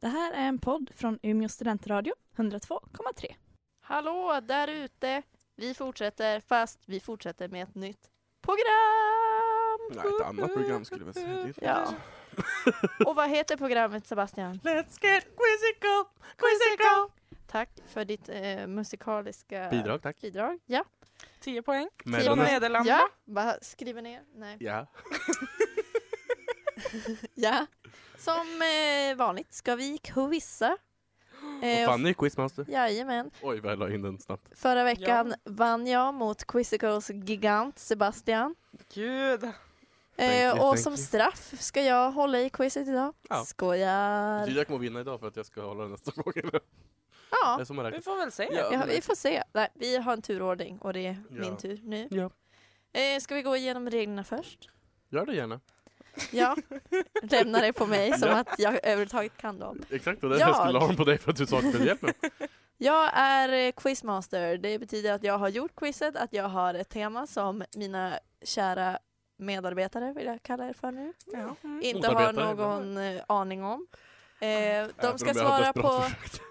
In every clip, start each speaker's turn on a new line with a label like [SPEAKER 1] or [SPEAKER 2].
[SPEAKER 1] Det här är en podd från Umeå studentradio, 102,3.
[SPEAKER 2] Hallå där ute! Vi fortsätter fast vi fortsätter med ett nytt program!
[SPEAKER 3] Nej, ett annat program skulle jag säga. Det är ett
[SPEAKER 2] Ja. Och vad heter programmet Sebastian?
[SPEAKER 4] Let's get quizzical, quizzical!
[SPEAKER 2] Tack för ditt eh, musikaliska
[SPEAKER 3] Bidrag, tack.
[SPEAKER 2] bidrag. Ja.
[SPEAKER 4] 10 poäng.
[SPEAKER 3] Men-
[SPEAKER 4] Från
[SPEAKER 3] Men-
[SPEAKER 4] Nederländerna.
[SPEAKER 2] ja. Bara skriver ner. Nej.
[SPEAKER 3] Ja.
[SPEAKER 2] Ja. Som eh, vanligt ska vi quizza.
[SPEAKER 3] Och
[SPEAKER 2] Eh,
[SPEAKER 3] Fanny är quizmaster.
[SPEAKER 2] Jajamän.
[SPEAKER 3] Oj, vad jag la in den snabbt.
[SPEAKER 2] Förra veckan vann jag mot Quizicals gigant Sebastian.
[SPEAKER 4] Gud.
[SPEAKER 3] Thank
[SPEAKER 2] Eh,
[SPEAKER 3] you,
[SPEAKER 2] och
[SPEAKER 3] thank
[SPEAKER 2] som
[SPEAKER 3] you.
[SPEAKER 2] straff ska jag hålla i quizet idag.
[SPEAKER 3] Ja.
[SPEAKER 2] Skojar!
[SPEAKER 3] Jag kommer vinna idag för att jag ska hålla nästa fråga. Det är
[SPEAKER 2] Ja,
[SPEAKER 3] som jag
[SPEAKER 4] Vi
[SPEAKER 3] räknar.
[SPEAKER 4] får väl se.
[SPEAKER 3] Ja.
[SPEAKER 2] ja, vi får se. Nej, vi har en turordning och det är min
[SPEAKER 3] Ja.
[SPEAKER 2] tur nu.
[SPEAKER 3] Ja.
[SPEAKER 2] Eh, ska vi gå igenom reglerna först?
[SPEAKER 3] Gör det gärna.
[SPEAKER 2] Ja, lämna det på mig som
[SPEAKER 3] Ja.
[SPEAKER 2] att jag överhuvudtaget kan dem.
[SPEAKER 3] Exakt, det var det
[SPEAKER 2] Jag-
[SPEAKER 3] jag skulle ha den på dig för att du saknade hjälp med.
[SPEAKER 2] Jag är eh, quizmaster. Det betyder att jag har gjort quizet, att jag har ett tema som mina kära medarbetare, vill jag kalla er för nu,
[SPEAKER 4] Ja. Mm.
[SPEAKER 2] inte har
[SPEAKER 3] Motarbetare.
[SPEAKER 2] någon eh, aning om. Eh, de
[SPEAKER 3] Även
[SPEAKER 2] ska
[SPEAKER 3] om jag har
[SPEAKER 2] svara
[SPEAKER 3] desperat
[SPEAKER 2] på
[SPEAKER 3] försökt.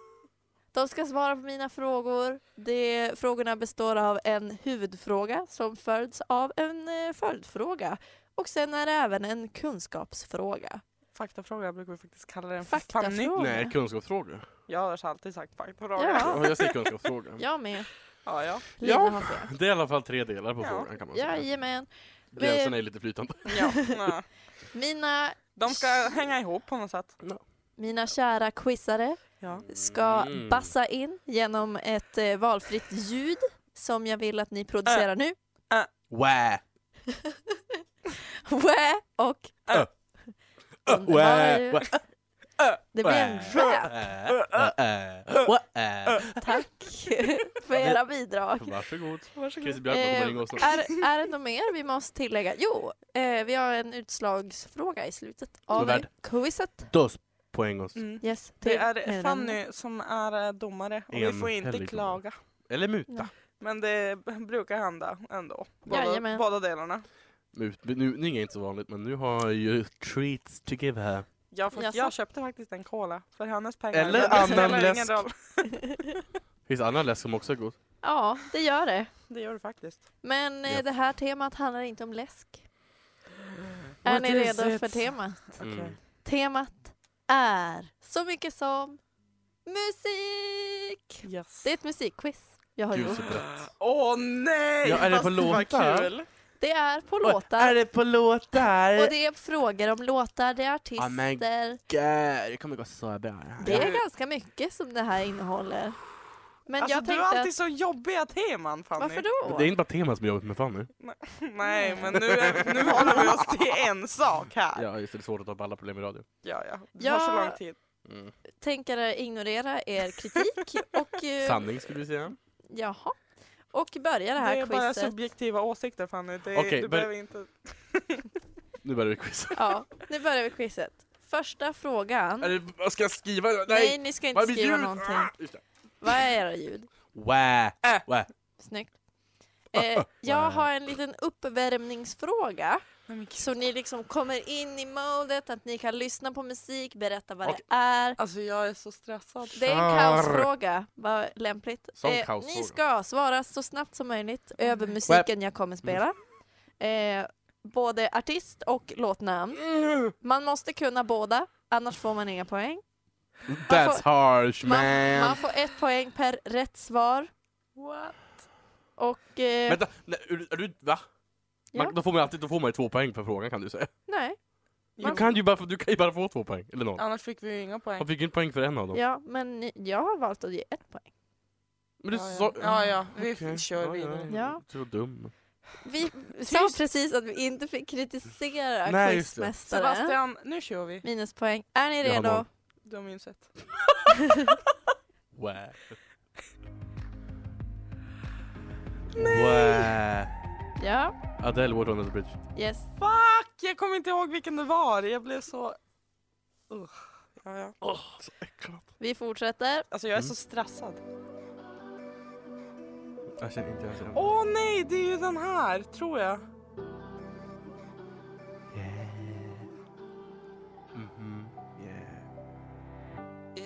[SPEAKER 2] De ska svara på mina frågor. Det, frågorna består av en huvudfråga som följs av en eh, följdfråga. Och sen är det även en kunskapsfråga.
[SPEAKER 4] Faktafråga brukar vi faktiskt kalla den för. Fanny.
[SPEAKER 2] Faktafråga.
[SPEAKER 3] Nej, kunskapsfrågor.
[SPEAKER 4] Jag har alltid sagt faktafråga.
[SPEAKER 2] Ja.
[SPEAKER 3] Ja, jag säger kunskapsfrågor.
[SPEAKER 2] Jag med.
[SPEAKER 4] Ja, ja.
[SPEAKER 2] Lina
[SPEAKER 3] Ja.
[SPEAKER 2] har fel.
[SPEAKER 3] Det är i alla fall tre delar på
[SPEAKER 4] Ja.
[SPEAKER 3] frågan kan man säga.
[SPEAKER 2] Jajamän.
[SPEAKER 3] Gränserna är lite flytande.
[SPEAKER 4] ja. nej.
[SPEAKER 2] Mina,
[SPEAKER 4] De ska hänga ihop på något sätt.
[SPEAKER 2] mina kära quizare
[SPEAKER 4] Ja.
[SPEAKER 2] ska
[SPEAKER 3] Mm.
[SPEAKER 2] bassa in genom ett eh, valfritt ljud som jag vill att ni
[SPEAKER 3] Äh.
[SPEAKER 2] producerar nu.
[SPEAKER 3] Wä!
[SPEAKER 2] Wä och...
[SPEAKER 4] Ö.
[SPEAKER 3] Ö,
[SPEAKER 2] Underbar
[SPEAKER 3] wä,
[SPEAKER 2] ju.
[SPEAKER 3] wä,
[SPEAKER 2] Det blir en rap. Tack för era bidrag.
[SPEAKER 3] Varsågod.
[SPEAKER 4] Varsågod.
[SPEAKER 3] Chris Björkman kommer
[SPEAKER 2] Eh,
[SPEAKER 3] ringa oss snart.
[SPEAKER 2] Är, är det något mer vi måste tillägga? Jo, eh, vi har en utslagsfråga i slutet av
[SPEAKER 3] Nåväl.
[SPEAKER 2] quizet.
[SPEAKER 3] Dos poäng oss.
[SPEAKER 4] Mm.
[SPEAKER 2] Yes,
[SPEAKER 4] Det
[SPEAKER 2] till
[SPEAKER 4] är
[SPEAKER 2] meddelande.
[SPEAKER 4] Fanny som är eh, domare och vi får
[SPEAKER 3] Enhällig
[SPEAKER 4] inte
[SPEAKER 3] domare.
[SPEAKER 4] klaga.
[SPEAKER 3] Eller muta.
[SPEAKER 2] Nej.
[SPEAKER 4] Men det b- brukar hända ändå. Båda,
[SPEAKER 2] Jajamän.
[SPEAKER 4] båda delarna.
[SPEAKER 3] Mut, nu, nu är det inte så vanligt, men nu har jag ju treats to give här.
[SPEAKER 4] Jag, får,
[SPEAKER 2] Jaså?
[SPEAKER 4] jag köpte faktiskt en cola för hennes pengar.
[SPEAKER 3] Eller
[SPEAKER 4] Men det
[SPEAKER 3] annan
[SPEAKER 4] spelar ingen
[SPEAKER 3] läsk.
[SPEAKER 4] roll.
[SPEAKER 3] Finns annan läsk som också är god?
[SPEAKER 2] Ja, det gör det.
[SPEAKER 4] Det gör du faktiskt.
[SPEAKER 2] Men eh,
[SPEAKER 3] Ja.
[SPEAKER 2] det här temat handlar inte om läsk. är
[SPEAKER 4] What
[SPEAKER 2] ni
[SPEAKER 4] is
[SPEAKER 2] redo
[SPEAKER 4] it?
[SPEAKER 2] för temat?
[SPEAKER 3] Mm.
[SPEAKER 4] Okej.
[SPEAKER 2] Temat är så mycket som musik!
[SPEAKER 4] Yes.
[SPEAKER 2] Det är ett musikquiz jag har
[SPEAKER 3] Gud
[SPEAKER 2] gjort.
[SPEAKER 3] så brett.
[SPEAKER 4] Åh nej!
[SPEAKER 3] Ja, är det
[SPEAKER 4] fast
[SPEAKER 3] på
[SPEAKER 4] var
[SPEAKER 3] låtar?
[SPEAKER 4] kul.
[SPEAKER 2] Det är på
[SPEAKER 3] Är
[SPEAKER 2] låtar
[SPEAKER 3] det på låtar?
[SPEAKER 2] och det är frågor om låtar, det är
[SPEAKER 3] Ja, men-
[SPEAKER 2] artister.
[SPEAKER 3] Gud, det kommer gå så bra. det här.
[SPEAKER 2] Det är ganska mycket som det här innehåller. Men
[SPEAKER 4] alltså,
[SPEAKER 2] jag
[SPEAKER 4] du
[SPEAKER 2] tänkte
[SPEAKER 4] har
[SPEAKER 2] att,
[SPEAKER 4] alltid så jobbiga teman Fanny.
[SPEAKER 2] varför då?
[SPEAKER 3] Det är inte bara temat som jag jobbat med Fanny.
[SPEAKER 4] Nej men nu, är, nu håller vi oss till en sak här. Ja
[SPEAKER 3] Ja, just det. Det är svårt att ta upp alla problem i radio.
[SPEAKER 4] ja. Det
[SPEAKER 2] Ja.
[SPEAKER 4] tar så lång tid.
[SPEAKER 3] Mm.
[SPEAKER 2] Tänker ignorera er kritik och, eh,
[SPEAKER 3] Sanning skulle du säga.
[SPEAKER 2] jaha. och börja det
[SPEAKER 4] Det
[SPEAKER 2] här
[SPEAKER 4] är bara
[SPEAKER 2] quizet.
[SPEAKER 4] subjektiva åsikter Fanny. Det,
[SPEAKER 3] Okej,
[SPEAKER 4] du
[SPEAKER 3] men-
[SPEAKER 4] behöver inte...
[SPEAKER 3] Nu börjar vi quiz.
[SPEAKER 2] Ja, nu börjar vi quizet. Första frågan.
[SPEAKER 3] Är det, vad ska jag skriva? Nej!
[SPEAKER 2] Mm. Nej, ni ska inte
[SPEAKER 3] Vad blir
[SPEAKER 2] skriva
[SPEAKER 3] ljud?
[SPEAKER 2] någonting.
[SPEAKER 3] Ah, just det.
[SPEAKER 2] Vad är era ljud?
[SPEAKER 3] Wä! Wä!
[SPEAKER 2] Snyggt. Eh, jag har en liten uppvärmningsfråga.
[SPEAKER 4] Nej, men
[SPEAKER 2] Så ni liksom kommer in i modet att ni kan lyssna på musik, berätta vad det är.
[SPEAKER 4] Alltså jag är så stressad.
[SPEAKER 2] Det är en
[SPEAKER 3] Kör.
[SPEAKER 2] kaosfråga, vad lämpligt. Eh,
[SPEAKER 3] Som kaosfråga. Mm.
[SPEAKER 2] ni ska svara så snabbt som möjligt över musiken jag kommer spela. Eh, både artist och låtnamn. Man måste kunna båda, annars får man inga poäng.
[SPEAKER 3] That's harsh man!
[SPEAKER 2] Man, man får ett poäng per rätt svar.
[SPEAKER 4] What?
[SPEAKER 2] Och eh,
[SPEAKER 3] Vänta, nej, är du- är du, va? Man,
[SPEAKER 2] Ja.
[SPEAKER 3] då, får man alltid, då får man ju två poäng per fråga kan du säga.
[SPEAKER 2] nej,
[SPEAKER 3] Du kan ju bara, få- du kan ju bara få två poäng, eller någon.
[SPEAKER 4] Annars fick vi ju inga poäng.
[SPEAKER 3] Man fick ju en poäng för en av dem.
[SPEAKER 2] ja, men ni- jag har valt att ge ett poäng.
[SPEAKER 3] Men du
[SPEAKER 4] Ja, ja.
[SPEAKER 3] sa...
[SPEAKER 4] Ja, ja, vi
[SPEAKER 3] Okej.
[SPEAKER 4] kör vidare.
[SPEAKER 2] Ja.
[SPEAKER 3] Du var dum.
[SPEAKER 2] Vi sa precis att vi inte fick kritisera
[SPEAKER 3] Nej, just det.
[SPEAKER 2] quizmästaren.
[SPEAKER 4] Sebastian, nu kör vi.
[SPEAKER 2] Minuspoäng. Är ni
[SPEAKER 3] Jag har
[SPEAKER 2] redo?
[SPEAKER 3] noll.
[SPEAKER 4] Du har insett.
[SPEAKER 3] Wä.
[SPEAKER 4] Nej.
[SPEAKER 3] Wä.
[SPEAKER 2] Ja,
[SPEAKER 3] Adele, Water on the Bridge.
[SPEAKER 2] yes.
[SPEAKER 4] Fuck! Jag kommer inte ihåg vilken det var. Jag blev så... Ugh. Ja, ja.
[SPEAKER 3] Åh, så äckligt.
[SPEAKER 2] Vi fortsätter.
[SPEAKER 4] Alltså jag är
[SPEAKER 3] Mm.
[SPEAKER 4] så stressad.
[SPEAKER 3] Jag känner inte ens igen
[SPEAKER 4] Åh nej, det är ju den här, tror jag.
[SPEAKER 3] Mm-hmm. Yeah. Mhm. Yeah.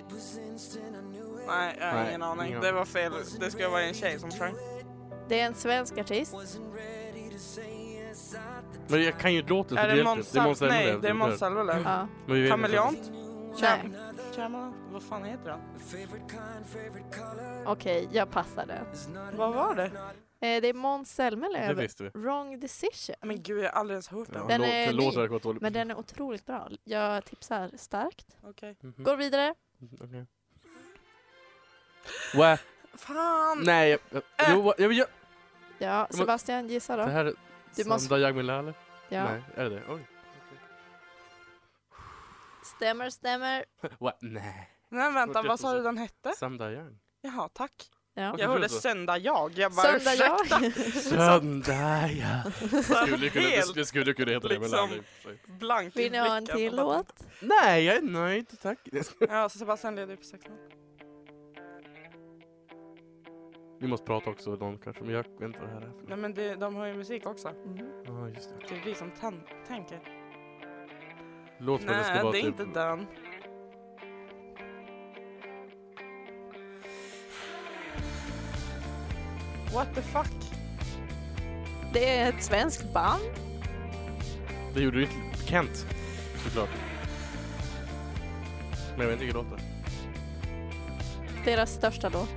[SPEAKER 4] Nej, jag har
[SPEAKER 3] Nej,
[SPEAKER 4] ingen aning.
[SPEAKER 3] ingen
[SPEAKER 4] Det var fel. Det ska vara en tjej som sjöng.
[SPEAKER 2] Det är en svensk artist.
[SPEAKER 3] Men jag kan ju låten så
[SPEAKER 4] Är det
[SPEAKER 3] hjälper
[SPEAKER 4] Måns
[SPEAKER 3] inte.
[SPEAKER 4] Zelmerlöw? Nej, det är
[SPEAKER 3] inte
[SPEAKER 4] Måns Zelmerlöw.
[SPEAKER 2] Ja.
[SPEAKER 3] Men vi vet inte.
[SPEAKER 4] Kameleont?
[SPEAKER 2] Nej,
[SPEAKER 4] Chameleon? Vad fan heter han?
[SPEAKER 2] okej, jag passar den.
[SPEAKER 4] Vad var det?
[SPEAKER 2] Eh, det är Måns
[SPEAKER 3] Det
[SPEAKER 2] Zelmerlöw,
[SPEAKER 3] visste vi.
[SPEAKER 2] Wrong Decision.
[SPEAKER 4] Men gud, jag har aldrig ens hört
[SPEAKER 3] Ja,
[SPEAKER 4] den.
[SPEAKER 2] Den
[SPEAKER 3] den
[SPEAKER 2] är
[SPEAKER 3] är
[SPEAKER 2] ny,
[SPEAKER 3] låten hade gått dåligt.
[SPEAKER 2] Men den är otroligt bra. Jag tipsar starkt.
[SPEAKER 4] Okej.
[SPEAKER 3] Mhm.
[SPEAKER 2] Går vidare.
[SPEAKER 3] Mhm, okej. Wah.
[SPEAKER 2] Ehm,
[SPEAKER 4] Fan!
[SPEAKER 3] Nej, jag...
[SPEAKER 2] eh,
[SPEAKER 3] jag- Jo, jag, jag, jag
[SPEAKER 2] Ja,
[SPEAKER 3] Men-
[SPEAKER 2] Sebastian, gissa
[SPEAKER 3] det
[SPEAKER 2] då.
[SPEAKER 3] här är...
[SPEAKER 2] Du
[SPEAKER 3] Sandra
[SPEAKER 2] måste-
[SPEAKER 3] Jagmilale?
[SPEAKER 2] Ja.
[SPEAKER 3] Nej, är det det? Oj.
[SPEAKER 2] Stämmer, stämmer.
[SPEAKER 3] Wah, Nej.
[SPEAKER 4] Nej, vänta, vad sa du den hette?
[SPEAKER 3] Sandra Young.
[SPEAKER 4] Jaha, tack.
[SPEAKER 2] Ja.
[SPEAKER 4] Jag hörde
[SPEAKER 3] Förlåt.
[SPEAKER 4] söndag jag. Jag bara,
[SPEAKER 2] Söndag
[SPEAKER 4] ursäkta.
[SPEAKER 2] jag.
[SPEAKER 3] Söndag Young. Skulle kunna,
[SPEAKER 4] Helt
[SPEAKER 3] det skulle kunna heta det, men
[SPEAKER 4] liksom-
[SPEAKER 3] aldrig. Sorry.
[SPEAKER 4] Blank i
[SPEAKER 2] Vill ni ha en
[SPEAKER 4] blicken.
[SPEAKER 2] till låt?
[SPEAKER 3] Nej, jag är nöjd, tack.
[SPEAKER 4] Ja, så Sebastian leder ju på 6-0.
[SPEAKER 3] Vi måste prata också om någon kanske, men jag vet inte vad det här är för
[SPEAKER 4] Nej men det, de har ju musik också.
[SPEAKER 2] Mm.
[SPEAKER 3] något. Ah, just det.
[SPEAKER 4] Det är vi som tan- tänker.
[SPEAKER 3] Låt mig det ska
[SPEAKER 4] Nej,
[SPEAKER 3] vara
[SPEAKER 4] det är
[SPEAKER 3] typ...
[SPEAKER 4] inte den. What the fuck?
[SPEAKER 2] Det är ett svenskt band.
[SPEAKER 3] Det gjorde ju inte Kent, såklart. Men jag vet inte vilken låt det är.
[SPEAKER 2] Deras största låt.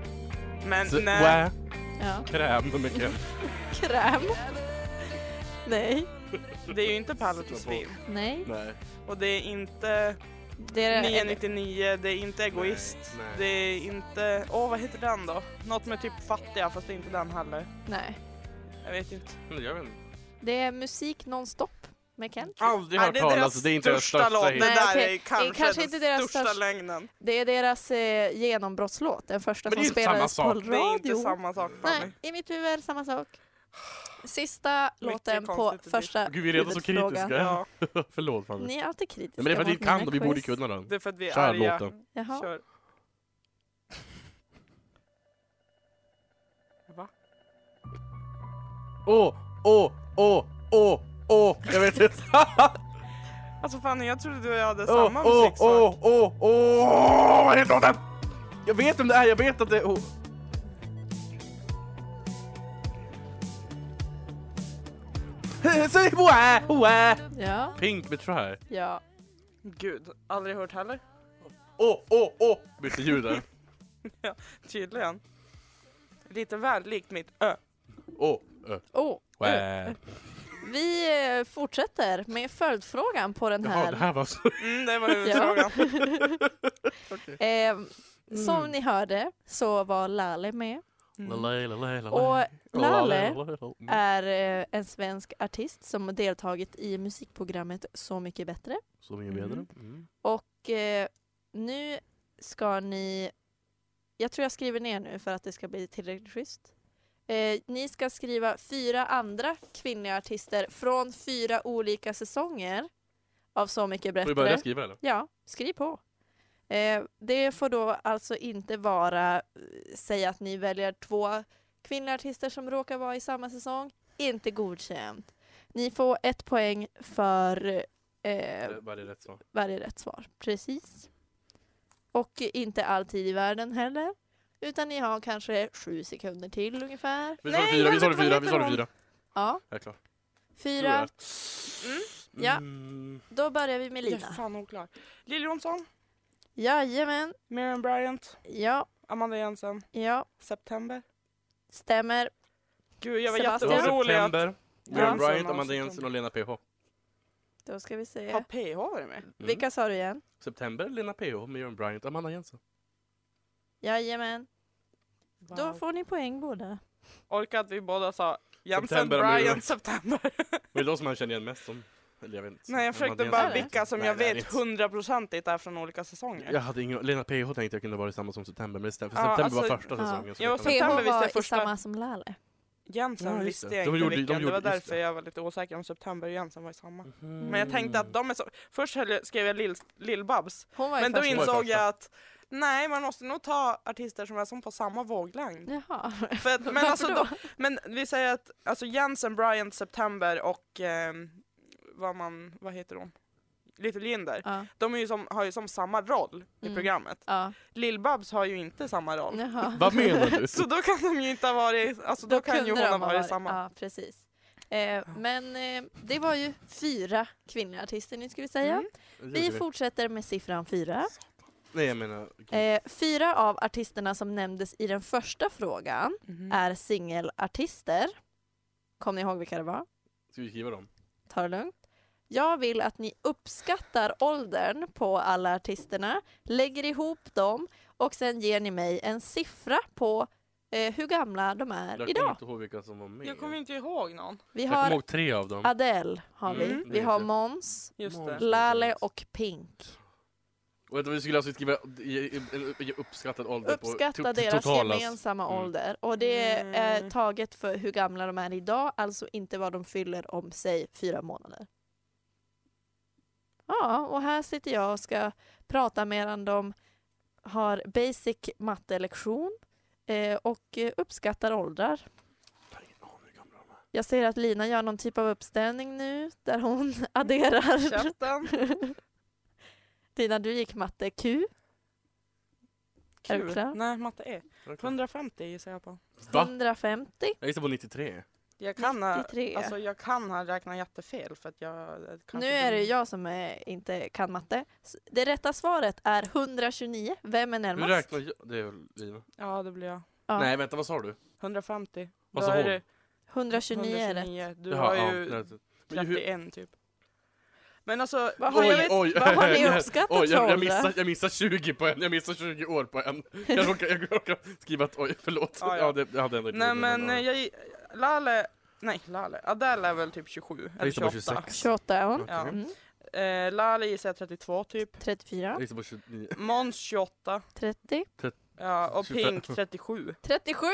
[SPEAKER 4] Men
[SPEAKER 3] Så-
[SPEAKER 4] nej.
[SPEAKER 3] Wah,
[SPEAKER 2] Ja.
[SPEAKER 3] Kräm med Kent.
[SPEAKER 2] Kräm. Nej.
[SPEAKER 4] Det är ju inte Pallet och Svin.
[SPEAKER 2] Nej.
[SPEAKER 3] Nej.
[SPEAKER 4] Och det är inte
[SPEAKER 2] Det är
[SPEAKER 4] 999, det är inte Egoist.
[SPEAKER 3] Nej, nej.
[SPEAKER 4] Det är inte... Åh, vad heter den då? Något med typ Fattiga, fast det är inte den heller.
[SPEAKER 2] Nej.
[SPEAKER 4] Jag vet inte.
[SPEAKER 3] Men Jag vet inte.
[SPEAKER 2] Det är musik nonstop med Kent.
[SPEAKER 3] Aldrig hört
[SPEAKER 4] Nej, det är
[SPEAKER 3] talas,
[SPEAKER 4] deras
[SPEAKER 3] alltså, det är inte deras
[SPEAKER 4] största
[SPEAKER 3] största
[SPEAKER 4] låt. Det
[SPEAKER 3] hit.
[SPEAKER 2] Nej,
[SPEAKER 4] där
[SPEAKER 2] okej.
[SPEAKER 4] är kanske,
[SPEAKER 2] Kanske
[SPEAKER 4] den
[SPEAKER 2] inte deras
[SPEAKER 4] största
[SPEAKER 2] största-
[SPEAKER 4] lögnen.
[SPEAKER 2] Det är deras eh, genombrottslåt, den första
[SPEAKER 3] Men det
[SPEAKER 2] som
[SPEAKER 3] är inte samma
[SPEAKER 2] spelades på
[SPEAKER 3] sak.
[SPEAKER 2] radio.
[SPEAKER 4] Det är inte samma sak för
[SPEAKER 2] Nej,
[SPEAKER 4] mig.
[SPEAKER 2] i mitt huvud är det samma sak. Sista låten på
[SPEAKER 4] konstigt i
[SPEAKER 2] första
[SPEAKER 3] Gud, vi är redan så
[SPEAKER 2] huvudfrågan.
[SPEAKER 3] kritiska.
[SPEAKER 4] Ja,
[SPEAKER 3] Förlåt Fanny. Nej,
[SPEAKER 2] Ni är alltid kritiska
[SPEAKER 3] men det är för att vi
[SPEAKER 2] mot
[SPEAKER 3] kan
[SPEAKER 2] mina
[SPEAKER 3] och vi borde
[SPEAKER 2] quiz.
[SPEAKER 3] kunna den.
[SPEAKER 4] det är för att vi är
[SPEAKER 3] Kör
[SPEAKER 4] arga.
[SPEAKER 3] låten.
[SPEAKER 2] Jaha.
[SPEAKER 4] Kör.
[SPEAKER 3] Åh, åh, åh, åh, åh! Jag vet inte.
[SPEAKER 4] Alltså Fanny, jag trodde du och jag hade
[SPEAKER 3] Åh,
[SPEAKER 4] samma
[SPEAKER 3] åh,
[SPEAKER 4] musiksmak.
[SPEAKER 3] åh, åh, åh! Vad heter låten? Jag vet om det är, jag vet att det är... åh. Säg wah, wah!
[SPEAKER 2] Ja,
[SPEAKER 3] Pink med try.
[SPEAKER 2] ja.
[SPEAKER 4] Gud, aldrig hört heller.
[SPEAKER 3] Åh, åh, åh! Bytte ljud där.
[SPEAKER 4] Tydligen. Lite väl likt mitt ö.
[SPEAKER 3] Åh, ö,
[SPEAKER 2] Oh,
[SPEAKER 3] wah.
[SPEAKER 2] vi eh, fortsätter med följdfrågan på den
[SPEAKER 3] Jaha,
[SPEAKER 2] här.
[SPEAKER 3] det här var så...
[SPEAKER 4] Mm, det var huvudfrågan.
[SPEAKER 2] Eh,
[SPEAKER 3] Mm.
[SPEAKER 2] Som ni hörde så var Lale med.
[SPEAKER 4] Mm.
[SPEAKER 3] Lalej, lalej, lalej.
[SPEAKER 2] Och Lale
[SPEAKER 3] Mm.
[SPEAKER 2] är eh, en svensk artist som deltagit i musikprogrammet Så mycket bättre.
[SPEAKER 3] Så mycket bättre.
[SPEAKER 4] Mm.
[SPEAKER 3] Mm.
[SPEAKER 2] Och eh, nu ska ni... Jag tror jag skriver ner nu för att det ska bli tillräckligt schysst. Eh, ni ska skriva fyra andra kvinnliga artister från fyra olika säsonger av Så mycket
[SPEAKER 3] Får vi börja
[SPEAKER 2] bättre.
[SPEAKER 3] skriva eller?
[SPEAKER 2] Ja, skriv på. Eh, det får då alltså inte vara, eh, säga att ni väljer två kvinnliga artister som råkar vara i samma säsong. Inte godkänt. Ni får ett poäng för eh,
[SPEAKER 3] Var det rätt svar?
[SPEAKER 2] varje rätt svar. Precis. Och inte alltid i världen heller. Utan ni har kanske sju sekunder till ungefär.
[SPEAKER 3] Vi svarade
[SPEAKER 4] Nej,
[SPEAKER 3] fyra, vi
[SPEAKER 4] jag vet
[SPEAKER 3] svarade
[SPEAKER 4] inte vad
[SPEAKER 3] fyra,
[SPEAKER 4] heter
[SPEAKER 3] vi svarade
[SPEAKER 4] hon.
[SPEAKER 3] fyra.
[SPEAKER 2] Ja,
[SPEAKER 3] Jag är klar.
[SPEAKER 2] fyra.
[SPEAKER 4] Mm.
[SPEAKER 2] Ja.
[SPEAKER 3] Mm.
[SPEAKER 2] Då börjar vi med
[SPEAKER 4] Jag är
[SPEAKER 2] Lina.
[SPEAKER 4] fan oklar. Lill Jonsson,
[SPEAKER 2] Jajamän.
[SPEAKER 4] Miriam Bryant,
[SPEAKER 2] Ja,
[SPEAKER 4] Amanda Jensen,
[SPEAKER 2] ja,
[SPEAKER 4] September.
[SPEAKER 2] stämmer.
[SPEAKER 4] Gud, jag var
[SPEAKER 3] Det
[SPEAKER 2] Sebastian.
[SPEAKER 3] var
[SPEAKER 4] jätteorolig att...
[SPEAKER 3] September,
[SPEAKER 4] Ja.
[SPEAKER 3] Björn Bryant,
[SPEAKER 4] Samma
[SPEAKER 3] Amanda
[SPEAKER 4] som
[SPEAKER 3] Jensen och Lena PH. Mm.
[SPEAKER 2] Då ska vi se.
[SPEAKER 4] Har PH varit med?
[SPEAKER 2] Vilka sa du igen?
[SPEAKER 3] September, Lena PH, Björn Bryant, Amanda Jensen.
[SPEAKER 2] Jajamän. Då
[SPEAKER 4] Wow.
[SPEAKER 2] får ni poäng båda.
[SPEAKER 4] Orkar att vi båda sa Jensen,
[SPEAKER 3] September, Amanda
[SPEAKER 4] Bryant,
[SPEAKER 3] Jensen.
[SPEAKER 4] September.
[SPEAKER 3] Var det de som man känner igen mest som? Eller jag vet inte.
[SPEAKER 4] Nej jag
[SPEAKER 3] Amanda
[SPEAKER 4] försökte
[SPEAKER 3] Jensen.
[SPEAKER 4] bara
[SPEAKER 2] Jensen.
[SPEAKER 4] vilka som
[SPEAKER 3] Nej,
[SPEAKER 4] jag
[SPEAKER 3] det är
[SPEAKER 4] vet
[SPEAKER 3] det inte.
[SPEAKER 4] hundraprocentigt är från olika säsonger.
[SPEAKER 3] Jag hade ingen Lena PH tänkte jag kunde vara samma som September, men det stämmer. För
[SPEAKER 4] Ja,
[SPEAKER 3] September
[SPEAKER 4] alltså-
[SPEAKER 3] var första
[SPEAKER 2] ja.
[SPEAKER 3] säsongen. så
[SPEAKER 4] Jag var
[SPEAKER 3] det kan
[SPEAKER 2] PH
[SPEAKER 3] vara-
[SPEAKER 4] September visste jag
[SPEAKER 2] var i
[SPEAKER 4] första-
[SPEAKER 2] samma som Lale.
[SPEAKER 4] Jensen
[SPEAKER 3] Ja, just
[SPEAKER 4] visste
[SPEAKER 3] det.
[SPEAKER 4] jag
[SPEAKER 3] De
[SPEAKER 4] inte
[SPEAKER 3] gjorde- de
[SPEAKER 4] vilken, det
[SPEAKER 3] gjorde-
[SPEAKER 4] var
[SPEAKER 3] just
[SPEAKER 4] därför
[SPEAKER 3] det.
[SPEAKER 4] jag var lite osäker om September och Jensen var i samma.
[SPEAKER 3] Mhm.
[SPEAKER 4] Men jag tänkte att de är så... Först höll- skrev jag Lill- Lill-Babs,
[SPEAKER 2] Hon var
[SPEAKER 4] men
[SPEAKER 2] i
[SPEAKER 4] då
[SPEAKER 2] första.
[SPEAKER 3] in-
[SPEAKER 4] insåg
[SPEAKER 3] första.
[SPEAKER 4] jag att nej, man måste nog ta artister som är som på samma våglängd.
[SPEAKER 2] Jaha.
[SPEAKER 4] För att, men,
[SPEAKER 2] Varför
[SPEAKER 4] alltså,
[SPEAKER 2] då?
[SPEAKER 4] de, men vi säger att alltså Jensen, Bryant, September och ehm, vad man, vad heter hon? Little Jinder,
[SPEAKER 2] Ja.
[SPEAKER 4] de är ju som, har ju som samma roll i
[SPEAKER 2] Mm.
[SPEAKER 4] programmet.
[SPEAKER 2] ja.
[SPEAKER 4] Lill-Babs har ju inte samma roll.
[SPEAKER 2] Jaha.
[SPEAKER 3] Vad menar du?
[SPEAKER 4] Så då kan de ju inte ha varit, alltså då, kan ju
[SPEAKER 2] kunde
[SPEAKER 4] hon
[SPEAKER 2] de
[SPEAKER 4] ha varit samma.
[SPEAKER 2] Ja, precis. Eh, men eh, det var ju fyra kvinnliga artister nu ska vi säga.
[SPEAKER 4] Mm.
[SPEAKER 2] Vi fortsätter med siffran fyra.
[SPEAKER 3] Nej jag menar... gud.
[SPEAKER 2] Eh, fyra av artisterna som nämndes i den första frågan
[SPEAKER 4] Mm-hmm. Mm.
[SPEAKER 2] är singelartister. Kom ni ihåg vilka det var?
[SPEAKER 3] Ska vi skriva dem?
[SPEAKER 2] Ta det lugnt. Jag vill att ni uppskattar åldern på alla artisterna, lägger ihop dem och sen ger ni mig en siffra på eh, hur gamla de
[SPEAKER 3] Jag
[SPEAKER 2] är
[SPEAKER 3] kommer
[SPEAKER 2] idag.
[SPEAKER 3] inte ihåg vilka som var med.
[SPEAKER 4] Jag kommer inte ihåg någon.
[SPEAKER 2] Vi
[SPEAKER 3] Jag kommer
[SPEAKER 2] har
[SPEAKER 3] ihåg tre av dem.
[SPEAKER 2] Adele, har vi.
[SPEAKER 4] Mm.
[SPEAKER 2] vi har Måns,
[SPEAKER 4] Just
[SPEAKER 3] Måns.
[SPEAKER 4] det.
[SPEAKER 2] Lale och Pink.
[SPEAKER 3] Och att vi skulle alltså skriva i- i- i- uppskattad ålder på to-
[SPEAKER 2] Uppskatta
[SPEAKER 3] to-
[SPEAKER 2] deras
[SPEAKER 3] totala-
[SPEAKER 2] gemensamma
[SPEAKER 3] Mm.
[SPEAKER 2] ålder. Och det är
[SPEAKER 4] Mm.
[SPEAKER 2] taget för hur gamla de är idag, alltså inte vad de fyller om, säg, fyra månader. Ja, och här sitter jag och ska prata medan de har basic mattelektion eh, och eh, uppskattar åldrar.
[SPEAKER 3] Jag har ingen aning hur gamla de är.
[SPEAKER 2] Jag ser att Lina gör någon typ av uppställning nu där hon adderar.
[SPEAKER 4] Käften.
[SPEAKER 2] Lina, du gick matte Q. Är du
[SPEAKER 4] Kul.
[SPEAKER 2] klar?
[SPEAKER 4] Nej, matte E.
[SPEAKER 3] Jag är klar.
[SPEAKER 4] 150 gissar jag på.
[SPEAKER 3] Va?
[SPEAKER 2] 150,
[SPEAKER 3] Jag gissar på 93.
[SPEAKER 4] Jag kan, ha,
[SPEAKER 2] 93.
[SPEAKER 4] alltså, jag kan ha räknat jättefel för att jag... kanske
[SPEAKER 2] Nu är det
[SPEAKER 4] dum.
[SPEAKER 2] jag som eh, inte kan matte. S- Det rätta svaret är 129. Vem är
[SPEAKER 3] Hur
[SPEAKER 2] närmast?
[SPEAKER 3] räknar jag? Det är väl Lina.
[SPEAKER 4] Ja, det blir jag.
[SPEAKER 2] Ja.
[SPEAKER 3] Nej vänta, vad sa du?
[SPEAKER 4] 150.
[SPEAKER 3] Vad
[SPEAKER 4] Då
[SPEAKER 3] sa
[SPEAKER 4] är
[SPEAKER 3] hon?
[SPEAKER 4] det
[SPEAKER 2] 129 är rätt.
[SPEAKER 4] 129. Du
[SPEAKER 3] Jaha,
[SPEAKER 4] har
[SPEAKER 3] ja,
[SPEAKER 4] ju
[SPEAKER 3] det är rätt. Men hur-
[SPEAKER 4] 31 typ. Men alltså...
[SPEAKER 2] Vad har
[SPEAKER 4] jag
[SPEAKER 2] jag-
[SPEAKER 4] vet-
[SPEAKER 3] oj,
[SPEAKER 2] vad har ni
[SPEAKER 3] jag-
[SPEAKER 2] uppskattat
[SPEAKER 3] Oj, jag,
[SPEAKER 2] för
[SPEAKER 3] jag,
[SPEAKER 2] åldrar?
[SPEAKER 3] missar, jag missar 20 på en, jag missar 20 år på en. Jag råkar, jag råkar skriva att oj, förlåt.
[SPEAKER 4] Ja,
[SPEAKER 3] Ja,
[SPEAKER 4] ja.
[SPEAKER 3] det, jag hade ändå inte
[SPEAKER 4] Nej
[SPEAKER 3] gjort det,
[SPEAKER 4] men eh, jag... Lale... Nej, Lale. Adele är väl typ 27
[SPEAKER 3] Jag
[SPEAKER 4] eller
[SPEAKER 3] gissar på
[SPEAKER 4] 28.
[SPEAKER 3] 26.
[SPEAKER 2] 28 är hon.
[SPEAKER 3] Okej.
[SPEAKER 4] Ja.
[SPEAKER 2] Mm.
[SPEAKER 4] Eh, Lale gissar jag 32 typ.
[SPEAKER 2] 34,
[SPEAKER 3] Jag gissar på 29.
[SPEAKER 4] Måns 28.
[SPEAKER 2] 30,
[SPEAKER 4] Ja, och
[SPEAKER 3] 25.
[SPEAKER 4] Pink 37.
[SPEAKER 2] 37!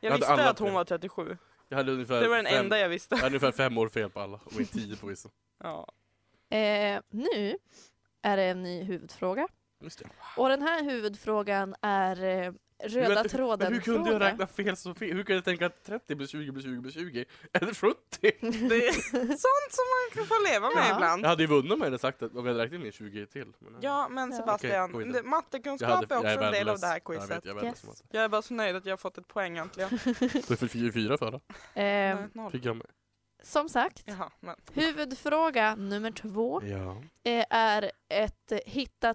[SPEAKER 4] Jag
[SPEAKER 3] hade
[SPEAKER 4] visste
[SPEAKER 3] alla
[SPEAKER 4] att hon
[SPEAKER 3] tre.
[SPEAKER 4] var 37.
[SPEAKER 3] Jag hade ungefär,
[SPEAKER 4] Det var den
[SPEAKER 3] fem,
[SPEAKER 4] enda jag
[SPEAKER 3] jag
[SPEAKER 4] visste.
[SPEAKER 3] hade ungefär fem år fel på alla och inte 10 på vissa.
[SPEAKER 4] Ja.
[SPEAKER 2] Eh, nu är det en ny huvudfråga.
[SPEAKER 3] Just det.
[SPEAKER 2] Och den här huvudfrågan är eh, röda
[SPEAKER 3] Men-
[SPEAKER 2] tråden
[SPEAKER 3] Men hur kunde jag
[SPEAKER 2] fråga.
[SPEAKER 3] räkna fel så fel? Hur kunde jag tänka att 30 blir 20 blir 20 blir 20? Eller 70?
[SPEAKER 4] Det är sånt som man kan få leva med
[SPEAKER 2] Ja.
[SPEAKER 4] ibland.
[SPEAKER 3] Jag hade ju vunnit om jag hade sagt att om jag hade räknat in 20 till. Men,
[SPEAKER 4] Ja, men
[SPEAKER 2] Ja.
[SPEAKER 4] Sebastian,
[SPEAKER 3] Okej, gå
[SPEAKER 4] det-
[SPEAKER 3] vidare. jag
[SPEAKER 4] mattekunskap
[SPEAKER 3] hade-
[SPEAKER 4] är också en del
[SPEAKER 3] värdelös.
[SPEAKER 4] av det här
[SPEAKER 3] Ja, Jag
[SPEAKER 4] quizet.
[SPEAKER 3] vet, jag är värdelös.
[SPEAKER 2] Yes.
[SPEAKER 3] Yes.
[SPEAKER 4] Jag är bara så nöjd att jag har fått ett poäng äntligen.
[SPEAKER 3] Du fick ju fyra förra.
[SPEAKER 2] Eh,
[SPEAKER 4] Nej, noll.
[SPEAKER 3] Fick jag med.
[SPEAKER 2] som sagt,
[SPEAKER 4] Jaha, men.
[SPEAKER 2] huvudfråga nummer två
[SPEAKER 3] Ja.
[SPEAKER 2] eh, är ett eh, hitta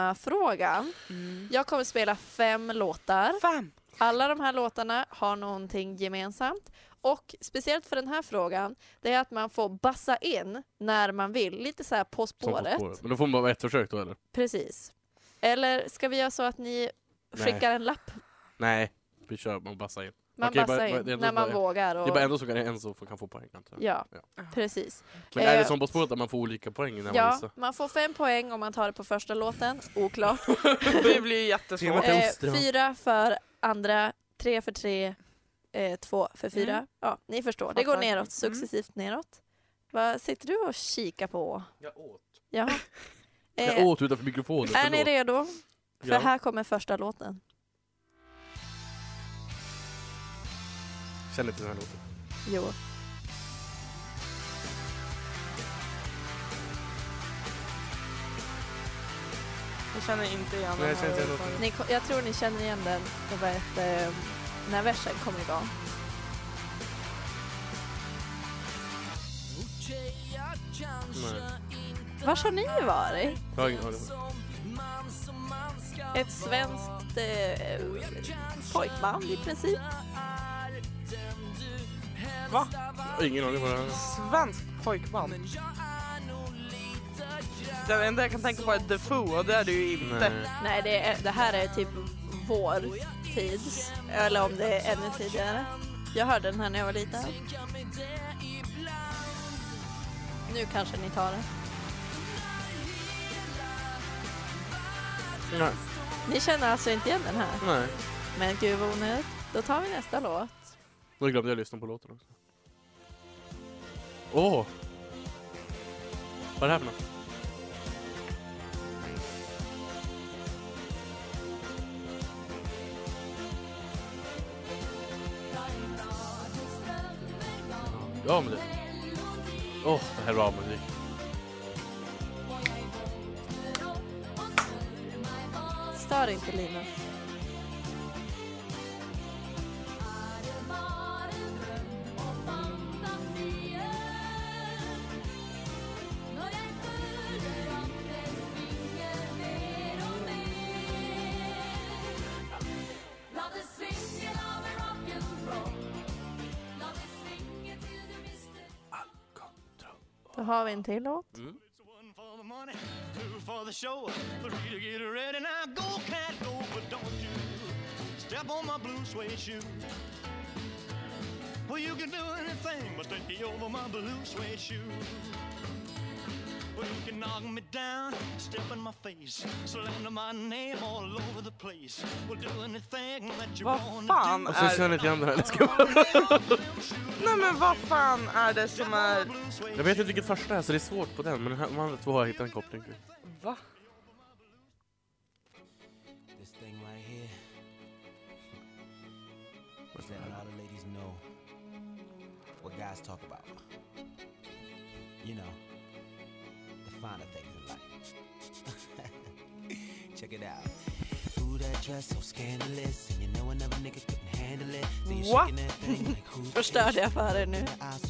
[SPEAKER 2] tema-fråga. Jag kommer spela Mm. fem låtar.
[SPEAKER 4] Fem!
[SPEAKER 2] Alla de här låtarna har någonting gemensamt. Och speciellt för den här frågan, det är att man får bassa in när man vill. Lite så här På
[SPEAKER 3] Som På
[SPEAKER 2] spåret.
[SPEAKER 3] spåret. Men då får man bara ett försök då eller?
[SPEAKER 2] Precis. Eller ska vi göra så att ni
[SPEAKER 3] Nej.
[SPEAKER 2] skickar en lapp?
[SPEAKER 3] Nej. Vi kör, man bassar in.
[SPEAKER 2] Man
[SPEAKER 3] Okej,
[SPEAKER 2] bassar
[SPEAKER 3] bara- bara-
[SPEAKER 2] in
[SPEAKER 3] det är
[SPEAKER 2] när man
[SPEAKER 3] bara-
[SPEAKER 2] vågar.
[SPEAKER 3] Det är bara
[SPEAKER 2] Och...
[SPEAKER 3] en som kan, en som får- kan få poäng antar jag.
[SPEAKER 2] Ja,
[SPEAKER 3] Ja.
[SPEAKER 2] precis.
[SPEAKER 3] Men är
[SPEAKER 2] Eh,
[SPEAKER 3] det som På spåret att man får olika poäng när man
[SPEAKER 2] Ja,
[SPEAKER 3] gissar?
[SPEAKER 2] man får fem poäng om man tar det på första låten. Oklart.
[SPEAKER 4] Det blir ju jättesvårt.
[SPEAKER 3] Temat är
[SPEAKER 2] Eh,
[SPEAKER 3] ost, det var-
[SPEAKER 2] fyra för andra, tre för tre, eh, två för fyra.
[SPEAKER 4] Mm.
[SPEAKER 2] Ja, ni förstår. Det går
[SPEAKER 4] Fattar.
[SPEAKER 2] neråt,
[SPEAKER 4] Mm.
[SPEAKER 2] successivt neråt. Vad sitter du och kikar på?
[SPEAKER 3] Jag åt.
[SPEAKER 2] Jaha.
[SPEAKER 3] Jag
[SPEAKER 2] Eh,
[SPEAKER 3] åt utanför mikrofonen,
[SPEAKER 2] är ni
[SPEAKER 3] förlåt.
[SPEAKER 2] redo? För
[SPEAKER 3] Ja.
[SPEAKER 2] här kommer första låten.
[SPEAKER 3] Känner inte den här låten.
[SPEAKER 2] Jo.
[SPEAKER 4] Jag känner inte igen
[SPEAKER 3] Nej,
[SPEAKER 4] den
[SPEAKER 3] jag
[SPEAKER 4] här
[SPEAKER 3] känner inte
[SPEAKER 4] överhuvudtaget.
[SPEAKER 2] Ni, ko- jag tror ni känner igen den jag vet, eh, när versen kommer igång. Var har ni varit?
[SPEAKER 3] Jag har ingen aning.
[SPEAKER 2] Ett svenskt eh, pojkband i princip.
[SPEAKER 4] Va?
[SPEAKER 3] Jag har ingen aning vad det här är.
[SPEAKER 4] Svensk pojkband? Det enda jag kan tänka på är The Foo och det är det ju inte.
[SPEAKER 3] Nej.
[SPEAKER 2] Nej, det, är, det här är typ vår tids. Eller om det är ännu tidigare. Jag hörde den här när jag var liten. Nu kanske ni tar den.
[SPEAKER 3] Nej.
[SPEAKER 2] Ni känner alltså inte igen den här?
[SPEAKER 3] Nej.
[SPEAKER 2] Men gud vad onödigt. Då tar vi nästa låt.
[SPEAKER 3] Då glömde jag lyssna på låten också. Åh! Vad är det här för något? Ja men det... Åh, det här är bra musik.
[SPEAKER 2] Förstör inte Lina. Då har vi en till låt.
[SPEAKER 3] Mm.
[SPEAKER 5] One for the money, two for the show, three to get ready. Now go, cat, go, but don't you step on my blue suede shoe. Well, you can do anything but take me over my blue suede shoe. Well, you can knock me down, step in my face, slander my name all over the place. We'll do anything that you
[SPEAKER 4] Vad
[SPEAKER 5] want
[SPEAKER 4] fan
[SPEAKER 3] Och så
[SPEAKER 4] är...
[SPEAKER 3] känner Alltså, jag inte igen det här. Jag ska-
[SPEAKER 4] Nej men vad fan är det som är...
[SPEAKER 3] Jag vet inte vilket första är så det är svårt på den, men den här, de andra två har jag hittat en koppling till.
[SPEAKER 4] Va?
[SPEAKER 6] This thing right here is letting all the ladies know what guys talk about. You know, the finer things in life. Check it out. Ooh, that dress so scandalous, and you know another nigga couldn't handle it. So you're
[SPEAKER 4] What?
[SPEAKER 6] shaking that thing like who's
[SPEAKER 2] Förstörde jag för er nu?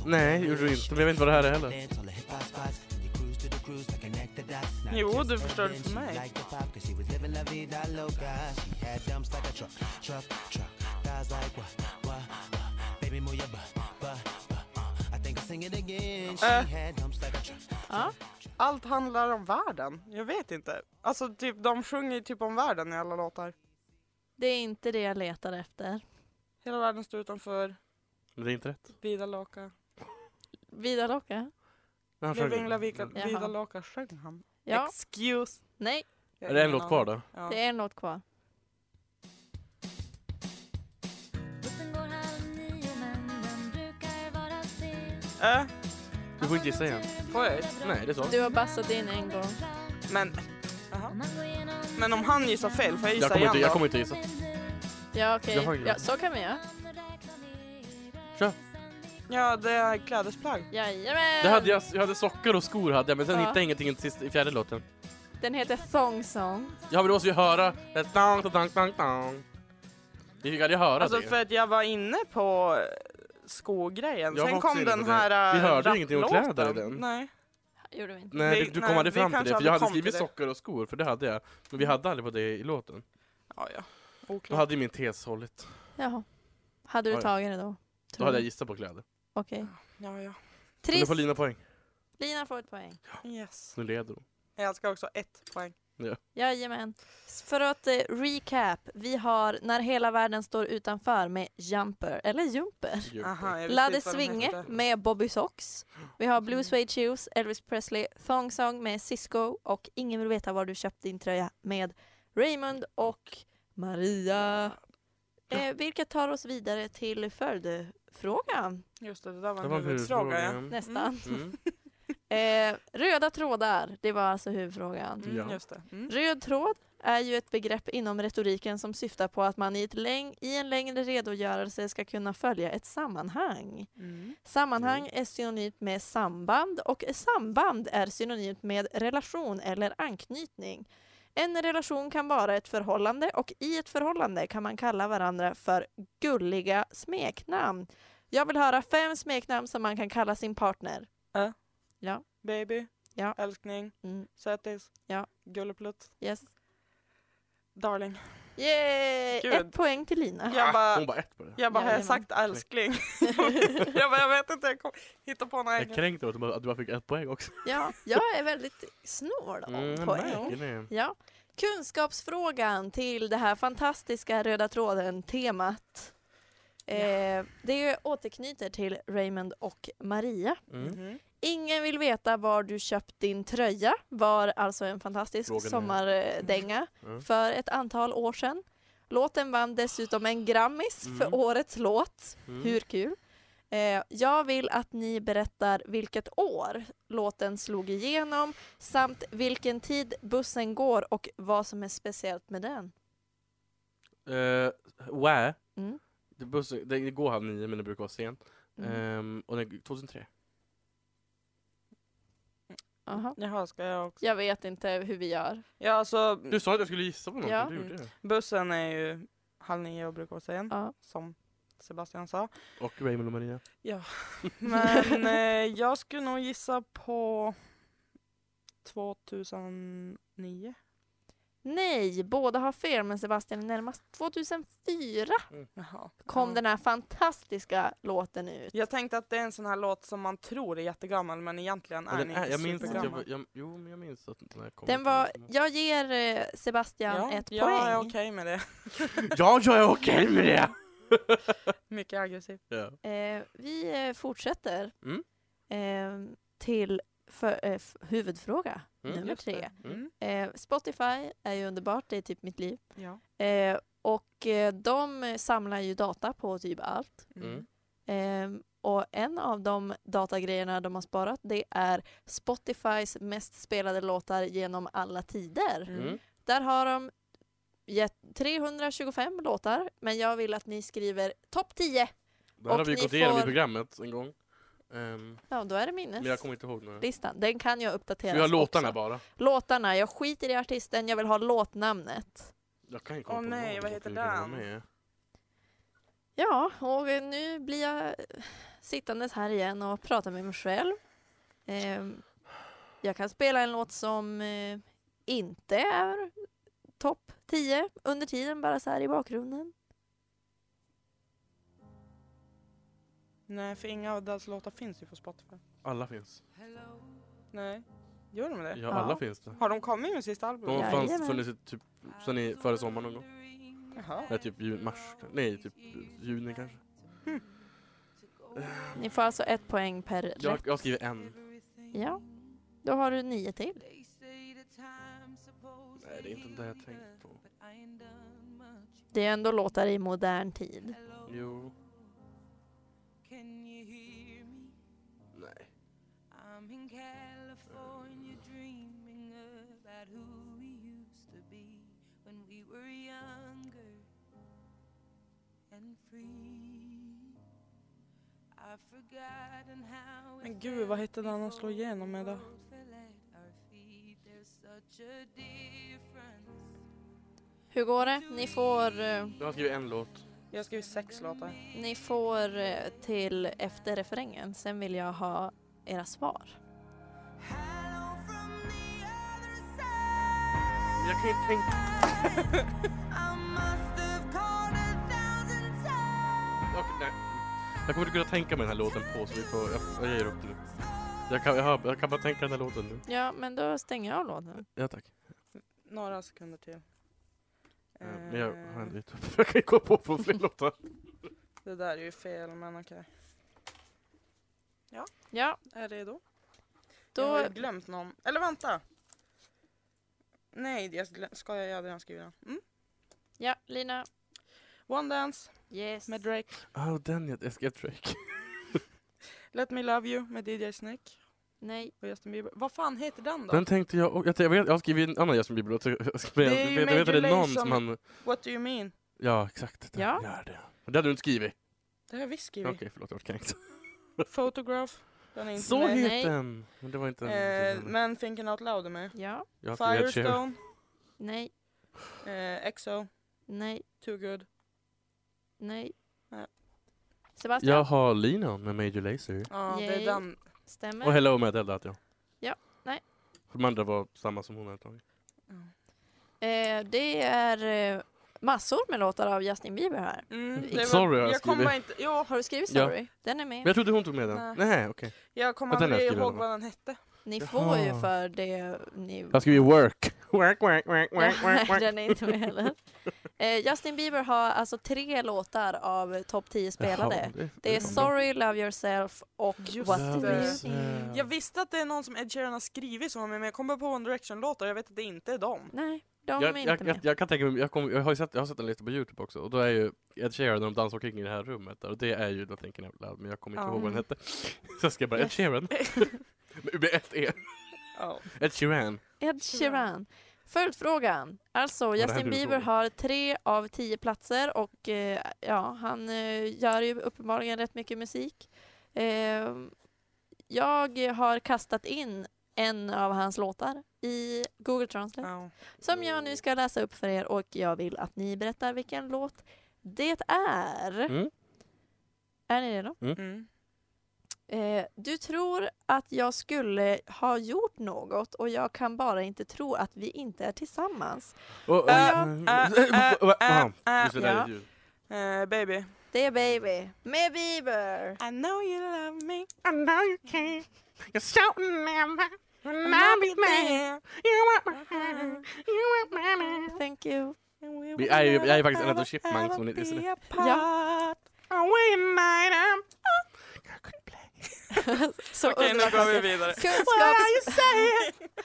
[SPEAKER 3] Nej, gjorde du inte. Men jag vet inte vad det här är heller.
[SPEAKER 4] Jo, du förstörde för mig. Äh.
[SPEAKER 2] Ja.
[SPEAKER 4] Allt handlar om världen. Jag vet inte. Alltså typ, de sjunger ju typ om världen i alla låtar.
[SPEAKER 2] Det är inte det jag letar efter.
[SPEAKER 4] Hela världen står utanför,
[SPEAKER 3] Men det är inte rätt.
[SPEAKER 4] Vidaloka.
[SPEAKER 2] Vidaloka?
[SPEAKER 3] Den här sjöng-
[SPEAKER 4] Livingla Vika-
[SPEAKER 2] Jaha.
[SPEAKER 4] Vidaloka sjöng han.
[SPEAKER 2] Ja.
[SPEAKER 4] Excuse.
[SPEAKER 2] Nej,
[SPEAKER 4] Jag har
[SPEAKER 3] Är det en
[SPEAKER 4] ingen
[SPEAKER 3] låt kvar
[SPEAKER 4] aning.
[SPEAKER 3] då?
[SPEAKER 4] Ja.
[SPEAKER 2] det är en låt kvar.
[SPEAKER 7] Bussen går halv nio men den brukar vara sen
[SPEAKER 4] Äh,
[SPEAKER 3] Du får inte gissa igen.
[SPEAKER 4] Får Alltså, jag?
[SPEAKER 3] Nej, det är så.
[SPEAKER 2] Du har bassat in en gång.
[SPEAKER 4] men, men om han gissar fel, får jag gissa
[SPEAKER 3] Jag kommer,
[SPEAKER 4] igen
[SPEAKER 3] inte,
[SPEAKER 4] då?
[SPEAKER 3] jag kommer inte gissa.
[SPEAKER 2] Ja okej,
[SPEAKER 3] Jag har ingen
[SPEAKER 2] ja,
[SPEAKER 3] aning.
[SPEAKER 2] så kan vi göra.
[SPEAKER 3] Kör.
[SPEAKER 4] Ja, det är klädesplagg.
[SPEAKER 2] Jajamän!
[SPEAKER 3] Det hade jag, jag hade sockor och skor hade jag, men sen
[SPEAKER 2] Ja.
[SPEAKER 3] hittade jag ingenting i, sist, i fjärde låten.
[SPEAKER 2] Den heter Thong Song.
[SPEAKER 3] Ja, men du måste ju höra. Dang, dang, dang, dang. Vi fick aldrig höra
[SPEAKER 4] Alltså
[SPEAKER 3] det.
[SPEAKER 4] för att jag var inne på skogrejen.
[SPEAKER 3] Jag var
[SPEAKER 4] Sen
[SPEAKER 3] också
[SPEAKER 4] kom
[SPEAKER 3] inne på
[SPEAKER 4] den
[SPEAKER 3] det.
[SPEAKER 4] här
[SPEAKER 3] Vi
[SPEAKER 4] äh,
[SPEAKER 3] hörde ju ingenting om
[SPEAKER 4] rapplåten.
[SPEAKER 3] kläder i den.
[SPEAKER 4] Nej.
[SPEAKER 2] Gjorde vi inte.
[SPEAKER 3] Nej,
[SPEAKER 4] vi-
[SPEAKER 3] du, du kom
[SPEAKER 4] nej,
[SPEAKER 3] aldrig
[SPEAKER 4] vi
[SPEAKER 3] fram till
[SPEAKER 4] kanske
[SPEAKER 3] det, för
[SPEAKER 4] aldrig
[SPEAKER 3] jag hade
[SPEAKER 4] kom till
[SPEAKER 3] skrivit
[SPEAKER 4] det.
[SPEAKER 3] sockor och skor, för det hade jag. Men vi hade aldrig på det i låten.
[SPEAKER 4] Ja, ja.
[SPEAKER 3] Då
[SPEAKER 4] Oklart.
[SPEAKER 3] hade ju min tes hållit.
[SPEAKER 2] Jaha. Hade du
[SPEAKER 3] Oj.
[SPEAKER 2] tagit det då?
[SPEAKER 3] Då
[SPEAKER 2] Tror
[SPEAKER 3] hade
[SPEAKER 2] du?
[SPEAKER 3] jag gissat på kläder.
[SPEAKER 2] Okej.
[SPEAKER 4] Ja, ja.
[SPEAKER 3] Men du
[SPEAKER 2] Trist!
[SPEAKER 3] får Lina poäng.
[SPEAKER 2] Lina får ett poäng.
[SPEAKER 4] Yes.
[SPEAKER 3] Nu leder hon.
[SPEAKER 4] Jag ska också ha ett poäng.
[SPEAKER 2] Jajamän. S- För att eh, recap, vi har När hela världen står utanför med Jumper, eller Jumper.
[SPEAKER 3] Gud.
[SPEAKER 4] Aha, jag visste
[SPEAKER 2] Ladde
[SPEAKER 4] inte vad den
[SPEAKER 2] Svinge
[SPEAKER 4] hette.
[SPEAKER 2] med Bobby Sox. Vi har Blue Suede Shoes, Elvis Presley, Thong Song med Cisco och Ingen vill veta var du köpt din tröja med Raymond och Maria. Eh, vilket tar oss vidare till följdfrågan
[SPEAKER 4] Just det, det där var
[SPEAKER 3] Det
[SPEAKER 4] en
[SPEAKER 3] var
[SPEAKER 4] huvudfråga. Ja.
[SPEAKER 3] huvudfrågan.
[SPEAKER 2] nästan.
[SPEAKER 3] Mm.
[SPEAKER 2] Eh, röda trådar, det var alltså huvudfrågan.
[SPEAKER 4] Mm,
[SPEAKER 3] Ja.
[SPEAKER 4] Just det. Mm.
[SPEAKER 2] Röd tråd är ju ett begrepp inom retoriken som syftar på att man i, ett läng- i en längre redogörelse ska kunna följa ett sammanhang.
[SPEAKER 4] Mm.
[SPEAKER 2] Sammanhang är synonymt med samband och samband är synonymt med relation eller anknytning. En relation kan vara ett förhållande och i ett förhållande kan man kalla varandra för gulliga smeknamn. Jag vill höra fem smeknamn som man kan kalla sin partner.
[SPEAKER 4] Baby.
[SPEAKER 2] Ja.
[SPEAKER 4] Älskling.
[SPEAKER 2] Mm.
[SPEAKER 4] Sötis.
[SPEAKER 2] Ja.
[SPEAKER 4] Gulleplutt.
[SPEAKER 2] Yes.
[SPEAKER 4] Darling.
[SPEAKER 2] Yay!
[SPEAKER 4] Gud.
[SPEAKER 2] Ett poäng till Lina.
[SPEAKER 4] Jag
[SPEAKER 3] Ah,
[SPEAKER 4] bara,
[SPEAKER 3] Hon bara ett på det.
[SPEAKER 4] jag bara har jag
[SPEAKER 2] Jajamän.
[SPEAKER 4] sagt älskling? jag bara, jag vet inte, jag kom, hittar på några
[SPEAKER 3] Jag är
[SPEAKER 4] egna.
[SPEAKER 3] kränkt över att du bara- att du bara fick ett poäng också.
[SPEAKER 2] Ja, jag är väldigt snål om
[SPEAKER 3] Mm,
[SPEAKER 2] poäng.
[SPEAKER 3] märker ni?
[SPEAKER 2] Ja. Kunskapsfrågan till det här fantastiska röda tråden-temat. Eh, det återknyter till Raymond och Maria.
[SPEAKER 3] Mm.
[SPEAKER 4] Mhm.
[SPEAKER 2] Ingen vill veta var du köpt din tröja, var alltså en fantastisk
[SPEAKER 3] Frågan är-
[SPEAKER 2] sommardänga
[SPEAKER 3] Mm.
[SPEAKER 2] för ett antal år sedan. Låten vann dessutom en Grammis för
[SPEAKER 3] Mm.
[SPEAKER 2] årets låt.
[SPEAKER 3] Mm.
[SPEAKER 2] Hur kul? Eh, jag vill att ni berättar vilket år låten slog igenom samt vilken tid bussen går och vad som är speciellt med den.
[SPEAKER 3] Uh, where?
[SPEAKER 2] Mm.
[SPEAKER 3] Det, bussen, det, det går halv nio, men det
[SPEAKER 4] Eh.
[SPEAKER 3] Ehm, brukar vara sent.
[SPEAKER 2] Mm.
[SPEAKER 3] Ehm, och det, 2003.
[SPEAKER 2] Aha.
[SPEAKER 4] Jaha, ska jag också?
[SPEAKER 2] Jag vet inte hur vi gör.
[SPEAKER 4] Ja, alltså
[SPEAKER 3] Du sa att jag skulle gissa på någonting,
[SPEAKER 2] Ja.
[SPEAKER 3] du gjorde
[SPEAKER 4] Mm.
[SPEAKER 3] det.
[SPEAKER 4] bussen är ju halv nio och brukar vara sen,
[SPEAKER 2] Ja.
[SPEAKER 4] som Sebastian sa.
[SPEAKER 3] Och Raymond och Maria.
[SPEAKER 4] Men eh, jag skulle nog gissa på 2009.
[SPEAKER 2] Nej, båda har fel men Sebastian är närmast. 2004
[SPEAKER 4] Jaha.
[SPEAKER 2] kom
[SPEAKER 4] Ja.
[SPEAKER 2] den här fantastiska låten ut.
[SPEAKER 4] Jag tänkte att det är en sån här låt som man tror är jättegammal men egentligen är
[SPEAKER 3] Ja,
[SPEAKER 4] den
[SPEAKER 3] den
[SPEAKER 4] inte
[SPEAKER 3] är, jag minns att jag,
[SPEAKER 4] supergammal.
[SPEAKER 3] var- jag, jo, men jag minns att den här kom.
[SPEAKER 2] Den var, jag ger eh, Sebastian
[SPEAKER 4] ja,
[SPEAKER 2] ett
[SPEAKER 4] jag
[SPEAKER 2] poäng.
[SPEAKER 4] är okej med det.
[SPEAKER 3] Ja, jag är okej med det!
[SPEAKER 4] Mycket aggressivt.
[SPEAKER 3] Ja.
[SPEAKER 2] Eh, vi eh, fortsätter
[SPEAKER 3] Mm.
[SPEAKER 2] eh, till för, eh, f- huvudfråga
[SPEAKER 3] Mm,
[SPEAKER 2] nummer
[SPEAKER 4] just
[SPEAKER 2] tre.
[SPEAKER 4] det.
[SPEAKER 3] Mm.
[SPEAKER 4] Mm.
[SPEAKER 2] Eh, Spotify är ju underbart, det är typ mitt liv.
[SPEAKER 4] Ja.
[SPEAKER 2] Eh, och eh, de samlar ju data på typ allt.
[SPEAKER 3] Mm.
[SPEAKER 4] Mm.
[SPEAKER 2] Ehm, och en av de datagrejerna de har sparat det är Spotifys mest spelade låtar genom alla tider.
[SPEAKER 3] Mm.
[SPEAKER 2] Där har de gett 325 låtar, men jag vill att ni skriver topp 10.
[SPEAKER 3] Det här
[SPEAKER 2] Och
[SPEAKER 3] har vi
[SPEAKER 2] ni
[SPEAKER 3] gått igenom i
[SPEAKER 2] får-
[SPEAKER 3] programmet en gång. Ehm,
[SPEAKER 2] Ja, då är det
[SPEAKER 3] men jag
[SPEAKER 2] minneslistan.
[SPEAKER 3] kommer inte ihåg några.
[SPEAKER 2] Den kan jag uppdatera.
[SPEAKER 3] Vi har låtarna bara.
[SPEAKER 2] Låtarna, jag skiter i artisten, jag vill ha låtnamnet.
[SPEAKER 3] Jag kan ju komma
[SPEAKER 4] Åh
[SPEAKER 3] på
[SPEAKER 4] nej,
[SPEAKER 3] någon
[SPEAKER 4] vad
[SPEAKER 3] som
[SPEAKER 4] heter
[SPEAKER 3] skulle kunna
[SPEAKER 4] den?
[SPEAKER 3] vara med.
[SPEAKER 2] Ja, och nu blir jag sittandes här igen och pratar med mig själv. Ehm, jag kan spela en låt som eh, inte är topp 10 under tiden, bara så här i bakgrunden.
[SPEAKER 4] Nej, för inga av deras låtar finns ju på Spotify.
[SPEAKER 3] Alla finns.
[SPEAKER 4] Nej. Gör de det?
[SPEAKER 3] Ja, alla
[SPEAKER 2] Ja.
[SPEAKER 3] finns det.
[SPEAKER 4] Har de kommit med sista
[SPEAKER 3] De har
[SPEAKER 4] albumet?
[SPEAKER 3] fanns-
[SPEAKER 2] Jajamän.
[SPEAKER 3] funnits i typ sen i, före sommaren någon gång.
[SPEAKER 4] Jaha.
[SPEAKER 3] Nej, typ ju, mars. Nej, typ juni kanske.
[SPEAKER 2] Ni får alltså ett poäng per
[SPEAKER 3] Jag,
[SPEAKER 2] rätt.
[SPEAKER 3] jag skriver en.
[SPEAKER 2] Ja, då har du nio till.
[SPEAKER 3] Nej, det är inte det jag tänkt på.
[SPEAKER 2] Det är ändå låtar i modern tid.
[SPEAKER 3] Jo. Nej.
[SPEAKER 4] Men gud, vad hette den han slog igenom med då?
[SPEAKER 2] Hur går det? Ni får, eh,
[SPEAKER 3] Jag har skrivit en låt.
[SPEAKER 4] Jag skrev sex låtar.
[SPEAKER 2] ni får eh, till efter referängen, sen vill jag ha era svar.
[SPEAKER 3] Men Jag kan ju tänka... Okej, nej. Jag kommer inte kunna tänka mig den här låten på så vi får... Jag, jag ger upp nu. Jag kan, jag, har- jag kan bara tänka den här låten nu.
[SPEAKER 2] Ja, men då stänger jag av låten.
[SPEAKER 3] Ja tack.
[SPEAKER 4] Några sekunder till.
[SPEAKER 3] Eh, Men jag har
[SPEAKER 4] Eh,
[SPEAKER 3] ändå gett upp. Jag kan ju gå på på fler låtar.
[SPEAKER 4] Det där är ju fel, men okej.
[SPEAKER 2] Ja,
[SPEAKER 4] Är det då? Jag har
[SPEAKER 2] då...
[SPEAKER 4] ju glömt någon. Eller vänta! Nej, jag glö- ska jag hade redan skrivit den. Mm.
[SPEAKER 2] Ja, Lina.
[SPEAKER 4] One Dance
[SPEAKER 2] Yes.
[SPEAKER 4] med Drake.
[SPEAKER 3] Ah, den jag... Jag skrev Drake.
[SPEAKER 4] Let Me Love You med DJ Snake
[SPEAKER 2] Nej.
[SPEAKER 4] och Justin Bieber. Vad fan heter den då?
[SPEAKER 3] Den tänkte jag och- jag, jag, vet, jag har skrivit en annan Justin Bieber-låt. så jag ska-
[SPEAKER 4] är
[SPEAKER 3] Jag
[SPEAKER 4] ju
[SPEAKER 3] vet, jag vet att det är
[SPEAKER 4] Major
[SPEAKER 3] någon
[SPEAKER 4] Lazer
[SPEAKER 3] som
[SPEAKER 4] med-
[SPEAKER 3] han...
[SPEAKER 4] What Do You Mean?
[SPEAKER 3] Ja, exakt. Den
[SPEAKER 2] Ja.
[SPEAKER 3] Gör det. Men Det hade du inte skrivit.
[SPEAKER 4] Det har vi
[SPEAKER 3] Okej,
[SPEAKER 4] skrivit.
[SPEAKER 3] förlåt. Jag var kränkt.
[SPEAKER 4] Photograph. Den är inte
[SPEAKER 3] Så
[SPEAKER 4] med.
[SPEAKER 2] Nej.
[SPEAKER 3] heter den! Men det var inte den.
[SPEAKER 4] Eh, men Thinking Out Loud är med.
[SPEAKER 2] Ja.
[SPEAKER 3] jag har skrivit Ed Sheeran.
[SPEAKER 4] Firestone.
[SPEAKER 2] Nej.
[SPEAKER 4] Eh, EXO.
[SPEAKER 2] Nej.
[SPEAKER 4] Too Good.
[SPEAKER 2] Nej.
[SPEAKER 4] Nej.
[SPEAKER 2] Sebastian.
[SPEAKER 3] Jag har Lina med Major Lazer.
[SPEAKER 4] Ja, det
[SPEAKER 2] Yay.
[SPEAKER 4] är den.
[SPEAKER 2] Stämmer.
[SPEAKER 3] Och Hello Mad Eld jag.
[SPEAKER 2] Ja, nej.
[SPEAKER 3] De andra var samma som hon hade tagit.
[SPEAKER 2] Eh, det är eh, massor med låtar av Justin Bieber här.
[SPEAKER 4] Mm,
[SPEAKER 2] Sorry,
[SPEAKER 4] det var-
[SPEAKER 3] har jag
[SPEAKER 4] jag kom
[SPEAKER 3] skrivit.
[SPEAKER 4] bara inte... Jo,
[SPEAKER 2] Har du skrivit
[SPEAKER 3] Ja.
[SPEAKER 2] Sorry? Den är
[SPEAKER 3] Men
[SPEAKER 2] med.
[SPEAKER 3] jag trodde hon tog med den.
[SPEAKER 4] Nej.
[SPEAKER 3] Nej, okej.
[SPEAKER 4] jag kommer
[SPEAKER 3] Ja, den har jag
[SPEAKER 4] aldrig
[SPEAKER 3] skrivit
[SPEAKER 4] ihåg
[SPEAKER 3] i alla
[SPEAKER 4] vad den hette.
[SPEAKER 2] Ni
[SPEAKER 3] Jaha.
[SPEAKER 2] får ju för det ni...
[SPEAKER 3] Jag skriver Work. Work, work, work, work, work,
[SPEAKER 2] Ja,
[SPEAKER 3] work.
[SPEAKER 2] den är inte med heller. Eh, Justin Bieber har alltså tre låtar av topp 10 spelade.
[SPEAKER 3] Jaha, det,
[SPEAKER 2] Det är Sorry, Love Yourself och
[SPEAKER 4] Just
[SPEAKER 2] What
[SPEAKER 4] det.
[SPEAKER 2] Do You Think.
[SPEAKER 3] Eh,
[SPEAKER 4] Jag visste att det är någon som Ed Sheeran har skrivit som var med, men jag kom bara på One Direction-låtar jag vet att det inte är dem.
[SPEAKER 2] Nej, de är
[SPEAKER 3] jag,
[SPEAKER 2] inte
[SPEAKER 3] jag, jag,
[SPEAKER 2] med.
[SPEAKER 3] jag kan tänka mig, jag, kommer- jag har ju sett, jag har sett en lista på Youtube också och då är ju Ed Sheeran när de dansar omkring i det här rummet där och det är ju då tänker jag loud men jag kommer inte
[SPEAKER 4] Ja.
[SPEAKER 3] ihåg vad den hette. Så jag skrev bara Ed Sheeran. Med UB1E.
[SPEAKER 4] Ja.
[SPEAKER 3] Ed Sheeran.
[SPEAKER 2] Ed Sheeran. Följdfrågan. Alltså,
[SPEAKER 3] det här
[SPEAKER 2] Justin
[SPEAKER 3] blir en
[SPEAKER 2] Bieber
[SPEAKER 3] fråga.
[SPEAKER 2] har tre av tio platser och eh, ja, han eh, gör ju uppenbarligen rätt mycket musik. Eh, jag har Ehm, kastat in en av hans låtar i Google Translate.
[SPEAKER 4] Ja.
[SPEAKER 2] Som jag nu ska läsa upp för er och jag vill att ni berättar vilken låt det är.
[SPEAKER 3] Mm.
[SPEAKER 2] Är ni redo?
[SPEAKER 4] Mm.
[SPEAKER 2] Eh, du tror att jag skulle ha gjort något och jag kan bara inte tro att vi inte är tillsammans.
[SPEAKER 3] Och- och-
[SPEAKER 4] Äh, äh, äh,
[SPEAKER 3] Aha,
[SPEAKER 4] äh,
[SPEAKER 3] just det där
[SPEAKER 4] ja.
[SPEAKER 3] ljudet.
[SPEAKER 4] Eh, baby.
[SPEAKER 2] Det är Baby med Bieber.
[SPEAKER 4] I know you love me.
[SPEAKER 8] I know you can. You're shouting at me. When I be mad.
[SPEAKER 4] man.
[SPEAKER 8] You want my heart. You want my mind.
[SPEAKER 2] Thank you.
[SPEAKER 3] Vi är ju- jag är faktiskt en av de chipmunks, om ni inte ser det.
[SPEAKER 4] Ja.
[SPEAKER 8] Away night. I'm
[SPEAKER 2] Så
[SPEAKER 4] Okej, nu går vi vidare.
[SPEAKER 2] Kunskaps...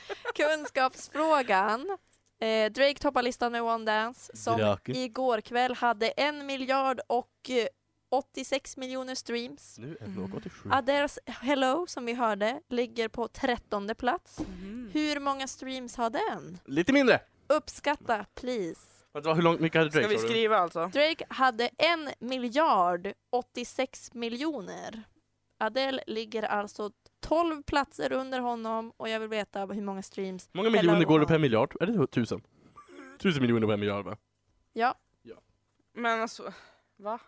[SPEAKER 2] Kunskapsfrågan. Eh, Drake toppar listan med One Dance som
[SPEAKER 3] Draken.
[SPEAKER 2] igår kväll hade en miljard och eh, 86 miljoner streams.
[SPEAKER 3] Nu är det nog 87.
[SPEAKER 2] Adels Hello som vi hörde ligger på trettonde plats.
[SPEAKER 4] Mm.
[SPEAKER 2] Hur många streams har den?
[SPEAKER 3] Lite mindre!
[SPEAKER 2] Uppskatta please.
[SPEAKER 3] Vänta, hur långt mycket hade
[SPEAKER 4] Ska
[SPEAKER 3] Drake
[SPEAKER 4] vi
[SPEAKER 3] sa du?
[SPEAKER 4] skriva alltså?
[SPEAKER 2] Drake hade en miljard 86 miljoner. Adele ligger alltså 12 platser under honom och jag vill veta hur många streams.
[SPEAKER 3] Många
[SPEAKER 2] Hello,
[SPEAKER 3] miljoner går det
[SPEAKER 2] Mom.
[SPEAKER 3] per miljard? Är det tusen? Tusen miljoner per miljard va?
[SPEAKER 2] Ja,
[SPEAKER 4] Men alltså, va?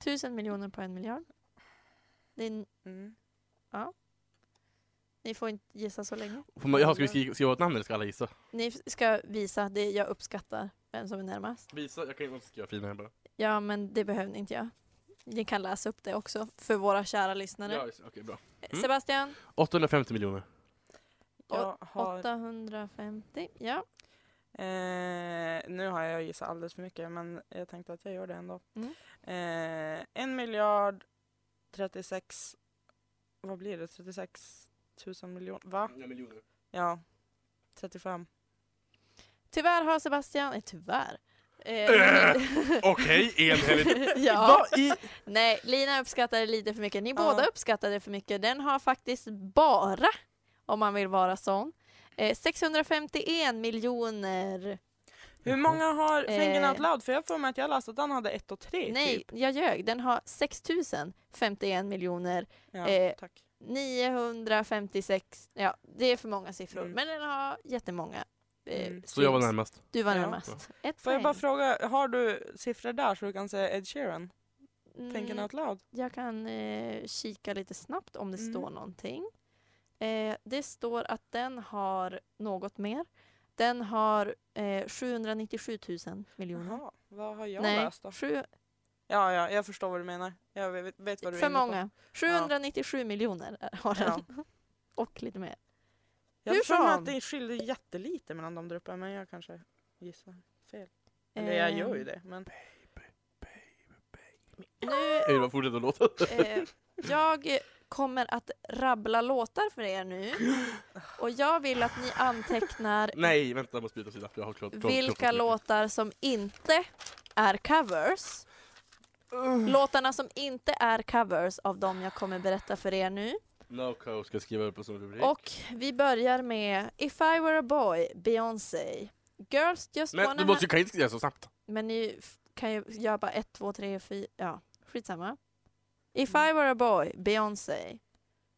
[SPEAKER 2] 1000 miljoner på en miljard. Det är,
[SPEAKER 4] Mm.
[SPEAKER 2] ni får inte gissa så länge.
[SPEAKER 3] Får man- Jaha, ska vi skriva, skriva ett namn eller ska alla gissa?
[SPEAKER 2] Ni f- ska visa det jag uppskattar, vem som är närmast.
[SPEAKER 3] Visa, jag kan ju också skriva fina här bara.
[SPEAKER 2] Ja, men det behöver inte jag. Ni kan läsa upp det också för våra kära lyssnare.
[SPEAKER 3] Ja, just det. okej bra. Mm.
[SPEAKER 2] Sebastian,
[SPEAKER 3] 850 miljoner.
[SPEAKER 4] Jag har,
[SPEAKER 2] 850. Ja.
[SPEAKER 4] eh, nu har jag gissat alldeles för mycket men jag tänkte att jag gör det ändå.
[SPEAKER 2] Mm.
[SPEAKER 4] Eh, 1 miljard 36, vad blir det? 36 tusen miljoner? Va?
[SPEAKER 3] miljoner.
[SPEAKER 4] Ja, 35.
[SPEAKER 2] Tyvärr har Sebastian, eh, tyvärr. Eh,
[SPEAKER 3] Okej, enhälligt.
[SPEAKER 2] ja.
[SPEAKER 3] Vad i...
[SPEAKER 2] Nej, Lina uppskattade lite för mycket. Ni
[SPEAKER 4] Ja.
[SPEAKER 2] båda uppskattade för mycket. Den har faktiskt bara, om man vill vara sån, eh, 651 miljoner.
[SPEAKER 4] Hur många har Thinking
[SPEAKER 2] Eh.
[SPEAKER 4] Out Loud? För jag får mig att jag läste att den hade 1 och 3
[SPEAKER 2] Nej,
[SPEAKER 4] typ.
[SPEAKER 2] jag ljög. Den har 6051 miljoner
[SPEAKER 4] Ja,
[SPEAKER 2] eh,
[SPEAKER 4] tack.
[SPEAKER 2] 956. Ja, det är för många siffror,
[SPEAKER 4] Mm.
[SPEAKER 2] men den har jättemånga. Eh,
[SPEAKER 4] Mm.
[SPEAKER 3] Så jag var
[SPEAKER 2] streams.
[SPEAKER 3] närmast.
[SPEAKER 2] Du var
[SPEAKER 4] Ja.
[SPEAKER 2] närmast. Ett
[SPEAKER 4] Får jag
[SPEAKER 2] poäng.
[SPEAKER 4] bara fråga, har du siffror där så du kan säga Ed Sheeran?
[SPEAKER 2] Mm.
[SPEAKER 4] Thinking Out Loud?
[SPEAKER 2] Jag kan eh, kika lite snabbt om det
[SPEAKER 4] Mm.
[SPEAKER 2] står någonting. Eh, det står att den har något mer. Den har eh, 797 000 miljoner.
[SPEAKER 4] Jaha, vad har jag
[SPEAKER 2] Nej,
[SPEAKER 4] läst då?
[SPEAKER 2] sju,
[SPEAKER 4] Ja, ja, jag förstår vad du menar. Jag vet, vet vad du är
[SPEAKER 2] för
[SPEAKER 4] inne
[SPEAKER 2] många. 797 miljoner har
[SPEAKER 4] på.
[SPEAKER 2] den.
[SPEAKER 4] Ja.
[SPEAKER 2] Och lite mer.
[SPEAKER 4] Jag
[SPEAKER 2] Hur
[SPEAKER 4] tror mig
[SPEAKER 2] som.
[SPEAKER 4] att det skiljer jättelite mellan de grupperna, men jag kanske gissar fel. Eller jag gör ju
[SPEAKER 2] Ehm,
[SPEAKER 4] det, men
[SPEAKER 2] Nu,
[SPEAKER 3] Ej, vad fortsätter låta?
[SPEAKER 2] eh, jag kommer att rabbla låtar för er nu. Och jag vill att ni antecknar
[SPEAKER 3] Nej, vänta, jag måste byta sida. för Jag har klart, klart,
[SPEAKER 2] vilka
[SPEAKER 3] klart-
[SPEAKER 2] låtar som inte är covers. Låtarna som inte är covers av dem jag kommer berätta för er nu.
[SPEAKER 3] No Cow ska jag skriva upp som rubrik.
[SPEAKER 2] Och vi börjar med If I were a boy, Beyoncé. Girls just
[SPEAKER 3] Men
[SPEAKER 2] wanna...
[SPEAKER 3] du
[SPEAKER 2] ha-
[SPEAKER 3] måste, kan inte skriva så snabbt.
[SPEAKER 2] Men ni f- kan ju göra bara ett, två, tre, fyra... Ja, skitsamma. If I were a boy, Beyoncé.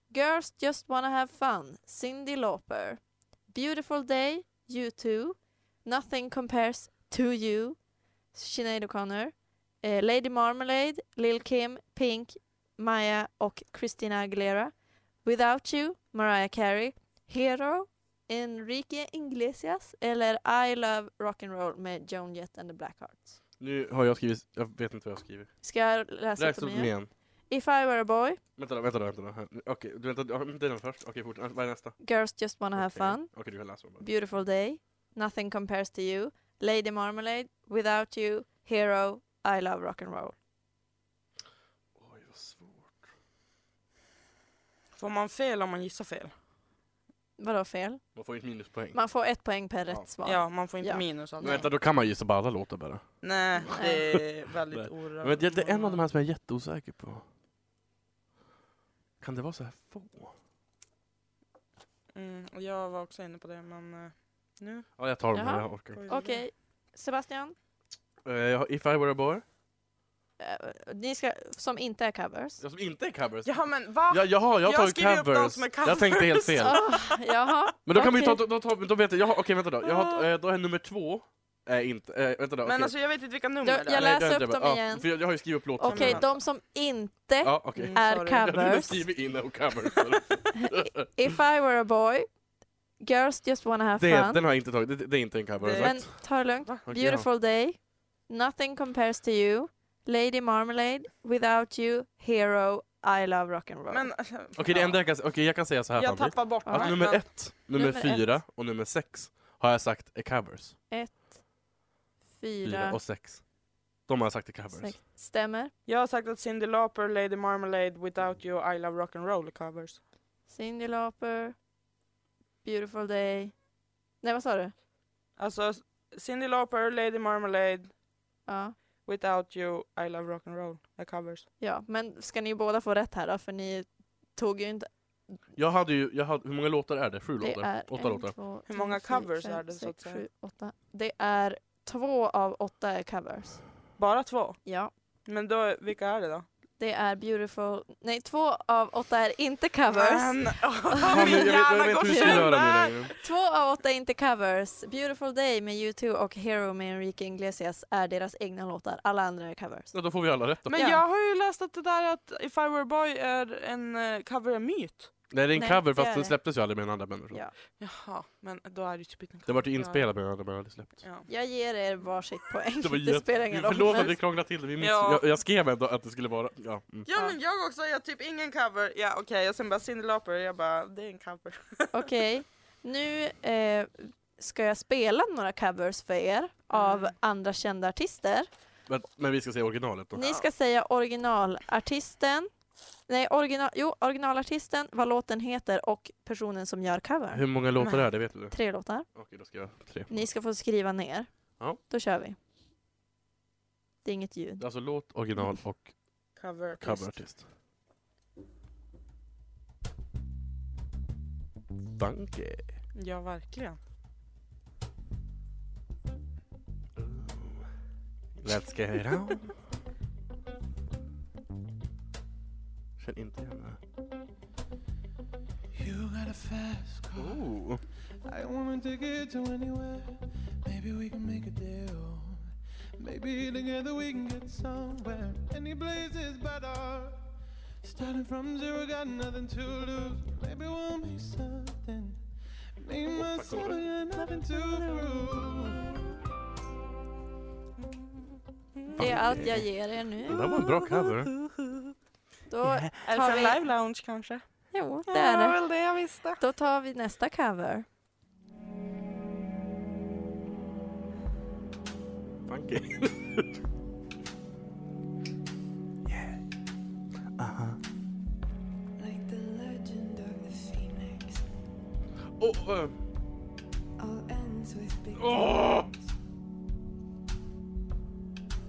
[SPEAKER 2] Girls just wanna have fun, Cyndi Lauper. Beautiful day, U2. Nothing compares to you, Sinead O'Connor. Eh, Lady Marmalade, Lil Kim, Pink, Maya och Christina Aguilera. Without you, Mariah Carey. Hero, Enrique Iglesias eller I love rock'n'roll med Joan Jett and the Blackhearts.
[SPEAKER 3] Nu har jag skrivit, jag vet inte vad jag skriver.
[SPEAKER 2] Ska jag läsa upp
[SPEAKER 3] Läs upp
[SPEAKER 2] dem
[SPEAKER 3] dem
[SPEAKER 2] igen?
[SPEAKER 3] igen.
[SPEAKER 2] If I were a boy,
[SPEAKER 3] Vänta då, vänta då, vänta då. Här. Okej, du vänta, ja, det är den först. Okej, fort. Vad är nästa?
[SPEAKER 2] girls just wanna have
[SPEAKER 3] Okej.
[SPEAKER 2] fun,
[SPEAKER 3] Okej, du kan läsa dem bara.
[SPEAKER 2] beautiful day, nothing compares to you, Lady Marmalade, without you, hero, I love rock'n'roll.
[SPEAKER 3] Oj, vad svårt.
[SPEAKER 4] får man fel om man gissar fel?
[SPEAKER 2] Vadå fel?
[SPEAKER 3] Man får ju ett minuspoäng.
[SPEAKER 2] Man får ett poäng per
[SPEAKER 3] Ja.
[SPEAKER 2] rätt svar.
[SPEAKER 4] Ja, man får inte
[SPEAKER 2] Ja.
[SPEAKER 4] minus
[SPEAKER 3] Men
[SPEAKER 4] alltså.
[SPEAKER 3] vänta, då kan man gissa på alla låtar bara.
[SPEAKER 4] Nej, det är väldigt
[SPEAKER 3] Nej.
[SPEAKER 4] orätt.
[SPEAKER 3] Men det, det är en av de här som jag är jätteosäker på. Kan det vara så här få?
[SPEAKER 4] Mm, och jag var också inne på det, men eh, nu
[SPEAKER 3] Ja, jag tar dem
[SPEAKER 2] Jaha.
[SPEAKER 3] här, jag orkar.
[SPEAKER 4] går vi vidare.
[SPEAKER 2] Okej, Sebastian,
[SPEAKER 3] Eh, jag har If I were a boy.
[SPEAKER 2] eh, ni ska, som inte är covers.
[SPEAKER 3] Jag som inte är covers.
[SPEAKER 4] Jaha men va?
[SPEAKER 3] Ja, jaha, jag har
[SPEAKER 4] Jag
[SPEAKER 3] tagit
[SPEAKER 4] skriver upp de
[SPEAKER 3] covers.
[SPEAKER 4] som är
[SPEAKER 3] Jag tänkte helt fel.
[SPEAKER 2] Ah, jaha.
[SPEAKER 3] Men då kan vi
[SPEAKER 2] Okej.
[SPEAKER 3] ta, då, då, tar vi- då vet jag, jag har- okej vänta då. Jag har, eh, då är nummer två, eh, inte, eh, vänta då.
[SPEAKER 4] men
[SPEAKER 3] okej.
[SPEAKER 4] alltså jag vet inte vilka nummer
[SPEAKER 2] Jag-
[SPEAKER 4] det är.
[SPEAKER 2] jag
[SPEAKER 3] Nej,
[SPEAKER 2] läser
[SPEAKER 3] det är inte
[SPEAKER 2] upp
[SPEAKER 3] det.
[SPEAKER 2] dem
[SPEAKER 3] Ja,
[SPEAKER 2] igen.
[SPEAKER 3] För jag, jag har ju skrivit upp låten.
[SPEAKER 2] Okej,
[SPEAKER 4] men-
[SPEAKER 2] de som inte
[SPEAKER 3] Ja, okej.
[SPEAKER 4] Mm,
[SPEAKER 2] är
[SPEAKER 4] sorry.
[SPEAKER 3] Jag har till och med
[SPEAKER 2] covers.
[SPEAKER 3] skrivit in och covers.
[SPEAKER 2] If I were a boy, girls just wanna have
[SPEAKER 3] det,
[SPEAKER 2] fun.
[SPEAKER 3] den har jag inte tagit, det, det är inte en cover.
[SPEAKER 4] Det-
[SPEAKER 3] Det,
[SPEAKER 2] Men ta det lugnt.
[SPEAKER 4] Va?
[SPEAKER 3] Okej,
[SPEAKER 2] Beautiful day, nothing compares to you, Lady Marmalade, without you, hero, I love rock'n'roll.
[SPEAKER 4] Men, eh,
[SPEAKER 3] Okej, det enda jag kan, okej, jag kan säga så här
[SPEAKER 4] Jag
[SPEAKER 3] Fanny.
[SPEAKER 4] tappar bort
[SPEAKER 2] Ja.
[SPEAKER 3] Att
[SPEAKER 4] mig,
[SPEAKER 3] nummer
[SPEAKER 4] men-
[SPEAKER 3] ett, nummer,
[SPEAKER 2] Nummer ett.
[SPEAKER 3] fyra och nummer sex har jag sagt är covers. Fyra
[SPEAKER 2] Fyra,
[SPEAKER 3] och sex. De har jag sagt är covers.
[SPEAKER 2] sex. Stämmer.
[SPEAKER 4] Jag har sagt att Cyndi Lauper, Lady Marmalade, Without You, I Love Rock'n'Roll covers.
[SPEAKER 2] Cyndi Lauper, Beautiful day. Nej, vad sa du?
[SPEAKER 4] Alltså Cyndi Lauper, Lady Marmalade,
[SPEAKER 2] Ja.
[SPEAKER 4] Without You, I Love Rock'n'Roll är covers.
[SPEAKER 2] ja, men ska ni båda få rätt här då? För ni tog ju inte...
[SPEAKER 3] Jag hade ju, jag hade, hur många låtar är det? Sju
[SPEAKER 2] Det
[SPEAKER 3] låtar?
[SPEAKER 2] är
[SPEAKER 3] Åtta
[SPEAKER 2] en,
[SPEAKER 3] låtar?
[SPEAKER 2] två,
[SPEAKER 4] Hur många
[SPEAKER 2] tre, fyra,
[SPEAKER 4] covers
[SPEAKER 2] fem,
[SPEAKER 4] är det, så att
[SPEAKER 2] sex,
[SPEAKER 4] säga?
[SPEAKER 2] sju, åtta. Det är två av åtta är covers.
[SPEAKER 4] Bara två?
[SPEAKER 2] Ja.
[SPEAKER 4] Men då, vilka är det då?
[SPEAKER 2] Det är beautiful... Nej, två av åtta är inte covers.
[SPEAKER 4] Men,
[SPEAKER 3] Fan,
[SPEAKER 4] åh,
[SPEAKER 3] jag,
[SPEAKER 4] min
[SPEAKER 3] vet-
[SPEAKER 4] hjärna
[SPEAKER 3] jag vet
[SPEAKER 4] går
[SPEAKER 3] inte hur jag ska göra
[SPEAKER 4] sönder!
[SPEAKER 3] nu längre.
[SPEAKER 2] Två av åtta är inte covers. Beautiful day med U2 och Hero med Enrique Iglesias är deras egna låtar. Alla andra är covers.
[SPEAKER 3] Ja, då får vi alla rätt då.
[SPEAKER 4] Men
[SPEAKER 2] Ja.
[SPEAKER 4] jag har ju läst att det där att If I Were a Boy är en eh, cover en myt.
[SPEAKER 3] Nej, det är en
[SPEAKER 2] Nej,
[SPEAKER 3] cover
[SPEAKER 2] det är
[SPEAKER 3] fast den
[SPEAKER 2] det.
[SPEAKER 3] släpptes ju aldrig med en andra människa.
[SPEAKER 2] Ja.
[SPEAKER 4] Jaha, men då är det ju typ inte en
[SPEAKER 3] Det vart ju
[SPEAKER 4] cover.
[SPEAKER 3] inspelat med en andra människa släppt.
[SPEAKER 4] Ja.
[SPEAKER 2] Jag ger er varsitt poäng.
[SPEAKER 3] Det var
[SPEAKER 2] Det, spelar ingen roll.
[SPEAKER 3] Förlåt att vi krånglade till det. Vi miss...
[SPEAKER 4] Ja.
[SPEAKER 3] jag, jag skrev ändå att det skulle vara... Ja. Mm.
[SPEAKER 4] Ja
[SPEAKER 2] Ja.
[SPEAKER 4] men jag också, jag har typ ingen cover. Ja okej, och sen bara Cyndi Lauper, jag bara det är en cover.
[SPEAKER 2] Okej, nu eh, ska jag spela några covers för er av andra kända artister.
[SPEAKER 3] Men, men vi ska se originalet då.
[SPEAKER 2] Ni ska säga originalartisten, nej original, jo, originalartisten, vad låten heter och personen som gör covern.
[SPEAKER 3] Hur många låtar är det? Vet du det?
[SPEAKER 2] Tre låtar.
[SPEAKER 3] Okej, då ska jag tre.
[SPEAKER 2] Ni ska få skriva ner.
[SPEAKER 3] Ja.
[SPEAKER 2] Då kör vi. Det är inget ljud.
[SPEAKER 3] Alltså låt, original och
[SPEAKER 4] Cover.
[SPEAKER 3] coverartist. Danke.
[SPEAKER 4] Ja verkligen.
[SPEAKER 3] Let's get it on. Känner inte igen det.
[SPEAKER 5] You got a fast car.
[SPEAKER 3] Oh.
[SPEAKER 5] I wanna take it to anywhere. Maybe we can make a deal. Maybe together we can get somewhere. Any place is better. Starting from zero, got nothing to lose. Maybe we'll make something. Make
[SPEAKER 3] tack,
[SPEAKER 5] myself
[SPEAKER 3] Oliver.
[SPEAKER 5] I got nothing to lose.
[SPEAKER 2] Det är allt jag ger er
[SPEAKER 3] Det
[SPEAKER 2] nu.
[SPEAKER 3] där var en bra cover.
[SPEAKER 2] Då
[SPEAKER 4] Är det
[SPEAKER 2] Har
[SPEAKER 4] från
[SPEAKER 2] vi-
[SPEAKER 4] Live Lounge kanske?
[SPEAKER 2] Jo, det är det.
[SPEAKER 4] väl det jag visste.
[SPEAKER 2] Då tar vi nästa cover.
[SPEAKER 3] Funky.
[SPEAKER 9] Like the legend of the phoenix,
[SPEAKER 3] Oh, eh,
[SPEAKER 9] all ends with big.
[SPEAKER 3] Åh!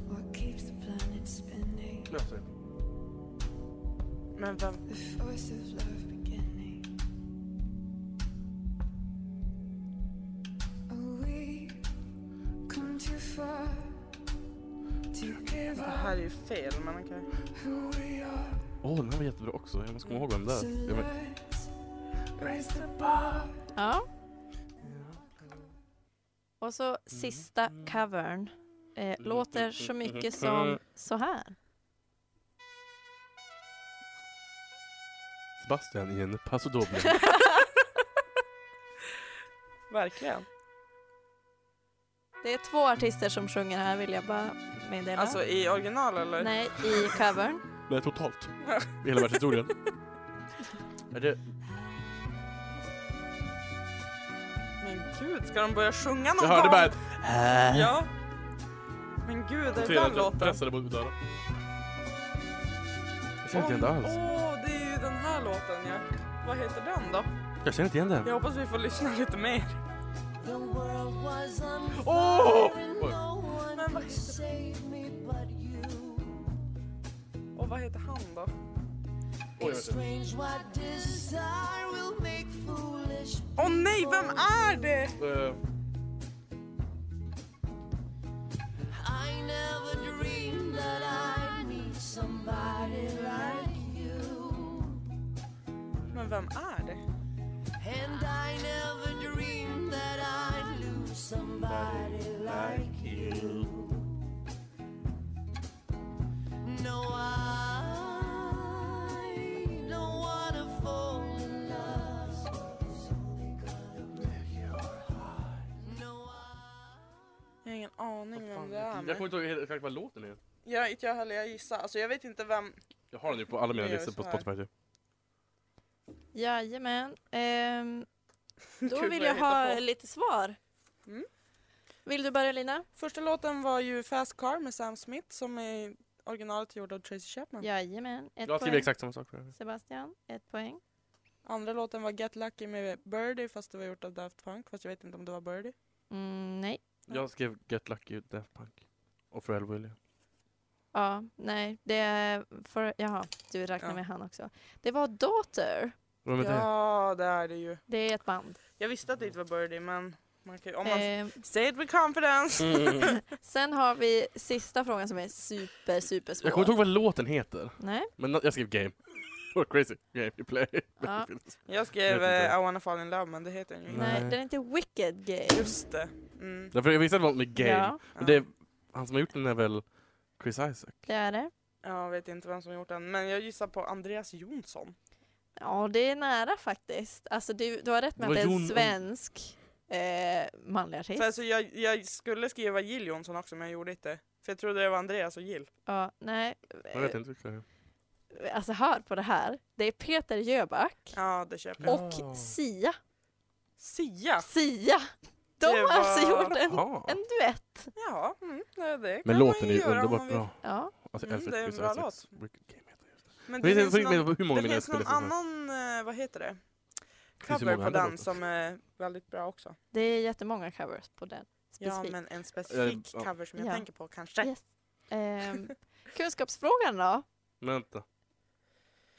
[SPEAKER 9] What keeps the planet spinning?
[SPEAKER 3] jag ser.
[SPEAKER 4] Men vem?
[SPEAKER 9] The force of love beginning. Oh, we come too far to give
[SPEAKER 4] Det
[SPEAKER 9] up
[SPEAKER 4] här är ju fel men okej.
[SPEAKER 9] who we are.
[SPEAKER 3] Åh, den här var jättebra också. Jag måste komma ihåg vem det
[SPEAKER 9] So
[SPEAKER 3] är. Jag vet-
[SPEAKER 9] let's raise the bar.
[SPEAKER 2] Ja. Och så sista covern eh, låter så mycket som så här.
[SPEAKER 3] Sebastian i en Paso Doble.
[SPEAKER 4] Verkligen.
[SPEAKER 2] Det är två artister som sjunger här vill jag bara meddela.
[SPEAKER 4] Alltså i original eller?
[SPEAKER 2] Nej, i covern.
[SPEAKER 3] Nej, totalt. I hela världshistorien. Är det...
[SPEAKER 4] Men gud, ska de börja sjunga
[SPEAKER 3] Jag
[SPEAKER 4] någon
[SPEAKER 3] hörde
[SPEAKER 4] gång?
[SPEAKER 3] bara ett...
[SPEAKER 4] Ja. Men gud, är det den
[SPEAKER 3] Jag
[SPEAKER 4] låten?
[SPEAKER 3] pressade mot mitt öra. Jag
[SPEAKER 4] Åh,
[SPEAKER 3] känner inte igen det alls.
[SPEAKER 4] Åh, det är ju den här låten ja. Vad heter den då?
[SPEAKER 3] Jag känner inte igen den.
[SPEAKER 4] Jag hoppas vi får lyssna lite mer.
[SPEAKER 7] The world was on
[SPEAKER 3] Åh!
[SPEAKER 7] fire and
[SPEAKER 3] Oj.
[SPEAKER 7] no one
[SPEAKER 4] Men vad
[SPEAKER 7] could save me but you.
[SPEAKER 4] Och vad heter han då?
[SPEAKER 3] Oj,
[SPEAKER 7] It's strange what desire will make foolish.
[SPEAKER 4] Åh nej, vem är det?
[SPEAKER 3] Eh,
[SPEAKER 7] I never dreamed that I'd
[SPEAKER 4] vem är det?
[SPEAKER 5] And I never dreamed that I'd lose somebody like you. No, I don't want to fall in love. No,
[SPEAKER 4] Jag har ingen aning vem det är.
[SPEAKER 3] Jag kommer
[SPEAKER 4] Men...
[SPEAKER 3] inte ihåg exakt vad låten är.
[SPEAKER 4] Jag, inte jag heller, jag gissar. Alltså jag vet inte vem.
[SPEAKER 3] Jag har den ju på alla mina
[SPEAKER 4] Jag gör
[SPEAKER 3] listor på
[SPEAKER 4] så här.
[SPEAKER 3] Spotify. typ.
[SPEAKER 2] Jajamän. Ehm, då
[SPEAKER 4] Gud,
[SPEAKER 2] vill
[SPEAKER 4] vad
[SPEAKER 2] jag
[SPEAKER 4] hittar
[SPEAKER 2] ha
[SPEAKER 4] på.
[SPEAKER 2] lite svar.
[SPEAKER 4] Mm.
[SPEAKER 2] Vill du börja Lina?
[SPEAKER 4] Första låten var ju Fast Car med Sam Smith som i originalet är gjord av Tracy Chapman.
[SPEAKER 2] Jajamän. Ett
[SPEAKER 3] Jag skriver
[SPEAKER 2] poäng.
[SPEAKER 3] exakt samma sak för det.
[SPEAKER 2] Sebastian, ett poäng.
[SPEAKER 4] Andra låten var Get Lucky med Birdie fast det var gjort av Daft Punk fast jag vet inte om det var Birdie.
[SPEAKER 2] Mm, nej.
[SPEAKER 3] Jag skrev Get Lucky, Daft Punk. Och Pharrell Williams.
[SPEAKER 2] Ja, nej. Det är för, jaha, du räknar
[SPEAKER 4] Ja.
[SPEAKER 2] med han också. Det var Daughter.
[SPEAKER 3] Vad med det?
[SPEAKER 4] Ja, det är det ju.
[SPEAKER 2] Det är ett band.
[SPEAKER 4] Jag visste att det inte var Birdie men man kan, ju- om man
[SPEAKER 2] Ehm,
[SPEAKER 4] Say it with confidence!
[SPEAKER 3] Mm.
[SPEAKER 2] sen har vi sista frågan som är super, super svår.
[SPEAKER 3] Jag kommer inte ihåg vad låten heter.
[SPEAKER 2] Nej.
[SPEAKER 3] Men jag skrev Game. Oh, crazy. Game you play.
[SPEAKER 2] Ja.
[SPEAKER 4] Jag skrev
[SPEAKER 3] Jag vet inte.
[SPEAKER 4] eh, I wanna fall in love men det heter den ju inte.
[SPEAKER 2] Nej,
[SPEAKER 3] Nej.
[SPEAKER 2] den är inte Wicked Game.
[SPEAKER 4] Just det. Mm.
[SPEAKER 3] Därför jag visste att det var något med Game.
[SPEAKER 2] Ja,
[SPEAKER 3] Men det är, han som har gjort den är väl Chris Isaac?
[SPEAKER 4] Eh,
[SPEAKER 2] det är det.
[SPEAKER 4] Jag vet inte vem som gjort den men jag gissar på Andreas Jonsson.
[SPEAKER 2] Ja, det är nära faktiskt. Alltså, du, du har rätt med
[SPEAKER 3] Det
[SPEAKER 2] att det
[SPEAKER 3] var
[SPEAKER 2] är en
[SPEAKER 3] Jon-
[SPEAKER 2] svensk eh, manlig artist.
[SPEAKER 4] För alltså jag, jag skulle skriva Jill Jonsson också men jag gjorde inte. För jag trodde det var Andreas och Jill.
[SPEAKER 2] Ja, nej.
[SPEAKER 3] Jag vet inte vilka det är.
[SPEAKER 2] Alltså, hör på det här. Det är Peter Jöback
[SPEAKER 4] Ja det köper jag.
[SPEAKER 3] Ja.
[SPEAKER 2] och Sia.
[SPEAKER 4] Sia!
[SPEAKER 2] Sia! De
[SPEAKER 4] Det
[SPEAKER 2] har
[SPEAKER 4] var-
[SPEAKER 2] alltså gjort en,
[SPEAKER 3] Ja.
[SPEAKER 2] en duett.
[SPEAKER 4] Ja, mm, det, det
[SPEAKER 3] Men
[SPEAKER 4] kan
[SPEAKER 3] låten
[SPEAKER 4] man
[SPEAKER 3] är ju
[SPEAKER 4] göra om
[SPEAKER 3] underbart
[SPEAKER 4] man vill.
[SPEAKER 3] bra.
[SPEAKER 2] Ja,
[SPEAKER 3] Alltså, jag
[SPEAKER 4] Mm,
[SPEAKER 3] älskar
[SPEAKER 4] det är en
[SPEAKER 3] Chris
[SPEAKER 4] bra
[SPEAKER 3] Isaacs Wicked Game heter just det.
[SPEAKER 4] Men
[SPEAKER 3] Men
[SPEAKER 4] det,
[SPEAKER 3] jag
[SPEAKER 4] finns
[SPEAKER 3] tänker
[SPEAKER 4] någon,
[SPEAKER 3] på hur många liksom.
[SPEAKER 4] det
[SPEAKER 3] mina
[SPEAKER 4] finns någon
[SPEAKER 3] spelare som har-
[SPEAKER 4] annan, eh, vad heter det,
[SPEAKER 3] Det finns ju
[SPEAKER 4] cover
[SPEAKER 3] många
[SPEAKER 4] på
[SPEAKER 3] andra
[SPEAKER 4] den
[SPEAKER 3] låtar.
[SPEAKER 4] som är väldigt bra också.
[SPEAKER 2] det är jättemånga covers på den.
[SPEAKER 4] Ja,
[SPEAKER 2] Specifikt.
[SPEAKER 4] men en specifik
[SPEAKER 3] ja.
[SPEAKER 4] cover som jag
[SPEAKER 2] Ja.
[SPEAKER 4] tänker på kanske.
[SPEAKER 2] Yes. Ehm, kunskapsfrågan då?
[SPEAKER 3] Men vänta.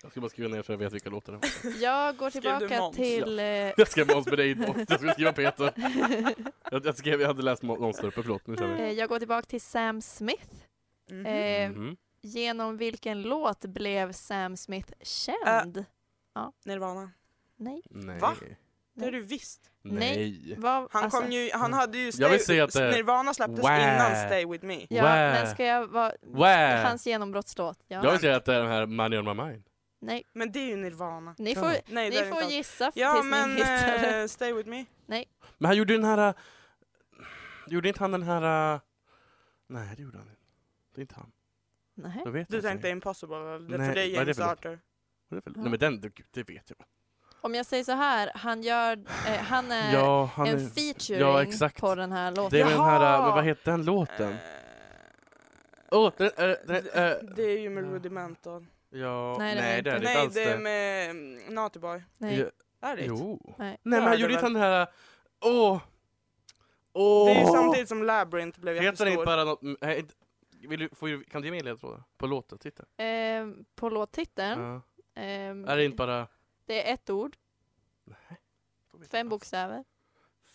[SPEAKER 3] Jag ska bara skriva ner så jag vet vilka låtar det var.
[SPEAKER 2] Jag går
[SPEAKER 4] Skrev du
[SPEAKER 2] tillbaka
[SPEAKER 4] Måns?
[SPEAKER 2] till... eh,
[SPEAKER 3] Jag skrev Måns Bereid och jag skulle skriva Peter. Jag, jag, skrev, jag hade läst Må- Måns där uppe, förlåt. Nu kör vi.
[SPEAKER 2] eh, jag går tillbaka till Sam Smith.
[SPEAKER 4] Mhm.
[SPEAKER 2] Eh,
[SPEAKER 3] Mhm.
[SPEAKER 2] Genom vilken låt blev Sam Smith
[SPEAKER 4] Äh,
[SPEAKER 2] känd?
[SPEAKER 4] Nirvana.
[SPEAKER 2] Nej.
[SPEAKER 3] Nej.
[SPEAKER 4] va? Det har du visst.
[SPEAKER 3] Nej.
[SPEAKER 2] Vad,
[SPEAKER 4] Han
[SPEAKER 2] alltså,
[SPEAKER 4] kom ju, han hade ju,
[SPEAKER 3] Mm. Jag vill se att det-
[SPEAKER 4] Nirvana släpptes
[SPEAKER 3] Wow.
[SPEAKER 4] innan Stay With Me.
[SPEAKER 2] Ja,
[SPEAKER 3] Wow.
[SPEAKER 2] men ska jag vara...
[SPEAKER 3] Wow.
[SPEAKER 2] Hans genombrottslåt? Ja.
[SPEAKER 3] Jag vill säga att det är den här Money on my mind.
[SPEAKER 2] Nej,
[SPEAKER 4] Men det är ju Nirvana.
[SPEAKER 2] ni får,
[SPEAKER 4] Nej, det är
[SPEAKER 2] ni
[SPEAKER 4] det
[SPEAKER 2] får
[SPEAKER 4] inte alls.
[SPEAKER 2] gissa
[SPEAKER 4] Ja
[SPEAKER 2] tills
[SPEAKER 4] men
[SPEAKER 2] ni hittar det.
[SPEAKER 4] eh, Stay With Me.
[SPEAKER 3] Men han gjorde ju den här... äh, Gjorde inte han den här... äh, Nej, det gjorde han inte. Det är inte han.
[SPEAKER 2] Nej.
[SPEAKER 3] Då vet
[SPEAKER 4] Du
[SPEAKER 3] jag inte.
[SPEAKER 4] tänkte Impossible eller?
[SPEAKER 3] Nej,
[SPEAKER 4] för det är
[SPEAKER 3] vad är det
[SPEAKER 4] James
[SPEAKER 3] för låt?
[SPEAKER 4] Arthur.
[SPEAKER 3] Vad är det för- Nej men den, det- gud, det vet jag.
[SPEAKER 2] Om jag säger så här, han gör... Eh, han är
[SPEAKER 3] Ja, han
[SPEAKER 2] en
[SPEAKER 3] är...
[SPEAKER 2] featuring
[SPEAKER 3] ja, exakt.
[SPEAKER 2] på den här
[SPEAKER 3] Det är
[SPEAKER 2] låten.
[SPEAKER 3] väl den här, äh,
[SPEAKER 4] Jaha!
[SPEAKER 3] men vad heter den
[SPEAKER 4] Eh,
[SPEAKER 3] låten? Åh, den, äh, den, äh,
[SPEAKER 4] Det är ju med Rudimental.
[SPEAKER 3] ja,
[SPEAKER 2] Nej, det är
[SPEAKER 3] nej det är inte
[SPEAKER 4] Nej
[SPEAKER 3] alls
[SPEAKER 4] det är
[SPEAKER 3] det.
[SPEAKER 4] med mm, Naughty Boy.
[SPEAKER 2] Nej.
[SPEAKER 3] Ja,
[SPEAKER 4] Är det inte?
[SPEAKER 3] Jo.
[SPEAKER 2] Nej.
[SPEAKER 3] Nej men
[SPEAKER 4] Ja,
[SPEAKER 3] han
[SPEAKER 4] det
[SPEAKER 3] gjorde
[SPEAKER 4] är
[SPEAKER 3] inte den här, åh! Åh!
[SPEAKER 4] Det är ju samtidigt som Labyrinth blev
[SPEAKER 3] Heter den inte
[SPEAKER 4] jättestor.
[SPEAKER 3] bara något, nej, inte- vill du, får, ju- kan du ge mig en ledtråd? På låten, titta.
[SPEAKER 2] Eh, på låttiteln.
[SPEAKER 3] Ja.
[SPEAKER 2] ehm,
[SPEAKER 3] Är det inte bara...
[SPEAKER 2] det är ett ord,
[SPEAKER 3] Nej. Då vet jag
[SPEAKER 2] fem
[SPEAKER 3] inte.
[SPEAKER 2] bokstäver.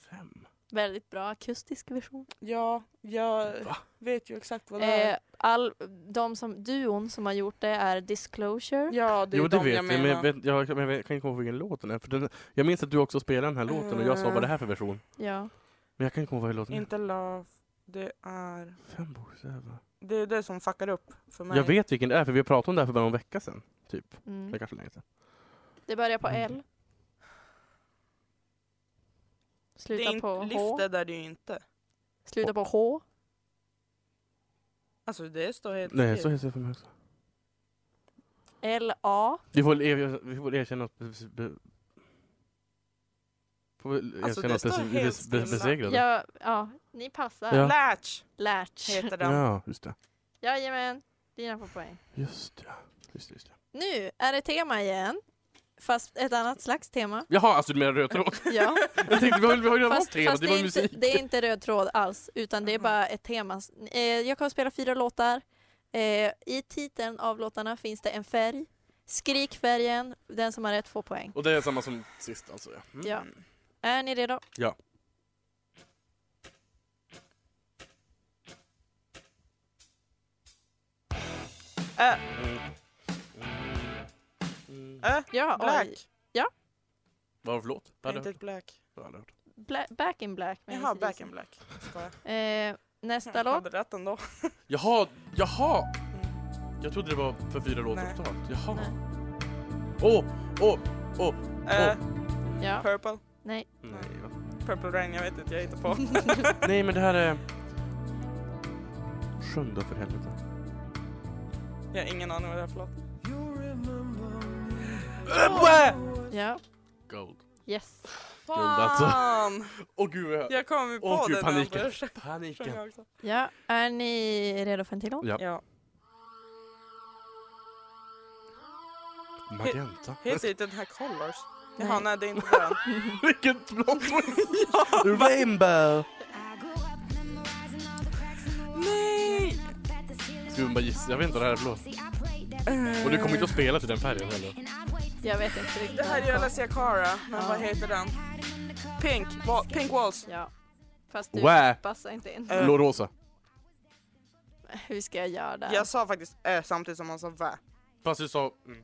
[SPEAKER 3] Fem?
[SPEAKER 2] Väldigt bra akustisk version.
[SPEAKER 4] Ja, jag
[SPEAKER 3] Va?
[SPEAKER 4] vet ju exakt vad det är.
[SPEAKER 2] Eh, all, de som, duon som har gjort det är Disclosure.
[SPEAKER 4] Ja, det är
[SPEAKER 3] jo
[SPEAKER 4] ju
[SPEAKER 3] det
[SPEAKER 4] de
[SPEAKER 3] vet jag,
[SPEAKER 4] jag
[SPEAKER 3] men jag,
[SPEAKER 4] menar.
[SPEAKER 3] vet, jag, men jag vet- kan inte komma ihåg vilken låt den är. För den, jag minns att du också spelade den här låten och jag sa
[SPEAKER 4] Eh.
[SPEAKER 3] vad det här för version.
[SPEAKER 2] Ja.
[SPEAKER 3] Men jag kan inte komma ihåg vad låten är.
[SPEAKER 4] Inte Love, det är...
[SPEAKER 3] Fem bokstäver.
[SPEAKER 4] Det är det som fuckar upp för mig.
[SPEAKER 3] Jag vet vilken det är för vi pratade om det här för bara någon vecka sedan. Typ. Det
[SPEAKER 2] Mm.
[SPEAKER 3] är kanske länge sedan.
[SPEAKER 2] Det börjar på
[SPEAKER 3] Mm.
[SPEAKER 2] L.
[SPEAKER 4] Det är
[SPEAKER 2] Slutar
[SPEAKER 4] inte,
[SPEAKER 2] på H.
[SPEAKER 4] Lifted är det ju inte.
[SPEAKER 2] Slutar på H.
[SPEAKER 4] Alltså det står helt
[SPEAKER 3] Nej
[SPEAKER 4] still.
[SPEAKER 3] så heter det för mig också.
[SPEAKER 2] L A.
[SPEAKER 3] Vi får, er, vi får erkänna att... be- be- Får vi erkänna
[SPEAKER 4] Alltså, det
[SPEAKER 3] att
[SPEAKER 4] står
[SPEAKER 3] vi
[SPEAKER 4] helt
[SPEAKER 3] be- be-
[SPEAKER 4] stilla.
[SPEAKER 3] besegrade.
[SPEAKER 2] Ja, ja, ni passar.
[SPEAKER 3] Ja.
[SPEAKER 4] Latch
[SPEAKER 2] Latch.
[SPEAKER 4] heter den.
[SPEAKER 3] ja, just det.
[SPEAKER 2] Jajamän, dina får poäng.
[SPEAKER 3] Just ja. Just det, just det.
[SPEAKER 2] Nu är det tema igen. Fast ett annat slags tema.
[SPEAKER 3] Jaha, alltså du menar röd tråd?
[SPEAKER 2] Ja.
[SPEAKER 3] Jag tänkte vi har vi har ju redan
[SPEAKER 2] Fast,
[SPEAKER 3] haft tema,
[SPEAKER 2] fast
[SPEAKER 3] det
[SPEAKER 2] det,
[SPEAKER 3] var
[SPEAKER 2] är
[SPEAKER 3] ju
[SPEAKER 2] inte,
[SPEAKER 3] musik.
[SPEAKER 2] det är inte röd tråd alls, utan det är
[SPEAKER 4] Mhm.
[SPEAKER 2] bara ett tema. Eh, jag kommer att spela fyra låtar. Eh, I titeln av låtarna finns det en färg. Skrik färgen, den som har rätt får poäng.
[SPEAKER 3] Och det är samma som sist alltså ja. Mm.
[SPEAKER 2] Ja. Är ni redo?
[SPEAKER 3] Ja.
[SPEAKER 4] Äh.
[SPEAKER 3] Mm. Mm.
[SPEAKER 4] Äh,
[SPEAKER 2] Ja, oj.
[SPEAKER 4] Black.
[SPEAKER 2] Ja,
[SPEAKER 3] Vad Mm. var det för låt? Jag hade
[SPEAKER 4] Painted Black.
[SPEAKER 3] jag har aldrig hört.
[SPEAKER 2] Bla- back in black. med
[SPEAKER 4] Jaha,
[SPEAKER 2] AC/DC.
[SPEAKER 4] Back in Black. Mm, Skojar.
[SPEAKER 2] Eh, nästa
[SPEAKER 4] Jag
[SPEAKER 2] låt.
[SPEAKER 4] hade rätt ändå.
[SPEAKER 3] Jaha, jaha!
[SPEAKER 4] Mm.
[SPEAKER 3] Jag trodde det var för fyra låtar
[SPEAKER 4] Nej.
[SPEAKER 3] totalt. Jaha.
[SPEAKER 2] Nej.
[SPEAKER 3] Åh, åh, åh!
[SPEAKER 4] Eh,
[SPEAKER 2] Ja.
[SPEAKER 4] Purple.
[SPEAKER 2] Nej.
[SPEAKER 3] Nej, va?
[SPEAKER 4] Purple Rain, jag vet inte, jag hittar på.
[SPEAKER 3] Nej, men det här är... Sjunde för helvete.
[SPEAKER 4] Jag har ingen aning vad det är för låt.
[SPEAKER 3] Äh,
[SPEAKER 2] Ja.
[SPEAKER 3] Gold.
[SPEAKER 2] Yes.
[SPEAKER 3] Guld, alltså.
[SPEAKER 4] Fan!
[SPEAKER 3] Åh gud, jag...
[SPEAKER 4] Jag kom ju på
[SPEAKER 3] Åh
[SPEAKER 4] det
[SPEAKER 3] gud,
[SPEAKER 4] när jag
[SPEAKER 3] paniken.
[SPEAKER 4] började sjunga
[SPEAKER 3] Paniken.
[SPEAKER 4] också.
[SPEAKER 2] Ja. Är ni redo för en till låt?
[SPEAKER 3] Ja.
[SPEAKER 4] Ja.
[SPEAKER 3] Magenta.
[SPEAKER 4] Heter inte typ den här Colors?
[SPEAKER 2] Nej.
[SPEAKER 4] Jaha, nej det är inte den.
[SPEAKER 3] Vilken plot twist! Rainbow!
[SPEAKER 4] Nej!
[SPEAKER 3] Ska vi bara gissa? Jag vet inte vad det här är för låt. Och du kommer inte att spela till den färgen heller.
[SPEAKER 2] Jag vet inte riktigt.
[SPEAKER 4] Eh. Det här är ju Alessia Cara, men
[SPEAKER 2] Ja.
[SPEAKER 4] vad heter den? Pink, Wa- Pink Walls.
[SPEAKER 2] Ja. Fast du
[SPEAKER 3] Wä.
[SPEAKER 2] passar inte in.
[SPEAKER 4] Eh,
[SPEAKER 3] Blårosa.
[SPEAKER 2] Hur ska jag göra där?
[SPEAKER 4] jag sa faktiskt ö samtidigt som han sa vä.
[SPEAKER 3] Fast du sa...
[SPEAKER 2] Mm,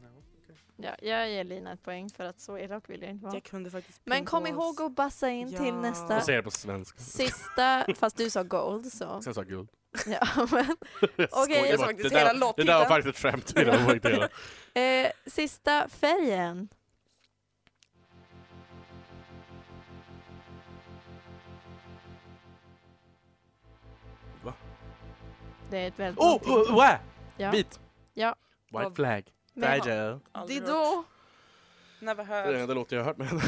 [SPEAKER 2] Ja, jag ger Lina ett poäng för att så elak vill jag inte vara.
[SPEAKER 4] Jag kunde faktiskt
[SPEAKER 2] Men
[SPEAKER 4] Pink
[SPEAKER 2] kom
[SPEAKER 4] Walls.
[SPEAKER 2] ihåg att bassa in
[SPEAKER 4] Ja.
[SPEAKER 2] till nästa.
[SPEAKER 3] Och säga det på svenska.
[SPEAKER 2] Sista, fast du sa gold så.
[SPEAKER 3] Sen sa jag guld.
[SPEAKER 2] Ja, men. Okej, jag
[SPEAKER 3] skojar bara.
[SPEAKER 4] såg
[SPEAKER 3] det,
[SPEAKER 4] faktiskt
[SPEAKER 3] där, det där
[SPEAKER 4] hela
[SPEAKER 3] var
[SPEAKER 4] låttiteln.
[SPEAKER 3] faktiskt ett skämt. Det där var inte hela.
[SPEAKER 2] Eh, sista färgen.
[SPEAKER 3] Va?
[SPEAKER 2] Det är ett väldigt...
[SPEAKER 3] Åh!
[SPEAKER 2] långt
[SPEAKER 3] Oh, wow!
[SPEAKER 2] Ja.
[SPEAKER 3] Beat!
[SPEAKER 2] Ja.
[SPEAKER 3] White flag.
[SPEAKER 2] Men-
[SPEAKER 3] Nigel.
[SPEAKER 2] Det
[SPEAKER 4] Aldrig
[SPEAKER 2] är
[SPEAKER 4] hört.
[SPEAKER 2] då.
[SPEAKER 4] Never
[SPEAKER 3] Det är den
[SPEAKER 4] heard.
[SPEAKER 3] enda låten jag har hört med henne.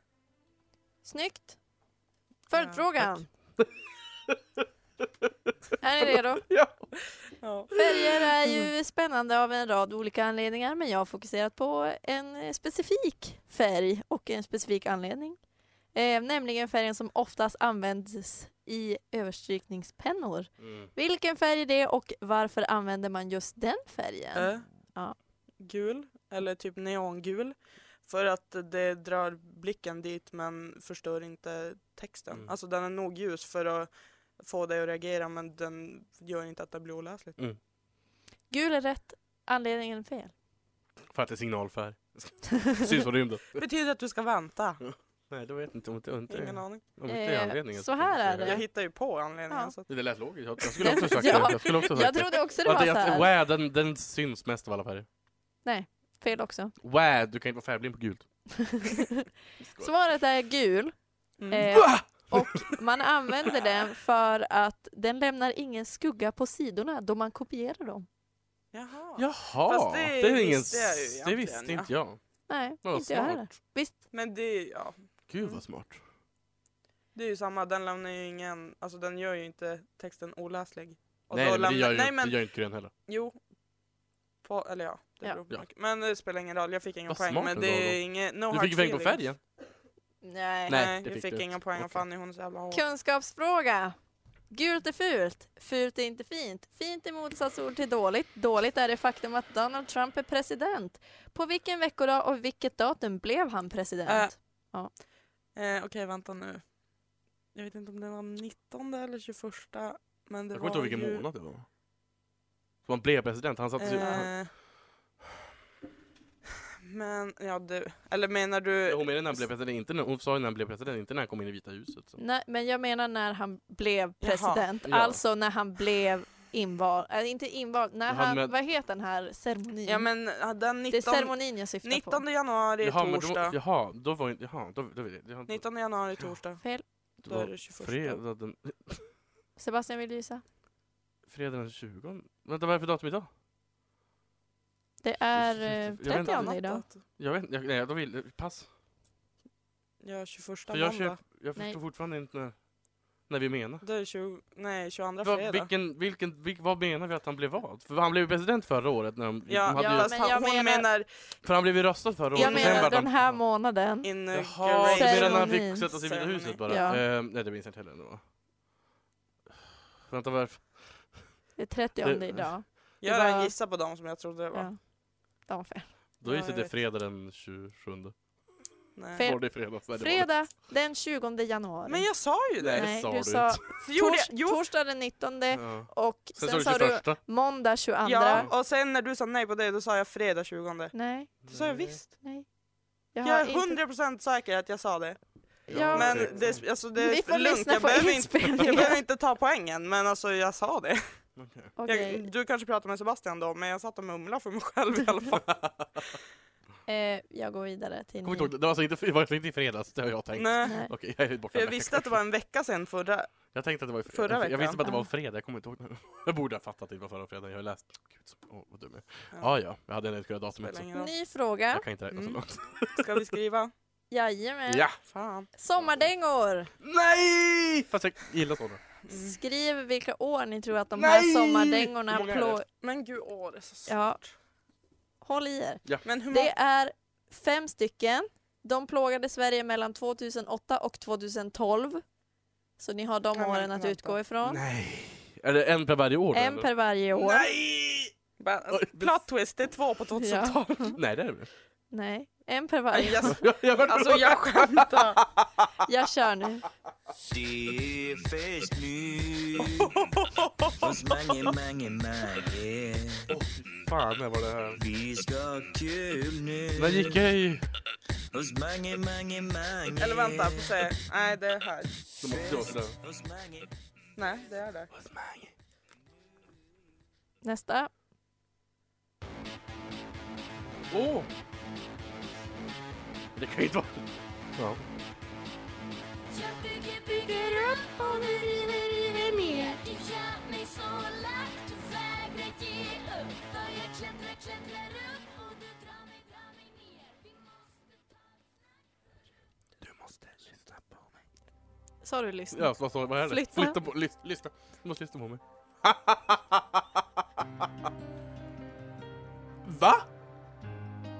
[SPEAKER 2] Snyggt. Följdfrågan. Här är ni redo.
[SPEAKER 4] Ja.
[SPEAKER 2] Färger är ju spännande av en rad olika anledningar men jag har fokuserat på en eh, specifik färg och en specifik anledning. Eh, nämligen färgen som oftast används i överstrykningspennor.
[SPEAKER 3] Mm.
[SPEAKER 2] Vilken färg är det och varför använder man just den färgen?
[SPEAKER 4] Ö.
[SPEAKER 2] Ja.
[SPEAKER 4] Eh, Gul, eller typ neongul. För att det drar blicken dit men förstör inte texten.
[SPEAKER 3] Mm.
[SPEAKER 4] Alltså den är nog ljus för att få dig att reagera men den gör inte att det blir oläsligt.
[SPEAKER 3] Mm.
[SPEAKER 2] Gul är rätt, anledningen är fel.
[SPEAKER 3] För att det är signalfärg. Syns på rymden.
[SPEAKER 4] Betyder att du ska vänta?
[SPEAKER 3] Nej, då vet jag inte om det om inte-
[SPEAKER 4] Ingen aning.
[SPEAKER 3] om inte är
[SPEAKER 2] Eh,
[SPEAKER 3] anledningen.
[SPEAKER 2] så här är
[SPEAKER 4] Jag
[SPEAKER 2] det.
[SPEAKER 4] hittar ju på anledningen.
[SPEAKER 2] Ja.
[SPEAKER 4] Så att,
[SPEAKER 3] Det lät logiskt. Jag jag skulle också ha sagt
[SPEAKER 2] Ja.
[SPEAKER 3] det. Jag skulle också ha
[SPEAKER 2] Jag
[SPEAKER 3] sagt det.
[SPEAKER 2] trodde också det
[SPEAKER 3] Att
[SPEAKER 2] var
[SPEAKER 3] det-
[SPEAKER 2] så
[SPEAKER 3] att-
[SPEAKER 2] här.
[SPEAKER 3] Wow, den, den syns mest av alla färger.
[SPEAKER 2] Fel också.
[SPEAKER 3] Wow, du kan inte vara färgblind på gult.
[SPEAKER 2] Svaret är gul.
[SPEAKER 4] mm.
[SPEAKER 2] Eh, och man använder den för att den lämnar ingen skugga på sidorna då man kopierar dem.
[SPEAKER 4] Jaha.
[SPEAKER 3] Jaha!
[SPEAKER 4] Fast det
[SPEAKER 3] ingen...
[SPEAKER 4] visste jag ju
[SPEAKER 3] s- det
[SPEAKER 4] egentligen,
[SPEAKER 3] visste
[SPEAKER 4] ja.
[SPEAKER 3] inte jag.
[SPEAKER 2] Nej,
[SPEAKER 3] Vad
[SPEAKER 2] inte jag heller.
[SPEAKER 3] smart.
[SPEAKER 2] Visst,
[SPEAKER 4] Men det, ja,
[SPEAKER 3] Gud
[SPEAKER 2] Mm.
[SPEAKER 3] vad smart.
[SPEAKER 4] det är ju samma, den lämnar ju ingen, alltså den gör ju inte texten oläslig. Och
[SPEAKER 3] Nej,
[SPEAKER 4] då
[SPEAKER 3] nej, men det
[SPEAKER 4] lämnar-
[SPEAKER 3] gör ju
[SPEAKER 4] nej,
[SPEAKER 3] inte-
[SPEAKER 4] men
[SPEAKER 3] det gör ju inte grön heller.
[SPEAKER 4] Jo. På, eller ja, det
[SPEAKER 2] Ja.
[SPEAKER 4] beror på
[SPEAKER 3] Ja.
[SPEAKER 4] mycket. Men det spelar ingen roll, jag fick inga
[SPEAKER 3] Vad
[SPEAKER 4] poäng.
[SPEAKER 3] smart
[SPEAKER 4] Men
[SPEAKER 3] ändå
[SPEAKER 4] det
[SPEAKER 3] då.
[SPEAKER 4] är inget, no
[SPEAKER 3] Du
[SPEAKER 4] hard
[SPEAKER 3] fick poäng på
[SPEAKER 4] feelings.
[SPEAKER 3] färgen.
[SPEAKER 2] nej.
[SPEAKER 4] Nej,
[SPEAKER 3] Nej,
[SPEAKER 4] jag
[SPEAKER 3] det
[SPEAKER 4] fick,
[SPEAKER 3] fick du
[SPEAKER 4] inga
[SPEAKER 3] inte.
[SPEAKER 4] poäng av
[SPEAKER 3] Okej.
[SPEAKER 4] Fanny, hon är så jävla hård.
[SPEAKER 2] Kunskapsfråga. Gult är fult, fult är inte fint, fint är motsatsord till dåligt, dåligt är det faktum att Donald Trump är president. På vilken veckodag och vilket datum blev han
[SPEAKER 4] Äh.
[SPEAKER 2] president?
[SPEAKER 4] Eh, Okej, vänta nu. Jag vet inte om det var 19 eller 21. Men det
[SPEAKER 3] Jag kommer
[SPEAKER 4] var
[SPEAKER 3] inte ihåg vilken
[SPEAKER 4] ju,
[SPEAKER 3] månad det var. Som han blev president. Han sattes ju... han-
[SPEAKER 4] Eh, men, ja du. Eller
[SPEAKER 3] Ja,
[SPEAKER 4] menar du?
[SPEAKER 3] Hon menade när han blev president, inte när, hon sa ju när han blev president, inte när han kom in i Vita huset.
[SPEAKER 4] Mm,
[SPEAKER 3] Så.
[SPEAKER 2] Nej, men jag menar när han blev
[SPEAKER 4] Jaha,
[SPEAKER 2] president,
[SPEAKER 3] ja.
[SPEAKER 2] alltså när han blev invald, äh, inte invald, när
[SPEAKER 3] Jaha,
[SPEAKER 2] han,
[SPEAKER 3] men-
[SPEAKER 2] vad heter den här ceremonin?
[SPEAKER 4] Ja men ja, den
[SPEAKER 2] det är
[SPEAKER 4] 19,
[SPEAKER 2] ceremonin jag syftar på.
[SPEAKER 4] 19 januari
[SPEAKER 3] Jaha, men då,
[SPEAKER 4] torsdag.
[SPEAKER 3] jaha, då var inte... Jaha, då, då, då, då,
[SPEAKER 4] 19 januari torsdag.
[SPEAKER 2] Fel.
[SPEAKER 3] det
[SPEAKER 4] Då är
[SPEAKER 3] var
[SPEAKER 4] det 21.
[SPEAKER 3] fredag den,
[SPEAKER 2] Sebastian vill gissa.
[SPEAKER 3] fredag den 20. Vänta, vad är det för datum idag?
[SPEAKER 2] Det är
[SPEAKER 3] Jag
[SPEAKER 2] eh,
[SPEAKER 3] vet inte.
[SPEAKER 2] 30 idag.
[SPEAKER 4] Nattat.
[SPEAKER 3] Jag vet inte, jag- nej, då vill... Pass.
[SPEAKER 4] Ja, 21
[SPEAKER 3] För jag,
[SPEAKER 4] måndag.
[SPEAKER 3] köp, jag
[SPEAKER 2] Nej.
[SPEAKER 3] förstår fortfarande inte när, när vi menar.
[SPEAKER 4] Det är 20, nej, 22
[SPEAKER 3] Va,
[SPEAKER 4] fredag.
[SPEAKER 3] vilken, vilken, vilk, vad menar vi att han blev vad? För han blev ju president förra året, när de,
[SPEAKER 4] Ja,
[SPEAKER 3] de hade
[SPEAKER 2] Ja,
[SPEAKER 3] ju,
[SPEAKER 4] fast
[SPEAKER 2] men
[SPEAKER 4] han,
[SPEAKER 2] jag
[SPEAKER 4] hon
[SPEAKER 2] menar-
[SPEAKER 4] menar,
[SPEAKER 3] för han blev ju röstad förra året.
[SPEAKER 2] Jag
[SPEAKER 3] och sen
[SPEAKER 2] menar
[SPEAKER 3] vart han-
[SPEAKER 2] den här månaden.
[SPEAKER 3] Jaha, du menar när han
[SPEAKER 2] Ceremoni.
[SPEAKER 3] fick sätta sig i Vita huset bara?
[SPEAKER 2] Ja.
[SPEAKER 3] Eh, nej, det minns jag inte heller. ändå. Vänta, varför?
[SPEAKER 2] Det är 30
[SPEAKER 3] Det-
[SPEAKER 2] idag.
[SPEAKER 4] Jag
[SPEAKER 2] Det var-
[SPEAKER 4] redan gissade på dem som jag trodde det var.
[SPEAKER 2] Ja. De var fel.
[SPEAKER 3] Då
[SPEAKER 4] Ja,
[SPEAKER 3] är
[SPEAKER 4] jag
[SPEAKER 3] det
[SPEAKER 4] vet.
[SPEAKER 3] fredag den 27.
[SPEAKER 4] Nej.
[SPEAKER 2] Fel.
[SPEAKER 3] Var det fredag? Nej, det var det.
[SPEAKER 2] Fredag den 20 januari.
[SPEAKER 4] Men jag sa ju det!
[SPEAKER 3] Nej. sa
[SPEAKER 2] du
[SPEAKER 3] du
[SPEAKER 2] sa
[SPEAKER 3] inte.
[SPEAKER 4] Så gjorde
[SPEAKER 2] tors,
[SPEAKER 4] jag, jo,
[SPEAKER 2] torsdag den 19
[SPEAKER 3] Ja.
[SPEAKER 2] och
[SPEAKER 3] Sen,
[SPEAKER 2] sen,
[SPEAKER 3] sa
[SPEAKER 2] sa
[SPEAKER 3] du
[SPEAKER 2] du
[SPEAKER 3] 21.
[SPEAKER 2] måndag 22.
[SPEAKER 4] ja, och sen när du sa nej på det, då sa jag fredag 20.
[SPEAKER 2] Nej,
[SPEAKER 4] Det sa jag visst.
[SPEAKER 2] nej, Jag
[SPEAKER 4] Jag
[SPEAKER 2] har
[SPEAKER 4] är
[SPEAKER 2] inte...
[SPEAKER 4] 100% säker att jag sa det.
[SPEAKER 2] Ja,
[SPEAKER 4] Men
[SPEAKER 3] säkert.
[SPEAKER 4] det, alltså, det
[SPEAKER 2] Vi får
[SPEAKER 4] är lugnt,
[SPEAKER 2] lyssna
[SPEAKER 4] jag
[SPEAKER 2] på
[SPEAKER 4] behöver, inte, jag
[SPEAKER 2] inspelningen.
[SPEAKER 4] behöver inte ta poängen men alltså jag sa det.
[SPEAKER 3] Okej.
[SPEAKER 2] Okej.
[SPEAKER 4] Jag, du kanske pratar med Sebastian då men jag satt och mumlade för mig själv i alla fall.
[SPEAKER 2] Eh, jag går vidare till
[SPEAKER 3] Kom
[SPEAKER 2] min.
[SPEAKER 3] inte ihåg, det var alltså inte, det var alltså inte i fredags, det har jag tänkt.
[SPEAKER 4] Nej.
[SPEAKER 2] Nej.
[SPEAKER 3] Okej, jag är borta
[SPEAKER 4] För jag
[SPEAKER 3] en vecka
[SPEAKER 4] visste att det
[SPEAKER 3] kanske.
[SPEAKER 4] var en vecka sedan förra.
[SPEAKER 3] Jag tänkte att det var i fredag.
[SPEAKER 4] Förra
[SPEAKER 3] Jag
[SPEAKER 4] veckan.
[SPEAKER 3] visste bara att det var
[SPEAKER 2] Ja.
[SPEAKER 3] fredag, jag kommer inte ihåg nu. Jag borde ha fattat att det var förra fredagen, jag har läst. Gud, så, åh, vad dum jag är. Ja,
[SPEAKER 4] Ja.
[SPEAKER 3] ja, jag hade en utkunnat datumet
[SPEAKER 4] Spelar
[SPEAKER 3] så
[SPEAKER 4] ingen roll.
[SPEAKER 2] Ny fråga.
[SPEAKER 3] jag kan inte räkna så
[SPEAKER 4] Mm.
[SPEAKER 3] långt.
[SPEAKER 4] Ska vi skriva?
[SPEAKER 2] Jajamän.
[SPEAKER 3] Ja!
[SPEAKER 4] Fan.
[SPEAKER 2] Sommardängor.
[SPEAKER 3] Nej! Fast jag gillar sådana.
[SPEAKER 4] Mm.
[SPEAKER 2] Skriv vilka år ni tror att de
[SPEAKER 3] Nej!
[SPEAKER 2] här sommardängorna
[SPEAKER 3] Hur många är det?
[SPEAKER 2] plå...
[SPEAKER 4] Men gud, åh det är så svårt.
[SPEAKER 2] Ja. Håll i er.
[SPEAKER 4] Men hur
[SPEAKER 2] Det
[SPEAKER 4] många?
[SPEAKER 2] är fem stycken. De plågade Sverige mellan 2008 och 2012. Så ni har de
[SPEAKER 4] Ja, men
[SPEAKER 2] åren att
[SPEAKER 4] vänta.
[SPEAKER 2] utgå ifrån.
[SPEAKER 3] Nej! Är det en per varje år?
[SPEAKER 2] En
[SPEAKER 3] eller?
[SPEAKER 2] per varje år.
[SPEAKER 4] Nej! Bara, Alltså,
[SPEAKER 3] Oj, det-
[SPEAKER 4] plot twist, det är två på 2012.
[SPEAKER 3] Nej, det är det väl?
[SPEAKER 2] Nej, en per
[SPEAKER 4] Nej,
[SPEAKER 2] varje.
[SPEAKER 4] jag-
[SPEAKER 3] Jag- jag-
[SPEAKER 4] Alltså jag skämtar.
[SPEAKER 2] Jag kör nu.
[SPEAKER 6] Det är fest nu hos Mange, Mange, Mange.
[SPEAKER 3] Åh, Fan, när var det här?
[SPEAKER 6] Vi ska ha kul nu
[SPEAKER 3] När gick jag i...
[SPEAKER 6] hos Mange, Mange, Mange.
[SPEAKER 4] Eller vänta, får se. Nej det är här.
[SPEAKER 3] Det måste jag också.
[SPEAKER 6] Hos Mange.
[SPEAKER 4] Nej det är där.
[SPEAKER 2] Nästa.
[SPEAKER 3] Åh! Det kan ju inte vara... Ja.
[SPEAKER 7] Jag bygger, bygger upp och du river, river ner. Du gör mig så lack, du vägrar ge upp. Börjar klättra, klättrar upp och du drar mig, drar mig ner. Vi måste ta
[SPEAKER 3] Du måste lyssna på mig.
[SPEAKER 2] Sa du lyssna?
[SPEAKER 3] Ja, vad sa Vad är det?
[SPEAKER 2] Flytta.
[SPEAKER 3] Flytta på... Lys, lyssna. Du måste lyssna på mig. Va?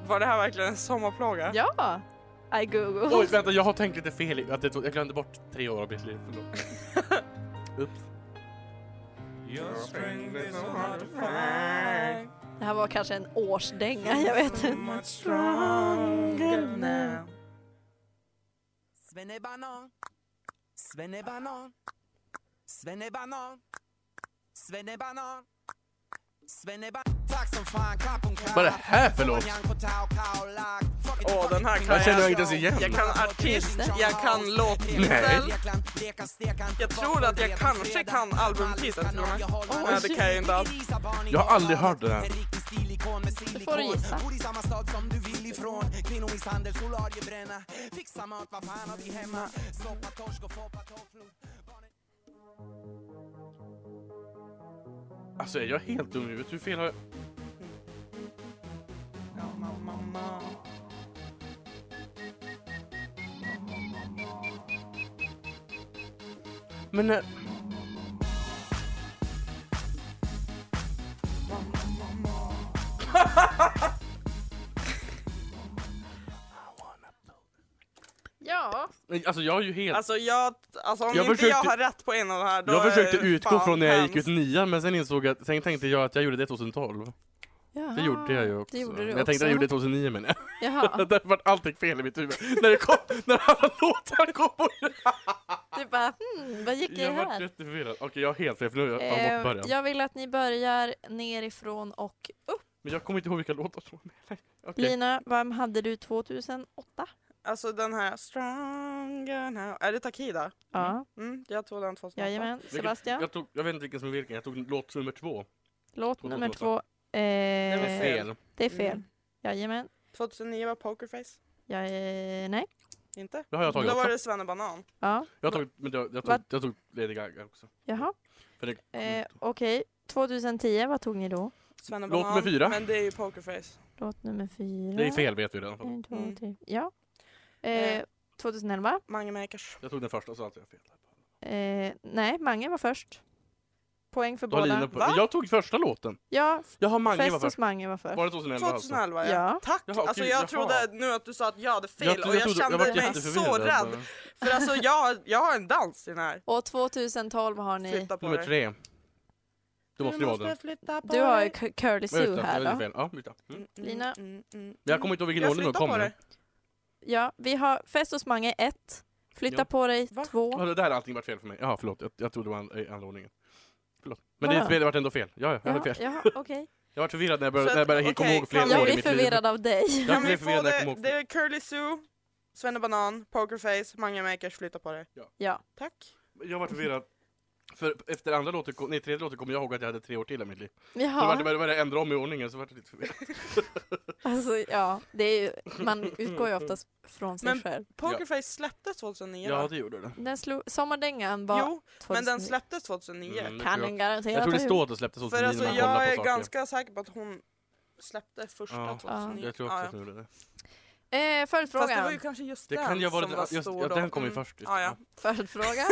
[SPEAKER 4] Var det här verkligen en sommarplåga?
[SPEAKER 2] Ja! I Google.
[SPEAKER 3] Oj, vänta, jag har tänkt lite fel. i- Att det tog, jag glömde bort tre år av mitt liv. Förlåt. Ups.
[SPEAKER 2] Det här var kanske en årsdänga, jag vet inte.
[SPEAKER 4] Stronger now.
[SPEAKER 6] Svennebanan. Svennebanan. Svennebanan. Svennebanan. Svennebanan. Tack som fan, kapp om kapp.
[SPEAKER 3] Vad är det här för låt?
[SPEAKER 4] Åh, den här kan
[SPEAKER 3] Jag känner jag inte ens igen.
[SPEAKER 4] Jag kan artist, jag kan låttitel.
[SPEAKER 3] Nej.
[SPEAKER 4] Jag tror att jag kanske kan albumtiteln till och med. Nej, det kan jag inte alls.
[SPEAKER 3] Jag har aldrig hört den här.
[SPEAKER 2] Då får du gissa.
[SPEAKER 6] Bor i samma stad som du vill ifrån Kvinnomisshandel, solariebränna Fixa mat, vad fan har vi hemma? Soppa, torsk och foppa, tofflor
[SPEAKER 3] Alltså, är jag helt dum i huvudet? Hur fel har jag? Men eh, när...
[SPEAKER 2] Ja,
[SPEAKER 3] Men, Alltså, jag är ju
[SPEAKER 2] Typ.
[SPEAKER 3] helt...
[SPEAKER 4] Alltså, jag, alltså om
[SPEAKER 3] Jag
[SPEAKER 4] inte jag
[SPEAKER 3] försökte-
[SPEAKER 4] har rätt på en av de här då
[SPEAKER 3] jag
[SPEAKER 4] är
[SPEAKER 3] försökte
[SPEAKER 4] det
[SPEAKER 3] utgå
[SPEAKER 4] fan
[SPEAKER 3] från när jag gick ut
[SPEAKER 4] hemskt.
[SPEAKER 3] nian, men sen insåg jag... Sen tänkte jag att jag gjorde det 2012. Det gjorde jag ju också.
[SPEAKER 2] Ah, Det gjorde du
[SPEAKER 3] men jag
[SPEAKER 2] också.
[SPEAKER 3] tänkte att jag gjorde det 2009, men
[SPEAKER 2] Jaha,
[SPEAKER 3] Därför att allt gick fel i mitt huvud. när det kom... När alla låtar kom på...
[SPEAKER 2] du bara hmm, vad gick jag
[SPEAKER 3] Jag vart
[SPEAKER 2] här?
[SPEAKER 3] jätteförvirrad. Okej, jag har helt fel, för nu har jag tagit bort
[SPEAKER 2] Eh,
[SPEAKER 3] början.
[SPEAKER 2] jag vill att ni börjar nerifrån och upp.
[SPEAKER 3] Men jag kommer inte ihåg vilka låtar som var med. Okej.
[SPEAKER 2] Lina, vem hade du 2008?
[SPEAKER 4] Alltså den här Stronger now. Är det Takida?
[SPEAKER 2] Ja,
[SPEAKER 4] Mm, jag tog den 2008.
[SPEAKER 2] jajamän. Sebastian,
[SPEAKER 3] Jag, tog, jag vet inte vilken som är vilken, jag tog låt nummer två.
[SPEAKER 2] Eh. låt
[SPEAKER 3] tog
[SPEAKER 2] nummer
[SPEAKER 3] låt.
[SPEAKER 2] två.
[SPEAKER 4] Det var
[SPEAKER 2] Eh,
[SPEAKER 4] fel.
[SPEAKER 2] det är fel.
[SPEAKER 4] Mm.
[SPEAKER 2] Jajamän.
[SPEAKER 4] 2009 var Pokerface.
[SPEAKER 2] Jag, eh, nej.
[SPEAKER 4] Inte?
[SPEAKER 3] Det har jag
[SPEAKER 4] Då
[SPEAKER 3] tagit också.
[SPEAKER 4] var det Svennebanan.
[SPEAKER 2] Ja,
[SPEAKER 3] Jag tog, men jag, jag, tog,
[SPEAKER 2] Vad?
[SPEAKER 3] jag tog Lady Gaga också.
[SPEAKER 2] jaha.
[SPEAKER 3] För det,
[SPEAKER 2] Eh, Okej, 2010, vad tog ni då?
[SPEAKER 4] Svennebanan.
[SPEAKER 3] Låt nummer fyra.
[SPEAKER 4] Men det är ju Pokerface.
[SPEAKER 2] Låt nummer fyra.
[SPEAKER 3] det är fel vet vi redan.
[SPEAKER 2] En, två,
[SPEAKER 4] Mm.
[SPEAKER 2] tre. Ja. Eh, 2011.
[SPEAKER 4] Mange Makers.
[SPEAKER 3] Jag tog den första så alltid jag fel.
[SPEAKER 2] Eh, nej, Mange var först. Poäng för
[SPEAKER 3] Då har
[SPEAKER 2] båda.
[SPEAKER 3] Lina på,
[SPEAKER 4] Va?
[SPEAKER 3] jag tog första låten.
[SPEAKER 2] Ja,
[SPEAKER 3] Jag har Mange
[SPEAKER 2] Fest
[SPEAKER 3] var
[SPEAKER 2] hos
[SPEAKER 3] först.
[SPEAKER 2] Mange var först.
[SPEAKER 3] Var det 2011 alltså?
[SPEAKER 4] 2011 ja.
[SPEAKER 2] Ja.
[SPEAKER 4] Tack!
[SPEAKER 3] Jaha,
[SPEAKER 4] alltså
[SPEAKER 3] gud,
[SPEAKER 4] jag
[SPEAKER 3] jaha.
[SPEAKER 4] trodde nu att du sa att jag hade fel och jag,
[SPEAKER 3] trodde-
[SPEAKER 4] kände
[SPEAKER 3] vart
[SPEAKER 4] mig så
[SPEAKER 3] jätteförvirrad.
[SPEAKER 4] rädd. För alltså jag, jag har en dans i den här.
[SPEAKER 2] Och 2012 har ni...
[SPEAKER 4] Flytta på
[SPEAKER 3] Nummer
[SPEAKER 4] dig.
[SPEAKER 3] tre. Det måste ju vara den.
[SPEAKER 4] flytta på
[SPEAKER 2] Du har ju
[SPEAKER 4] dig.
[SPEAKER 2] Cu- Curly
[SPEAKER 3] Jag vet
[SPEAKER 2] Sue
[SPEAKER 3] inte,
[SPEAKER 2] här
[SPEAKER 3] jag gjorde
[SPEAKER 2] då.
[SPEAKER 3] fel. Ja, just det. Mm.
[SPEAKER 4] Mm, mm,
[SPEAKER 2] Lina.
[SPEAKER 4] mm, mm.
[SPEAKER 3] Jag kommer inte ihåg vilken
[SPEAKER 4] Jag
[SPEAKER 3] ordning de
[SPEAKER 4] flyttar
[SPEAKER 3] kom
[SPEAKER 4] på
[SPEAKER 3] i.
[SPEAKER 4] dig.
[SPEAKER 2] Ja, vi har Fest hos Mange 1. Flytta
[SPEAKER 3] Ja.
[SPEAKER 2] på dig
[SPEAKER 4] Va?
[SPEAKER 2] 2.
[SPEAKER 3] Ja, det där har allting varit fel för mig. Ja, förlåt. Jag, jag trodde det var an- i andra ordningen. Förlåt. Men
[SPEAKER 2] Va?
[SPEAKER 3] det, det vart ändå fel. Ja, ja, jag hade
[SPEAKER 2] Ja,
[SPEAKER 3] fel.
[SPEAKER 2] ja okej.
[SPEAKER 3] Jag var förvirrad när jag började,
[SPEAKER 4] Så
[SPEAKER 3] när jag började
[SPEAKER 4] att-
[SPEAKER 3] komma
[SPEAKER 4] okej,
[SPEAKER 3] ihåg fler
[SPEAKER 4] kan
[SPEAKER 3] år
[SPEAKER 4] vi-
[SPEAKER 3] i
[SPEAKER 2] Jag
[SPEAKER 3] mitt
[SPEAKER 2] blir
[SPEAKER 3] liv.
[SPEAKER 2] förvirrad av dig.
[SPEAKER 3] Jag
[SPEAKER 4] Kan
[SPEAKER 3] blev
[SPEAKER 4] vi få
[SPEAKER 3] förvirrad när jag kom
[SPEAKER 4] det?
[SPEAKER 3] ihåg.
[SPEAKER 4] Det är Curly Sue, Svennebanan, Pokerface, Manga Makers, flytta på dig.
[SPEAKER 3] Ja.
[SPEAKER 2] Ja.
[SPEAKER 4] Tack.
[SPEAKER 3] Jag var förvirrad. För efter andra låten, kom- nej tredje låten kom jag ihåg att jag hade tre år till i mitt liv. Så var det
[SPEAKER 2] Jaha.
[SPEAKER 3] bara att ändra om i ordningen så var det lite förvirrat.
[SPEAKER 2] Alltså, ja. Det är ju, man utgår ju oftast från sig
[SPEAKER 4] Men-
[SPEAKER 2] själv.
[SPEAKER 4] Pokerface släpptes 2009
[SPEAKER 3] Ja,
[SPEAKER 4] va?
[SPEAKER 3] det gjorde den.
[SPEAKER 2] Den slog, sommardängan var
[SPEAKER 4] Jo, men den
[SPEAKER 2] 2009.
[SPEAKER 4] släpptes 2009.
[SPEAKER 3] Mm, det
[SPEAKER 2] Kan
[SPEAKER 3] tror
[SPEAKER 2] den
[SPEAKER 3] jag.
[SPEAKER 2] garanterat
[SPEAKER 3] Jag tror det
[SPEAKER 2] ha gjort.
[SPEAKER 3] står att den släpptes 2009
[SPEAKER 4] För alltså
[SPEAKER 3] när man kollar
[SPEAKER 4] jag
[SPEAKER 3] på
[SPEAKER 4] är
[SPEAKER 3] saker.
[SPEAKER 4] ganska säker på att hon släppte första
[SPEAKER 3] Ja.
[SPEAKER 4] 2009.
[SPEAKER 3] Jag tror också
[SPEAKER 4] Ja, ja.
[SPEAKER 3] att den gjorde det.
[SPEAKER 2] Eh,
[SPEAKER 4] Fast det
[SPEAKER 2] följdfrågan.
[SPEAKER 4] var ju kanske just
[SPEAKER 3] Det
[SPEAKER 4] den
[SPEAKER 3] kan ju ha varit,
[SPEAKER 4] som var
[SPEAKER 3] just,
[SPEAKER 4] stor
[SPEAKER 3] ja,
[SPEAKER 4] då.
[SPEAKER 3] den kom ju
[SPEAKER 4] Mm.
[SPEAKER 3] först. just
[SPEAKER 4] Ja, ja.
[SPEAKER 3] det.
[SPEAKER 2] Följdfråga.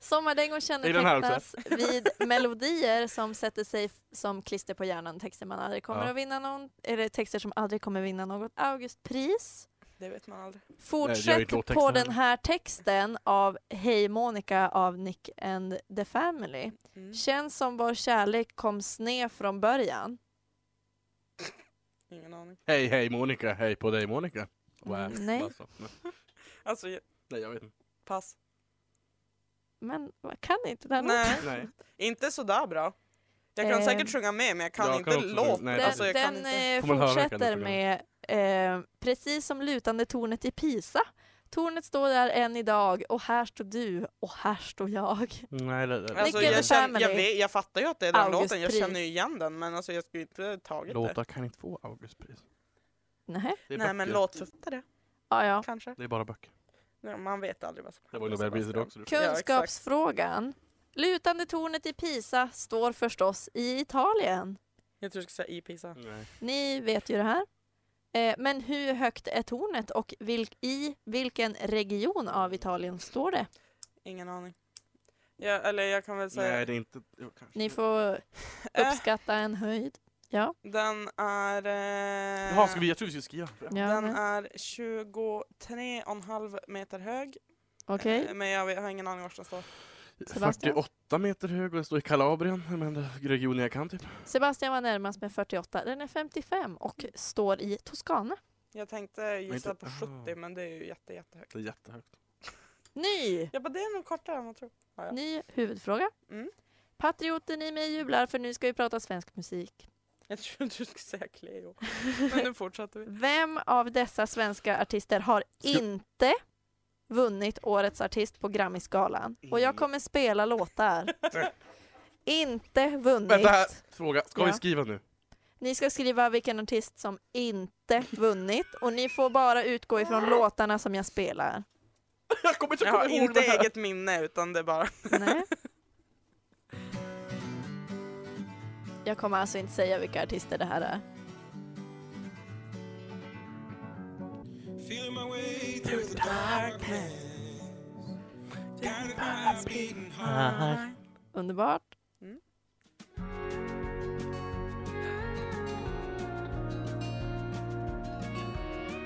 [SPEAKER 2] Sommardängor
[SPEAKER 3] den här
[SPEAKER 2] kännetecknas vid melodier som sätter sig f- som klister på hjärnan. Texter man aldrig kommer
[SPEAKER 3] Ja.
[SPEAKER 2] att vinna någon, eller texter som aldrig kommer vinna något Augustpris.
[SPEAKER 4] Det vet man aldrig.
[SPEAKER 3] Nej, det gör ju
[SPEAKER 2] Fortsätt
[SPEAKER 3] inte låttexten
[SPEAKER 2] på
[SPEAKER 3] heller.
[SPEAKER 2] den här texten av Hej Monica av Nick and the Family.
[SPEAKER 4] Mm.
[SPEAKER 2] Känns som vår kärlek kom sned från början.
[SPEAKER 4] Ingen aning.
[SPEAKER 3] Hej, hej Monica, hej på dig Monica. Wow.
[SPEAKER 2] Mm, nej.
[SPEAKER 3] Alltså, nej.
[SPEAKER 4] Alltså, jag-
[SPEAKER 3] Nej, jag vet inte.
[SPEAKER 4] pass.
[SPEAKER 2] Men vad kan inte den låten?
[SPEAKER 4] Nej,
[SPEAKER 3] Nej.
[SPEAKER 4] inte sådär bra. Jag kan
[SPEAKER 2] Eh,
[SPEAKER 4] säkert sjunga med, men jag kan
[SPEAKER 3] jag
[SPEAKER 4] inte
[SPEAKER 3] kan också sjunga-
[SPEAKER 4] låta.
[SPEAKER 3] nej,
[SPEAKER 2] Den,
[SPEAKER 4] alltså, jag kan
[SPEAKER 2] den
[SPEAKER 4] inte.
[SPEAKER 2] eh,
[SPEAKER 3] Får man höra
[SPEAKER 2] fortsätter
[SPEAKER 3] kanske
[SPEAKER 2] med eh, precis som lutande tornet i Pisa. Tornet står där än idag och här står du och här står jag.
[SPEAKER 3] Nej, det, det.
[SPEAKER 4] Alltså,
[SPEAKER 2] Nick and
[SPEAKER 4] jag,
[SPEAKER 2] the
[SPEAKER 4] känner, jag,
[SPEAKER 2] Family.
[SPEAKER 4] vet, jag fattar ju att det är den låten, jag
[SPEAKER 2] Augustpris.
[SPEAKER 4] känner ju igen den, men alltså, jag skulle ju inte ha tagit det.
[SPEAKER 3] Låtar kan inte få Augustpris.
[SPEAKER 2] Nej,
[SPEAKER 3] Det är
[SPEAKER 4] Nej,
[SPEAKER 3] böcker.
[SPEAKER 4] men låtförfattare
[SPEAKER 2] ja, ja.
[SPEAKER 4] kanske.
[SPEAKER 3] Det är bara böcker.
[SPEAKER 4] Nej, Man vet aldrig vad som
[SPEAKER 3] Det var ju
[SPEAKER 4] händer,
[SPEAKER 3] Nobelpriset
[SPEAKER 4] Sebastian.
[SPEAKER 3] också. du.
[SPEAKER 4] exakt.
[SPEAKER 2] Kunskapsfrågan. Lutande tornet i Pisa står förstås i Italien.
[SPEAKER 4] Jag tror du ska säga E i Pisa.
[SPEAKER 3] Nej.
[SPEAKER 2] Ni vet ju det här. Eh, men hur högt är tornet och vilk, i vilken region av Italien står det?
[SPEAKER 4] Ingen aning. Ja, eller jag kan väl säga...
[SPEAKER 3] Nej, det är inte... jo, kanske.
[SPEAKER 2] Ni får
[SPEAKER 4] Eh,
[SPEAKER 2] uppskatta en höjd. Ja,
[SPEAKER 4] Den är... Eh,
[SPEAKER 3] Jaha, ska vi, jag tror vi skulle skriva.
[SPEAKER 2] ja
[SPEAKER 4] Den
[SPEAKER 2] men-
[SPEAKER 4] är 23,5 meter hög.
[SPEAKER 2] okej.
[SPEAKER 4] Eh, Men jag vet- har ingen aning var den står.
[SPEAKER 2] Sebastian?
[SPEAKER 3] 48 meter hög och den står i Kalabrien, den enda regionen jag kan typ.
[SPEAKER 2] Sebastian var närmast med 48. Den är 55 och står i Toscana.
[SPEAKER 4] Jag tänkte gissa
[SPEAKER 3] inte- Ah.
[SPEAKER 4] på 70 men det är ju jätte, jättehögt.
[SPEAKER 3] Det är jättehögt.
[SPEAKER 2] Ny!
[SPEAKER 4] Jag bara, det är nog kortare än man tror. Ja.
[SPEAKER 2] Ny huvudfråga.
[SPEAKER 4] Mm.
[SPEAKER 2] Patrioten i mig jublar för nu ska vi prata svensk musik.
[SPEAKER 4] Jag trodde du skulle säga Cleo. Men nu fortsätter vi.
[SPEAKER 2] Vem av dessa svenska artister har
[SPEAKER 3] Ska-
[SPEAKER 2] inte vunnit Årets artist på Grammisgalan? Och
[SPEAKER 3] Mm.
[SPEAKER 2] jag kommer spela låtar. inte
[SPEAKER 3] Vänta här!
[SPEAKER 2] vunnit.
[SPEAKER 3] Fråga, ska vi
[SPEAKER 2] Ja.
[SPEAKER 3] skriva nu?
[SPEAKER 2] Ni ska skriva vilken artist som inte vunnit och ni får bara utgå ifrån låtarna som jag spelar.
[SPEAKER 3] Jag kommer inte
[SPEAKER 4] Jag
[SPEAKER 3] komma
[SPEAKER 4] har
[SPEAKER 3] ihåg
[SPEAKER 4] inte
[SPEAKER 3] det här!
[SPEAKER 4] eget minne utan det är bara...
[SPEAKER 2] Nej. Jag kommer alltså inte säga vilka artister det här är.
[SPEAKER 6] Feeling my way through the darkness. Guided by a beating heart.
[SPEAKER 2] Underbart.
[SPEAKER 4] Mm.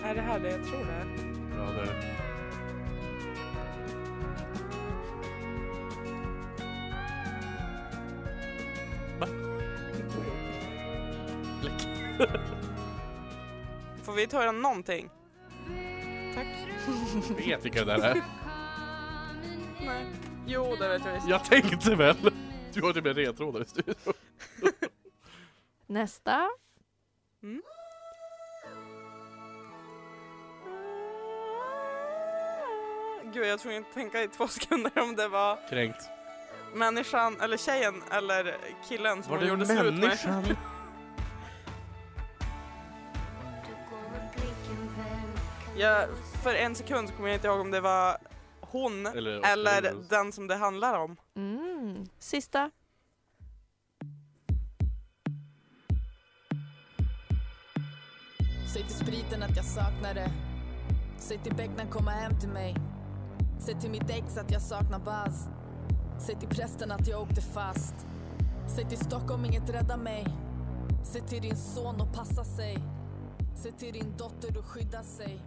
[SPEAKER 4] Är det här det jag tror det är?
[SPEAKER 3] Ja, det är det. Va? Läck.
[SPEAKER 4] Får vi höra någonting? Tack.
[SPEAKER 3] Vet vilka det där är.
[SPEAKER 4] Nej. Jo, det vet jag visst.
[SPEAKER 3] Jag tänkte väl! Du har typ en retrådare i studion.
[SPEAKER 2] Nästa.
[SPEAKER 4] Mm. Gud, jag tror inte tänka i två sekunder om det var
[SPEAKER 3] Kränkt.
[SPEAKER 4] människan, eller tjejen, eller killen som
[SPEAKER 3] Var
[SPEAKER 4] hon
[SPEAKER 3] det
[SPEAKER 4] gjorde slut med.
[SPEAKER 3] människan?
[SPEAKER 4] Jag, för en sekund kommer jag inte ihåg om det var hon eller,
[SPEAKER 3] Eller,
[SPEAKER 4] den som det handlar om.
[SPEAKER 2] Mm. Sista.
[SPEAKER 10] Säg till spriten att jag saknar det. Säg till Beckman komma hem till mig. Säg till mitt ex att jag saknar Buzz. Säg till prästen att jag åkte fast. Säg till Stockholm inget räddar mig. Säg till din son att passa sig. Säg till din dotter att skydda sig.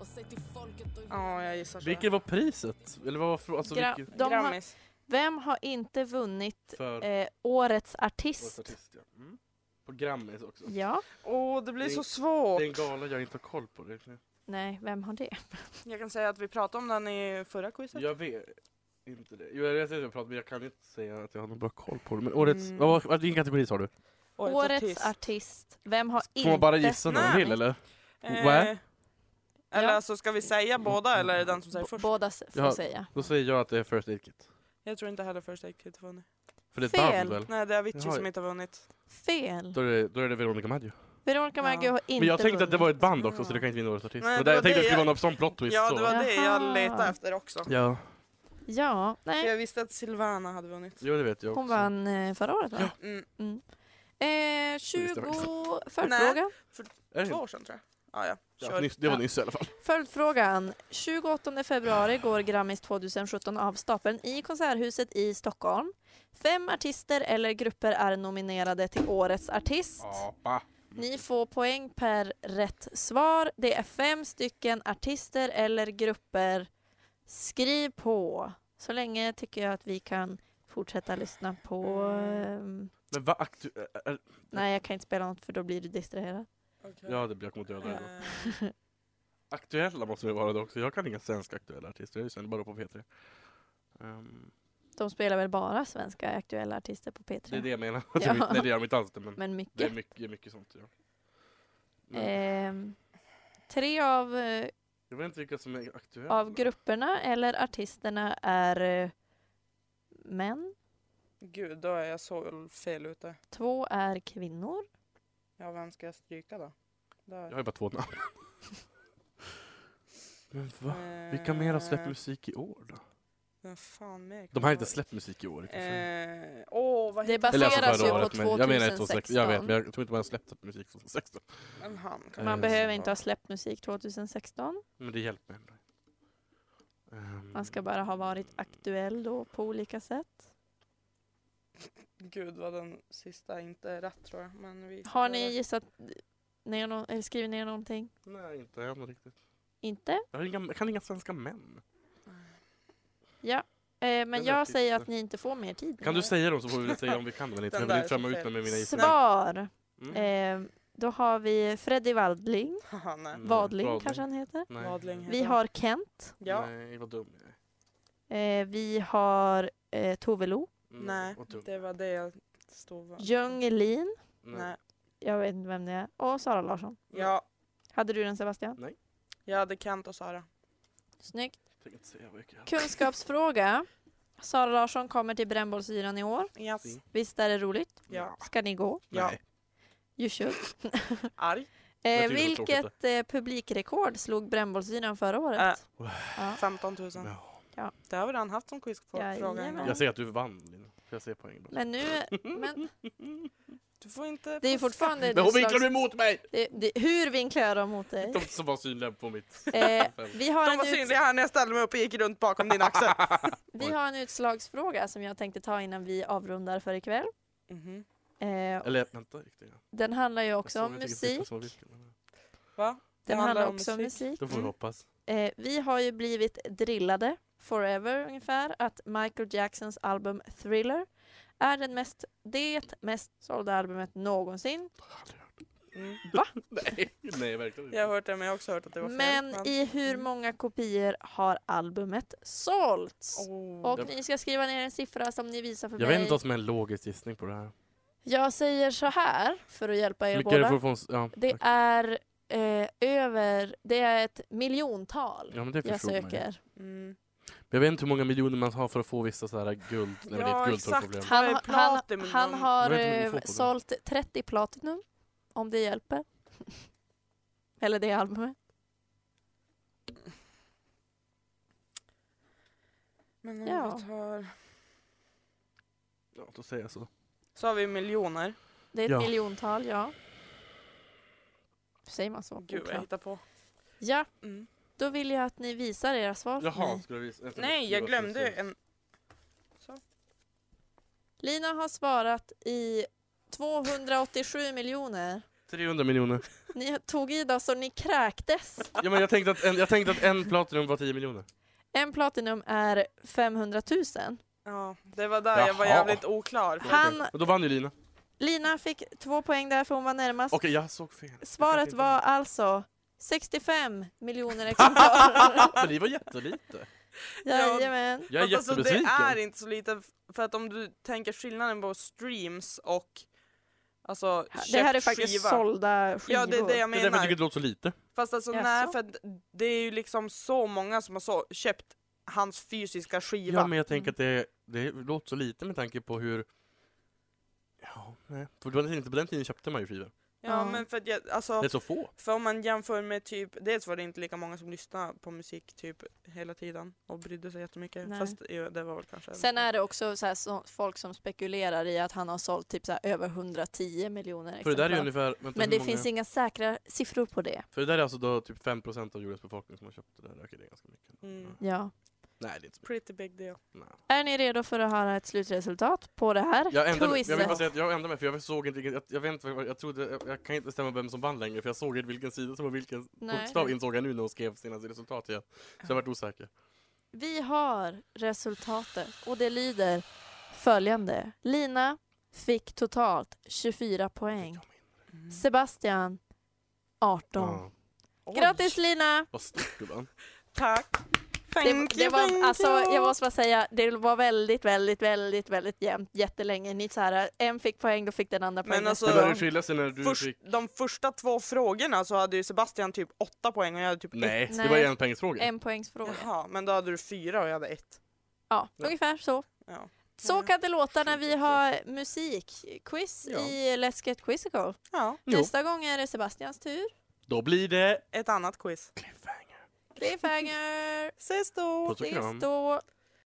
[SPEAKER 10] Och säg till folket att...
[SPEAKER 4] Ja, jag gissar så.
[SPEAKER 3] Vilket var priset? Eller vad var frå- alltså,
[SPEAKER 2] Gra-
[SPEAKER 3] vilket...
[SPEAKER 2] de har,
[SPEAKER 4] Grammis.
[SPEAKER 2] vem har inte vunnit
[SPEAKER 3] För
[SPEAKER 2] eh, årets
[SPEAKER 3] årets
[SPEAKER 2] artist?
[SPEAKER 3] artist, ja. Mm. På Grammis också.
[SPEAKER 2] Ja.
[SPEAKER 4] Åh, det blir
[SPEAKER 3] Det är-
[SPEAKER 4] så
[SPEAKER 3] Det
[SPEAKER 4] svårt.
[SPEAKER 3] är en gala jag inte har koll på. Det.
[SPEAKER 2] Nej, vem har det?
[SPEAKER 4] Jag kan säga att vi pratade om den i förra quizet.
[SPEAKER 3] Jag vet inte det. Jo, jag vet att jag pratar, men jag kan inte säga att jag har någon bra koll på det. Men årets...
[SPEAKER 4] Mm.
[SPEAKER 3] Vad var- Vilken kategori sa du?
[SPEAKER 2] Årets artist. Vem har inte...
[SPEAKER 3] Får man bara gissa någon
[SPEAKER 4] Nej.
[SPEAKER 3] till eller?
[SPEAKER 4] Eh,
[SPEAKER 3] Wä?
[SPEAKER 4] Eller
[SPEAKER 2] Ja.
[SPEAKER 4] alltså, ska vi säga båda eller är det den som säger
[SPEAKER 2] B-
[SPEAKER 4] först?
[SPEAKER 2] Båda s- får
[SPEAKER 3] Ja.
[SPEAKER 2] säga.
[SPEAKER 3] Då säger jag att det är First Aid Kit.
[SPEAKER 4] Jag tror inte heller First Aid Kit har vunnit.
[SPEAKER 3] För det är
[SPEAKER 2] Fel.
[SPEAKER 3] ett band väl?
[SPEAKER 4] Nej, det är Avicii
[SPEAKER 3] Jaha.
[SPEAKER 4] som inte har vunnit.
[SPEAKER 2] Fel.
[SPEAKER 3] Då är det, då är det Veronica Maggio.
[SPEAKER 2] Veronica Maggio
[SPEAKER 4] Ja.
[SPEAKER 2] har inte
[SPEAKER 3] Men jag tänkte att det
[SPEAKER 2] vunnit.
[SPEAKER 3] var ett band också så det kan inte vinna Årets Artist.
[SPEAKER 4] Nej,
[SPEAKER 3] Men
[SPEAKER 4] det
[SPEAKER 3] där,
[SPEAKER 4] var
[SPEAKER 3] jag tänkte
[SPEAKER 4] det
[SPEAKER 3] att det skulle
[SPEAKER 4] jag-
[SPEAKER 3] vara någon sån plot twist.
[SPEAKER 4] Ja,
[SPEAKER 3] så.
[SPEAKER 4] det var det
[SPEAKER 2] Jaha.
[SPEAKER 4] jag letade efter också.
[SPEAKER 3] Ja,
[SPEAKER 2] Ja,
[SPEAKER 4] För
[SPEAKER 2] nej.
[SPEAKER 4] jag visste att Silvana hade vunnit.
[SPEAKER 3] jo det vet jag också.
[SPEAKER 2] Hon vann eh, förra året va?
[SPEAKER 4] Mm,
[SPEAKER 2] Eh, 20...
[SPEAKER 3] visste jag
[SPEAKER 2] Följdfråga.
[SPEAKER 3] Är det-
[SPEAKER 4] två år sedan tror jag. Ja, ja.
[SPEAKER 3] Ja,
[SPEAKER 4] Kör.
[SPEAKER 3] nyss, det var nyss i alla fall.
[SPEAKER 2] Följdfrågan. 28 februari går Grammis 2017 av stapeln i Konserthuset i Stockholm. Fem artister eller grupper är nominerade till Årets artist.
[SPEAKER 3] Apa.
[SPEAKER 2] Ni får poäng per rätt svar. Det är fem stycken artister eller grupper. Skriv på. Så länge tycker jag att vi kan fortsätta lyssna på... ehm,
[SPEAKER 3] Men vad aktu... är- är-
[SPEAKER 2] Nej, jag kan inte spela något för då blir du distraherad.
[SPEAKER 4] Okej.
[SPEAKER 3] Ja, det blir jag kommer döda dig då.
[SPEAKER 4] Eh,
[SPEAKER 3] Aktuella måste det vara det också. Jag kan inga svenska aktuella artister. Jag känner bara på P3. Ehm,
[SPEAKER 2] De spelar väl bara svenska aktuella artister på P3?
[SPEAKER 3] det är det jag menar.
[SPEAKER 2] Ja.
[SPEAKER 3] Nej, det gör de inte alls. det, Men
[SPEAKER 2] Men
[SPEAKER 3] det Mm. är
[SPEAKER 2] mycket.
[SPEAKER 3] mycket, mycket sånt. Ja. Men
[SPEAKER 4] Eh.
[SPEAKER 2] Ehm, tre av, eh,
[SPEAKER 3] jag vet inte vilka som är aktuella.
[SPEAKER 2] av grupperna eller artisterna är eh, män,
[SPEAKER 4] Gud, då är jag så fel ute.
[SPEAKER 2] två är kvinnor.
[SPEAKER 4] Ja, vem ska jag stryka då?
[SPEAKER 3] Jag
[SPEAKER 4] Där.
[SPEAKER 3] har ju bara två namn. men va? Vilka mer har släppt
[SPEAKER 4] Eh,
[SPEAKER 3] musik i år då?
[SPEAKER 4] Vem fan mer? kan
[SPEAKER 3] De
[SPEAKER 4] det
[SPEAKER 3] har inte
[SPEAKER 4] vara?
[SPEAKER 3] släppt musik i år. kanske.
[SPEAKER 4] Eh, Åh, vad
[SPEAKER 2] Det
[SPEAKER 4] heter
[SPEAKER 2] baseras
[SPEAKER 3] alltså
[SPEAKER 2] ju på
[SPEAKER 3] men jag menar
[SPEAKER 2] 2016.
[SPEAKER 3] Jag vet, men jag tror inte man har släppt musik 2016.
[SPEAKER 4] Men han.
[SPEAKER 3] Eh,
[SPEAKER 2] Man behöver inte
[SPEAKER 4] ja.
[SPEAKER 2] ha släppt musik 2016.
[SPEAKER 3] Men det hjälper ändå. Ehm,
[SPEAKER 2] Man ska bara ha varit aktuell då på olika sätt.
[SPEAKER 4] Gud, vad den sista inte är rätt tror jag. Men vi
[SPEAKER 2] Har
[SPEAKER 3] Eh.
[SPEAKER 2] ni gissat ner nå- eller skrivit ner någonting?
[SPEAKER 3] Nej, inte än riktigt.
[SPEAKER 2] Inte?
[SPEAKER 3] Jag, har inga, jag kan inga svenska män.
[SPEAKER 2] Eh,
[SPEAKER 3] Den
[SPEAKER 2] men
[SPEAKER 3] där
[SPEAKER 2] jag säger
[SPEAKER 3] sista.
[SPEAKER 2] att ni inte får mer tid.
[SPEAKER 3] Kan du säga dem så får vi väl säga om vi kan dem eller inte.
[SPEAKER 4] Den
[SPEAKER 3] Jag vill
[SPEAKER 4] där
[SPEAKER 3] inte
[SPEAKER 4] är så
[SPEAKER 3] framma ut
[SPEAKER 4] fel.
[SPEAKER 3] mig med mina gissningar.
[SPEAKER 2] Svar!
[SPEAKER 3] Mm.
[SPEAKER 2] Eh, då har vi Freddy Waldling.
[SPEAKER 4] Haha, nej.
[SPEAKER 3] Mm,
[SPEAKER 2] Wadling kanske han heter.
[SPEAKER 3] Nej.
[SPEAKER 4] Vadling heter
[SPEAKER 2] Vi
[SPEAKER 4] han.
[SPEAKER 2] har Kent.
[SPEAKER 4] Ja.
[SPEAKER 3] Nej, vad dum jag är.
[SPEAKER 2] Eh, vi har eh, Tove Lo.
[SPEAKER 3] Mm,
[SPEAKER 4] Nej,
[SPEAKER 3] vad dum.
[SPEAKER 4] det var det jag stod var.
[SPEAKER 2] Ljung Elin.
[SPEAKER 4] Nej.
[SPEAKER 2] Jag vet inte vem det är. Och Sara Larsson.
[SPEAKER 4] Ja,
[SPEAKER 2] Hade du den Sebastian?
[SPEAKER 4] jag hade Kent och Sara.
[SPEAKER 2] Snyggt.
[SPEAKER 3] Jag tänker inte säga vilka.
[SPEAKER 2] Kunskapsfråga. Sara Larsson kommer till Brännbollsyran i år.
[SPEAKER 4] Yes.
[SPEAKER 3] Fint.
[SPEAKER 2] Visst är det roligt?
[SPEAKER 4] Ja.
[SPEAKER 2] Ska ni gå?
[SPEAKER 4] Ja.
[SPEAKER 3] Nej.
[SPEAKER 2] You should.
[SPEAKER 4] Arg.
[SPEAKER 2] Eh,
[SPEAKER 3] Jag tycker det Äh. var tråkigt
[SPEAKER 2] vilket eh, publikrekord slog Brännbollsyran förra året? Ja.
[SPEAKER 4] 15 000.
[SPEAKER 3] Ja.
[SPEAKER 4] Det har vi redan haft som quizfråga.
[SPEAKER 2] Jajamän.
[SPEAKER 4] innan.
[SPEAKER 3] Jag ser att du vann Lina. Får jag se poäng bara?
[SPEAKER 2] Men nu... Men
[SPEAKER 4] Du får inte...
[SPEAKER 2] det är ju fortfarande...
[SPEAKER 3] Men hon
[SPEAKER 2] ett
[SPEAKER 3] vinklar
[SPEAKER 2] slags-
[SPEAKER 3] du emot mig!
[SPEAKER 2] det, det, hur vinklar jag dem mot dig?
[SPEAKER 3] De som var synliga på mitt...
[SPEAKER 2] Eh, vi, har
[SPEAKER 4] De
[SPEAKER 2] en
[SPEAKER 4] var
[SPEAKER 2] ut,
[SPEAKER 4] synliga här när jag ställde mig upp och gick runt bakom din axel.
[SPEAKER 2] vi har en utslagsfråga som jag tänkte ta innan vi avrundar för ikväll.
[SPEAKER 4] Mhm.
[SPEAKER 2] Eh,
[SPEAKER 3] Eller vänta, riktigt. Jag
[SPEAKER 2] den handlar ju
[SPEAKER 3] såg
[SPEAKER 2] också om
[SPEAKER 3] att jag tycker att
[SPEAKER 2] musik.
[SPEAKER 3] det var vilken, men
[SPEAKER 4] Va?
[SPEAKER 2] Den handlar också om musik.
[SPEAKER 3] Då får vi
[SPEAKER 4] Mm.
[SPEAKER 3] hoppas.
[SPEAKER 2] Eh, vi har ju blivit drillade, forever ungefär, att Michael Jacksons album Thriller är den mest, det mest sålda albumet någonsin.
[SPEAKER 4] Mm.
[SPEAKER 3] Nej, nej verkligen inte.
[SPEAKER 4] Jag har hört det men jag har också hört att det var fel. Mm.
[SPEAKER 2] Men i hur många kopior har albumet sålts?
[SPEAKER 4] Åh.
[SPEAKER 2] Och ni ska skriva ner en siffra som ni visar för
[SPEAKER 3] Jag vet
[SPEAKER 2] mig.
[SPEAKER 3] inte vad som är en logisk gissning på det här.
[SPEAKER 2] Jag säger så här, för att hjälpa er
[SPEAKER 3] Vilka är
[SPEAKER 2] båda.
[SPEAKER 3] det fortfarande? Ja,
[SPEAKER 2] Det
[SPEAKER 3] tack.
[SPEAKER 2] är eh, över, det är ett miljontal
[SPEAKER 3] ja, men det
[SPEAKER 2] jag
[SPEAKER 3] förstod man ju.
[SPEAKER 2] söker.
[SPEAKER 4] Mm.
[SPEAKER 3] Men Jag vet inte hur många miljoner man har för att få vissa så här guld. Nej, men det är
[SPEAKER 4] Ja,
[SPEAKER 3] ett
[SPEAKER 4] exakt.
[SPEAKER 3] guldproblem.
[SPEAKER 4] Vad är
[SPEAKER 2] Han, han,
[SPEAKER 4] platinum?
[SPEAKER 2] han har
[SPEAKER 3] Jag vet inte hur mycket
[SPEAKER 2] eh,
[SPEAKER 3] vi får på det.
[SPEAKER 2] sålt 30 platinum, om det hjälper. Eller det albumet.
[SPEAKER 4] Men om
[SPEAKER 2] Ja.
[SPEAKER 4] vi tar...
[SPEAKER 3] Ja, då säger jag så.
[SPEAKER 4] Så har vi miljoner.
[SPEAKER 2] Det är ett
[SPEAKER 3] Ja.
[SPEAKER 2] miljontal, ja. Säger man så?
[SPEAKER 4] Gud vad jag
[SPEAKER 2] Oklart.
[SPEAKER 4] hittar på.
[SPEAKER 2] Ja,
[SPEAKER 4] Mm.
[SPEAKER 2] då vill jag att ni visar era svar för
[SPEAKER 3] Jaha,
[SPEAKER 2] mig.
[SPEAKER 3] skulle jag visa?
[SPEAKER 4] Nej jag glömde en...
[SPEAKER 2] Lina har svarat i 287 miljoner.
[SPEAKER 3] 300 miljoner.
[SPEAKER 2] Ni tog i då så ni kräktes.
[SPEAKER 3] Ja, men jag, tänkte att en, jag tänkte att en platinum var 10 miljoner.
[SPEAKER 2] En platinum är 500 000.
[SPEAKER 4] Ja, det var där jag var
[SPEAKER 3] Jaha.
[SPEAKER 4] jävligt oklar.
[SPEAKER 2] Han-
[SPEAKER 3] Okej. Och då vann ju Lina. Okej,
[SPEAKER 2] Lina fick två poäng där för hon var närmast.
[SPEAKER 3] jag såg fel. Jag kanske
[SPEAKER 2] Svaret
[SPEAKER 3] inte-
[SPEAKER 2] var alltså 65 miljoner exemplar.
[SPEAKER 3] Men det var jättelite.
[SPEAKER 2] Jajamän.
[SPEAKER 3] Jag är
[SPEAKER 4] Fast alltså,
[SPEAKER 3] jättebesviken.
[SPEAKER 4] det är inte så lite, f- för att om du tänker skillnaden på streams och Alltså,
[SPEAKER 2] Det här är
[SPEAKER 4] köpt
[SPEAKER 2] faktiskt
[SPEAKER 4] skiva.
[SPEAKER 2] sålda skivor.
[SPEAKER 4] Ja, det är det jag
[SPEAKER 3] Det är därför jag
[SPEAKER 4] menar.
[SPEAKER 3] tycker det låter så lite.
[SPEAKER 4] Fast alltså
[SPEAKER 2] Jaså?
[SPEAKER 4] nej, för att det är ju liksom så många som har så, köpt hans fysiska skiva.
[SPEAKER 3] Ja, men jag tänker att det, det låter så lite med tanke på hur... Ja, nej. För det var inte på den tiden köpte man ju skivor.
[SPEAKER 4] Ja, men för att jag, alltså,
[SPEAKER 3] Det är så få.
[SPEAKER 4] för om man jämför med typ, dels var det inte lika många som lyssnade på musik typ hela tiden och brydde sig jättemycket.
[SPEAKER 2] Nej.
[SPEAKER 4] Fast ja, det var väl kanske...
[SPEAKER 2] Sen är det också så här, så, folk som spekulerar i att han har sålt typ så här, över 110 miljoner
[SPEAKER 3] För det där är ju
[SPEAKER 2] exemplar.
[SPEAKER 3] ungefär... Vänta,
[SPEAKER 2] Men det
[SPEAKER 3] hur många-
[SPEAKER 2] finns inga säkra siffror på det.
[SPEAKER 3] För det där är alltså då typ 5% av jordens befolkning som har köpt det där. Okej, det är ganska mycket.
[SPEAKER 4] Mm.
[SPEAKER 2] Ja.
[SPEAKER 3] Nej, det är inte så mycket.
[SPEAKER 4] Pretty big deal.
[SPEAKER 3] Nej.
[SPEAKER 2] Är ni redo för att höra ett slutresultat på det här
[SPEAKER 3] Jag ändrar mig, jag
[SPEAKER 2] quizet?
[SPEAKER 3] vill bara säga att jag ändrar mig för jag såg inte, riktigt- jag, jag vet inte, vad- jag trodde, jag, jag kan inte bestämma vem som vann längre för jag såg inte vilken sida som var vilken
[SPEAKER 2] Nej.
[SPEAKER 3] bokstav insåg jag nu när hon skrev sina resultat igen. Så jag varit osäker.
[SPEAKER 2] Vi har resultatet och det lyder följande. Lina fick totalt 24 poäng. Sebastian 18.
[SPEAKER 3] Ja.
[SPEAKER 4] Oj,
[SPEAKER 2] Grattis Lina!
[SPEAKER 3] Vad stort du vann.
[SPEAKER 4] Tack!
[SPEAKER 2] Det,
[SPEAKER 4] Thank
[SPEAKER 2] det
[SPEAKER 4] you, thank
[SPEAKER 2] var, alltså,
[SPEAKER 4] you.
[SPEAKER 2] jag måste bara säga, det var väldigt, väldigt, väldigt, väldigt jämnt jättelänge. Ni så här, en fick poäng, då fick den andra
[SPEAKER 4] Men
[SPEAKER 2] poäng.
[SPEAKER 4] alltså-
[SPEAKER 3] Det
[SPEAKER 4] Så-
[SPEAKER 3] började skilja sig när du
[SPEAKER 4] Först,
[SPEAKER 3] fick...
[SPEAKER 4] de första två frågorna så hade ju Sebastian typ åtta poäng och jag hade typ ett.
[SPEAKER 3] Nej, det
[SPEAKER 2] Nej.
[SPEAKER 3] var ju en poängsfråga.
[SPEAKER 2] en poängsfråga.
[SPEAKER 4] Jaha, men då hade du fyra och jag hade ett.
[SPEAKER 2] Ja, ungefär så.
[SPEAKER 4] Ja.
[SPEAKER 2] Så
[SPEAKER 4] Mm.
[SPEAKER 2] kan det låta när vi har musikquiz
[SPEAKER 3] Ja.
[SPEAKER 2] i Let's Get Quizzical.
[SPEAKER 4] Ja,
[SPEAKER 3] Jo.
[SPEAKER 2] Nästa gång är det Sebastians tur.
[SPEAKER 3] Då blir det...
[SPEAKER 4] ett annat quiz.
[SPEAKER 3] Cliffhanger.
[SPEAKER 2] Cliffhanger!
[SPEAKER 4] Ses då!
[SPEAKER 3] Puss och kram.
[SPEAKER 2] Ses då!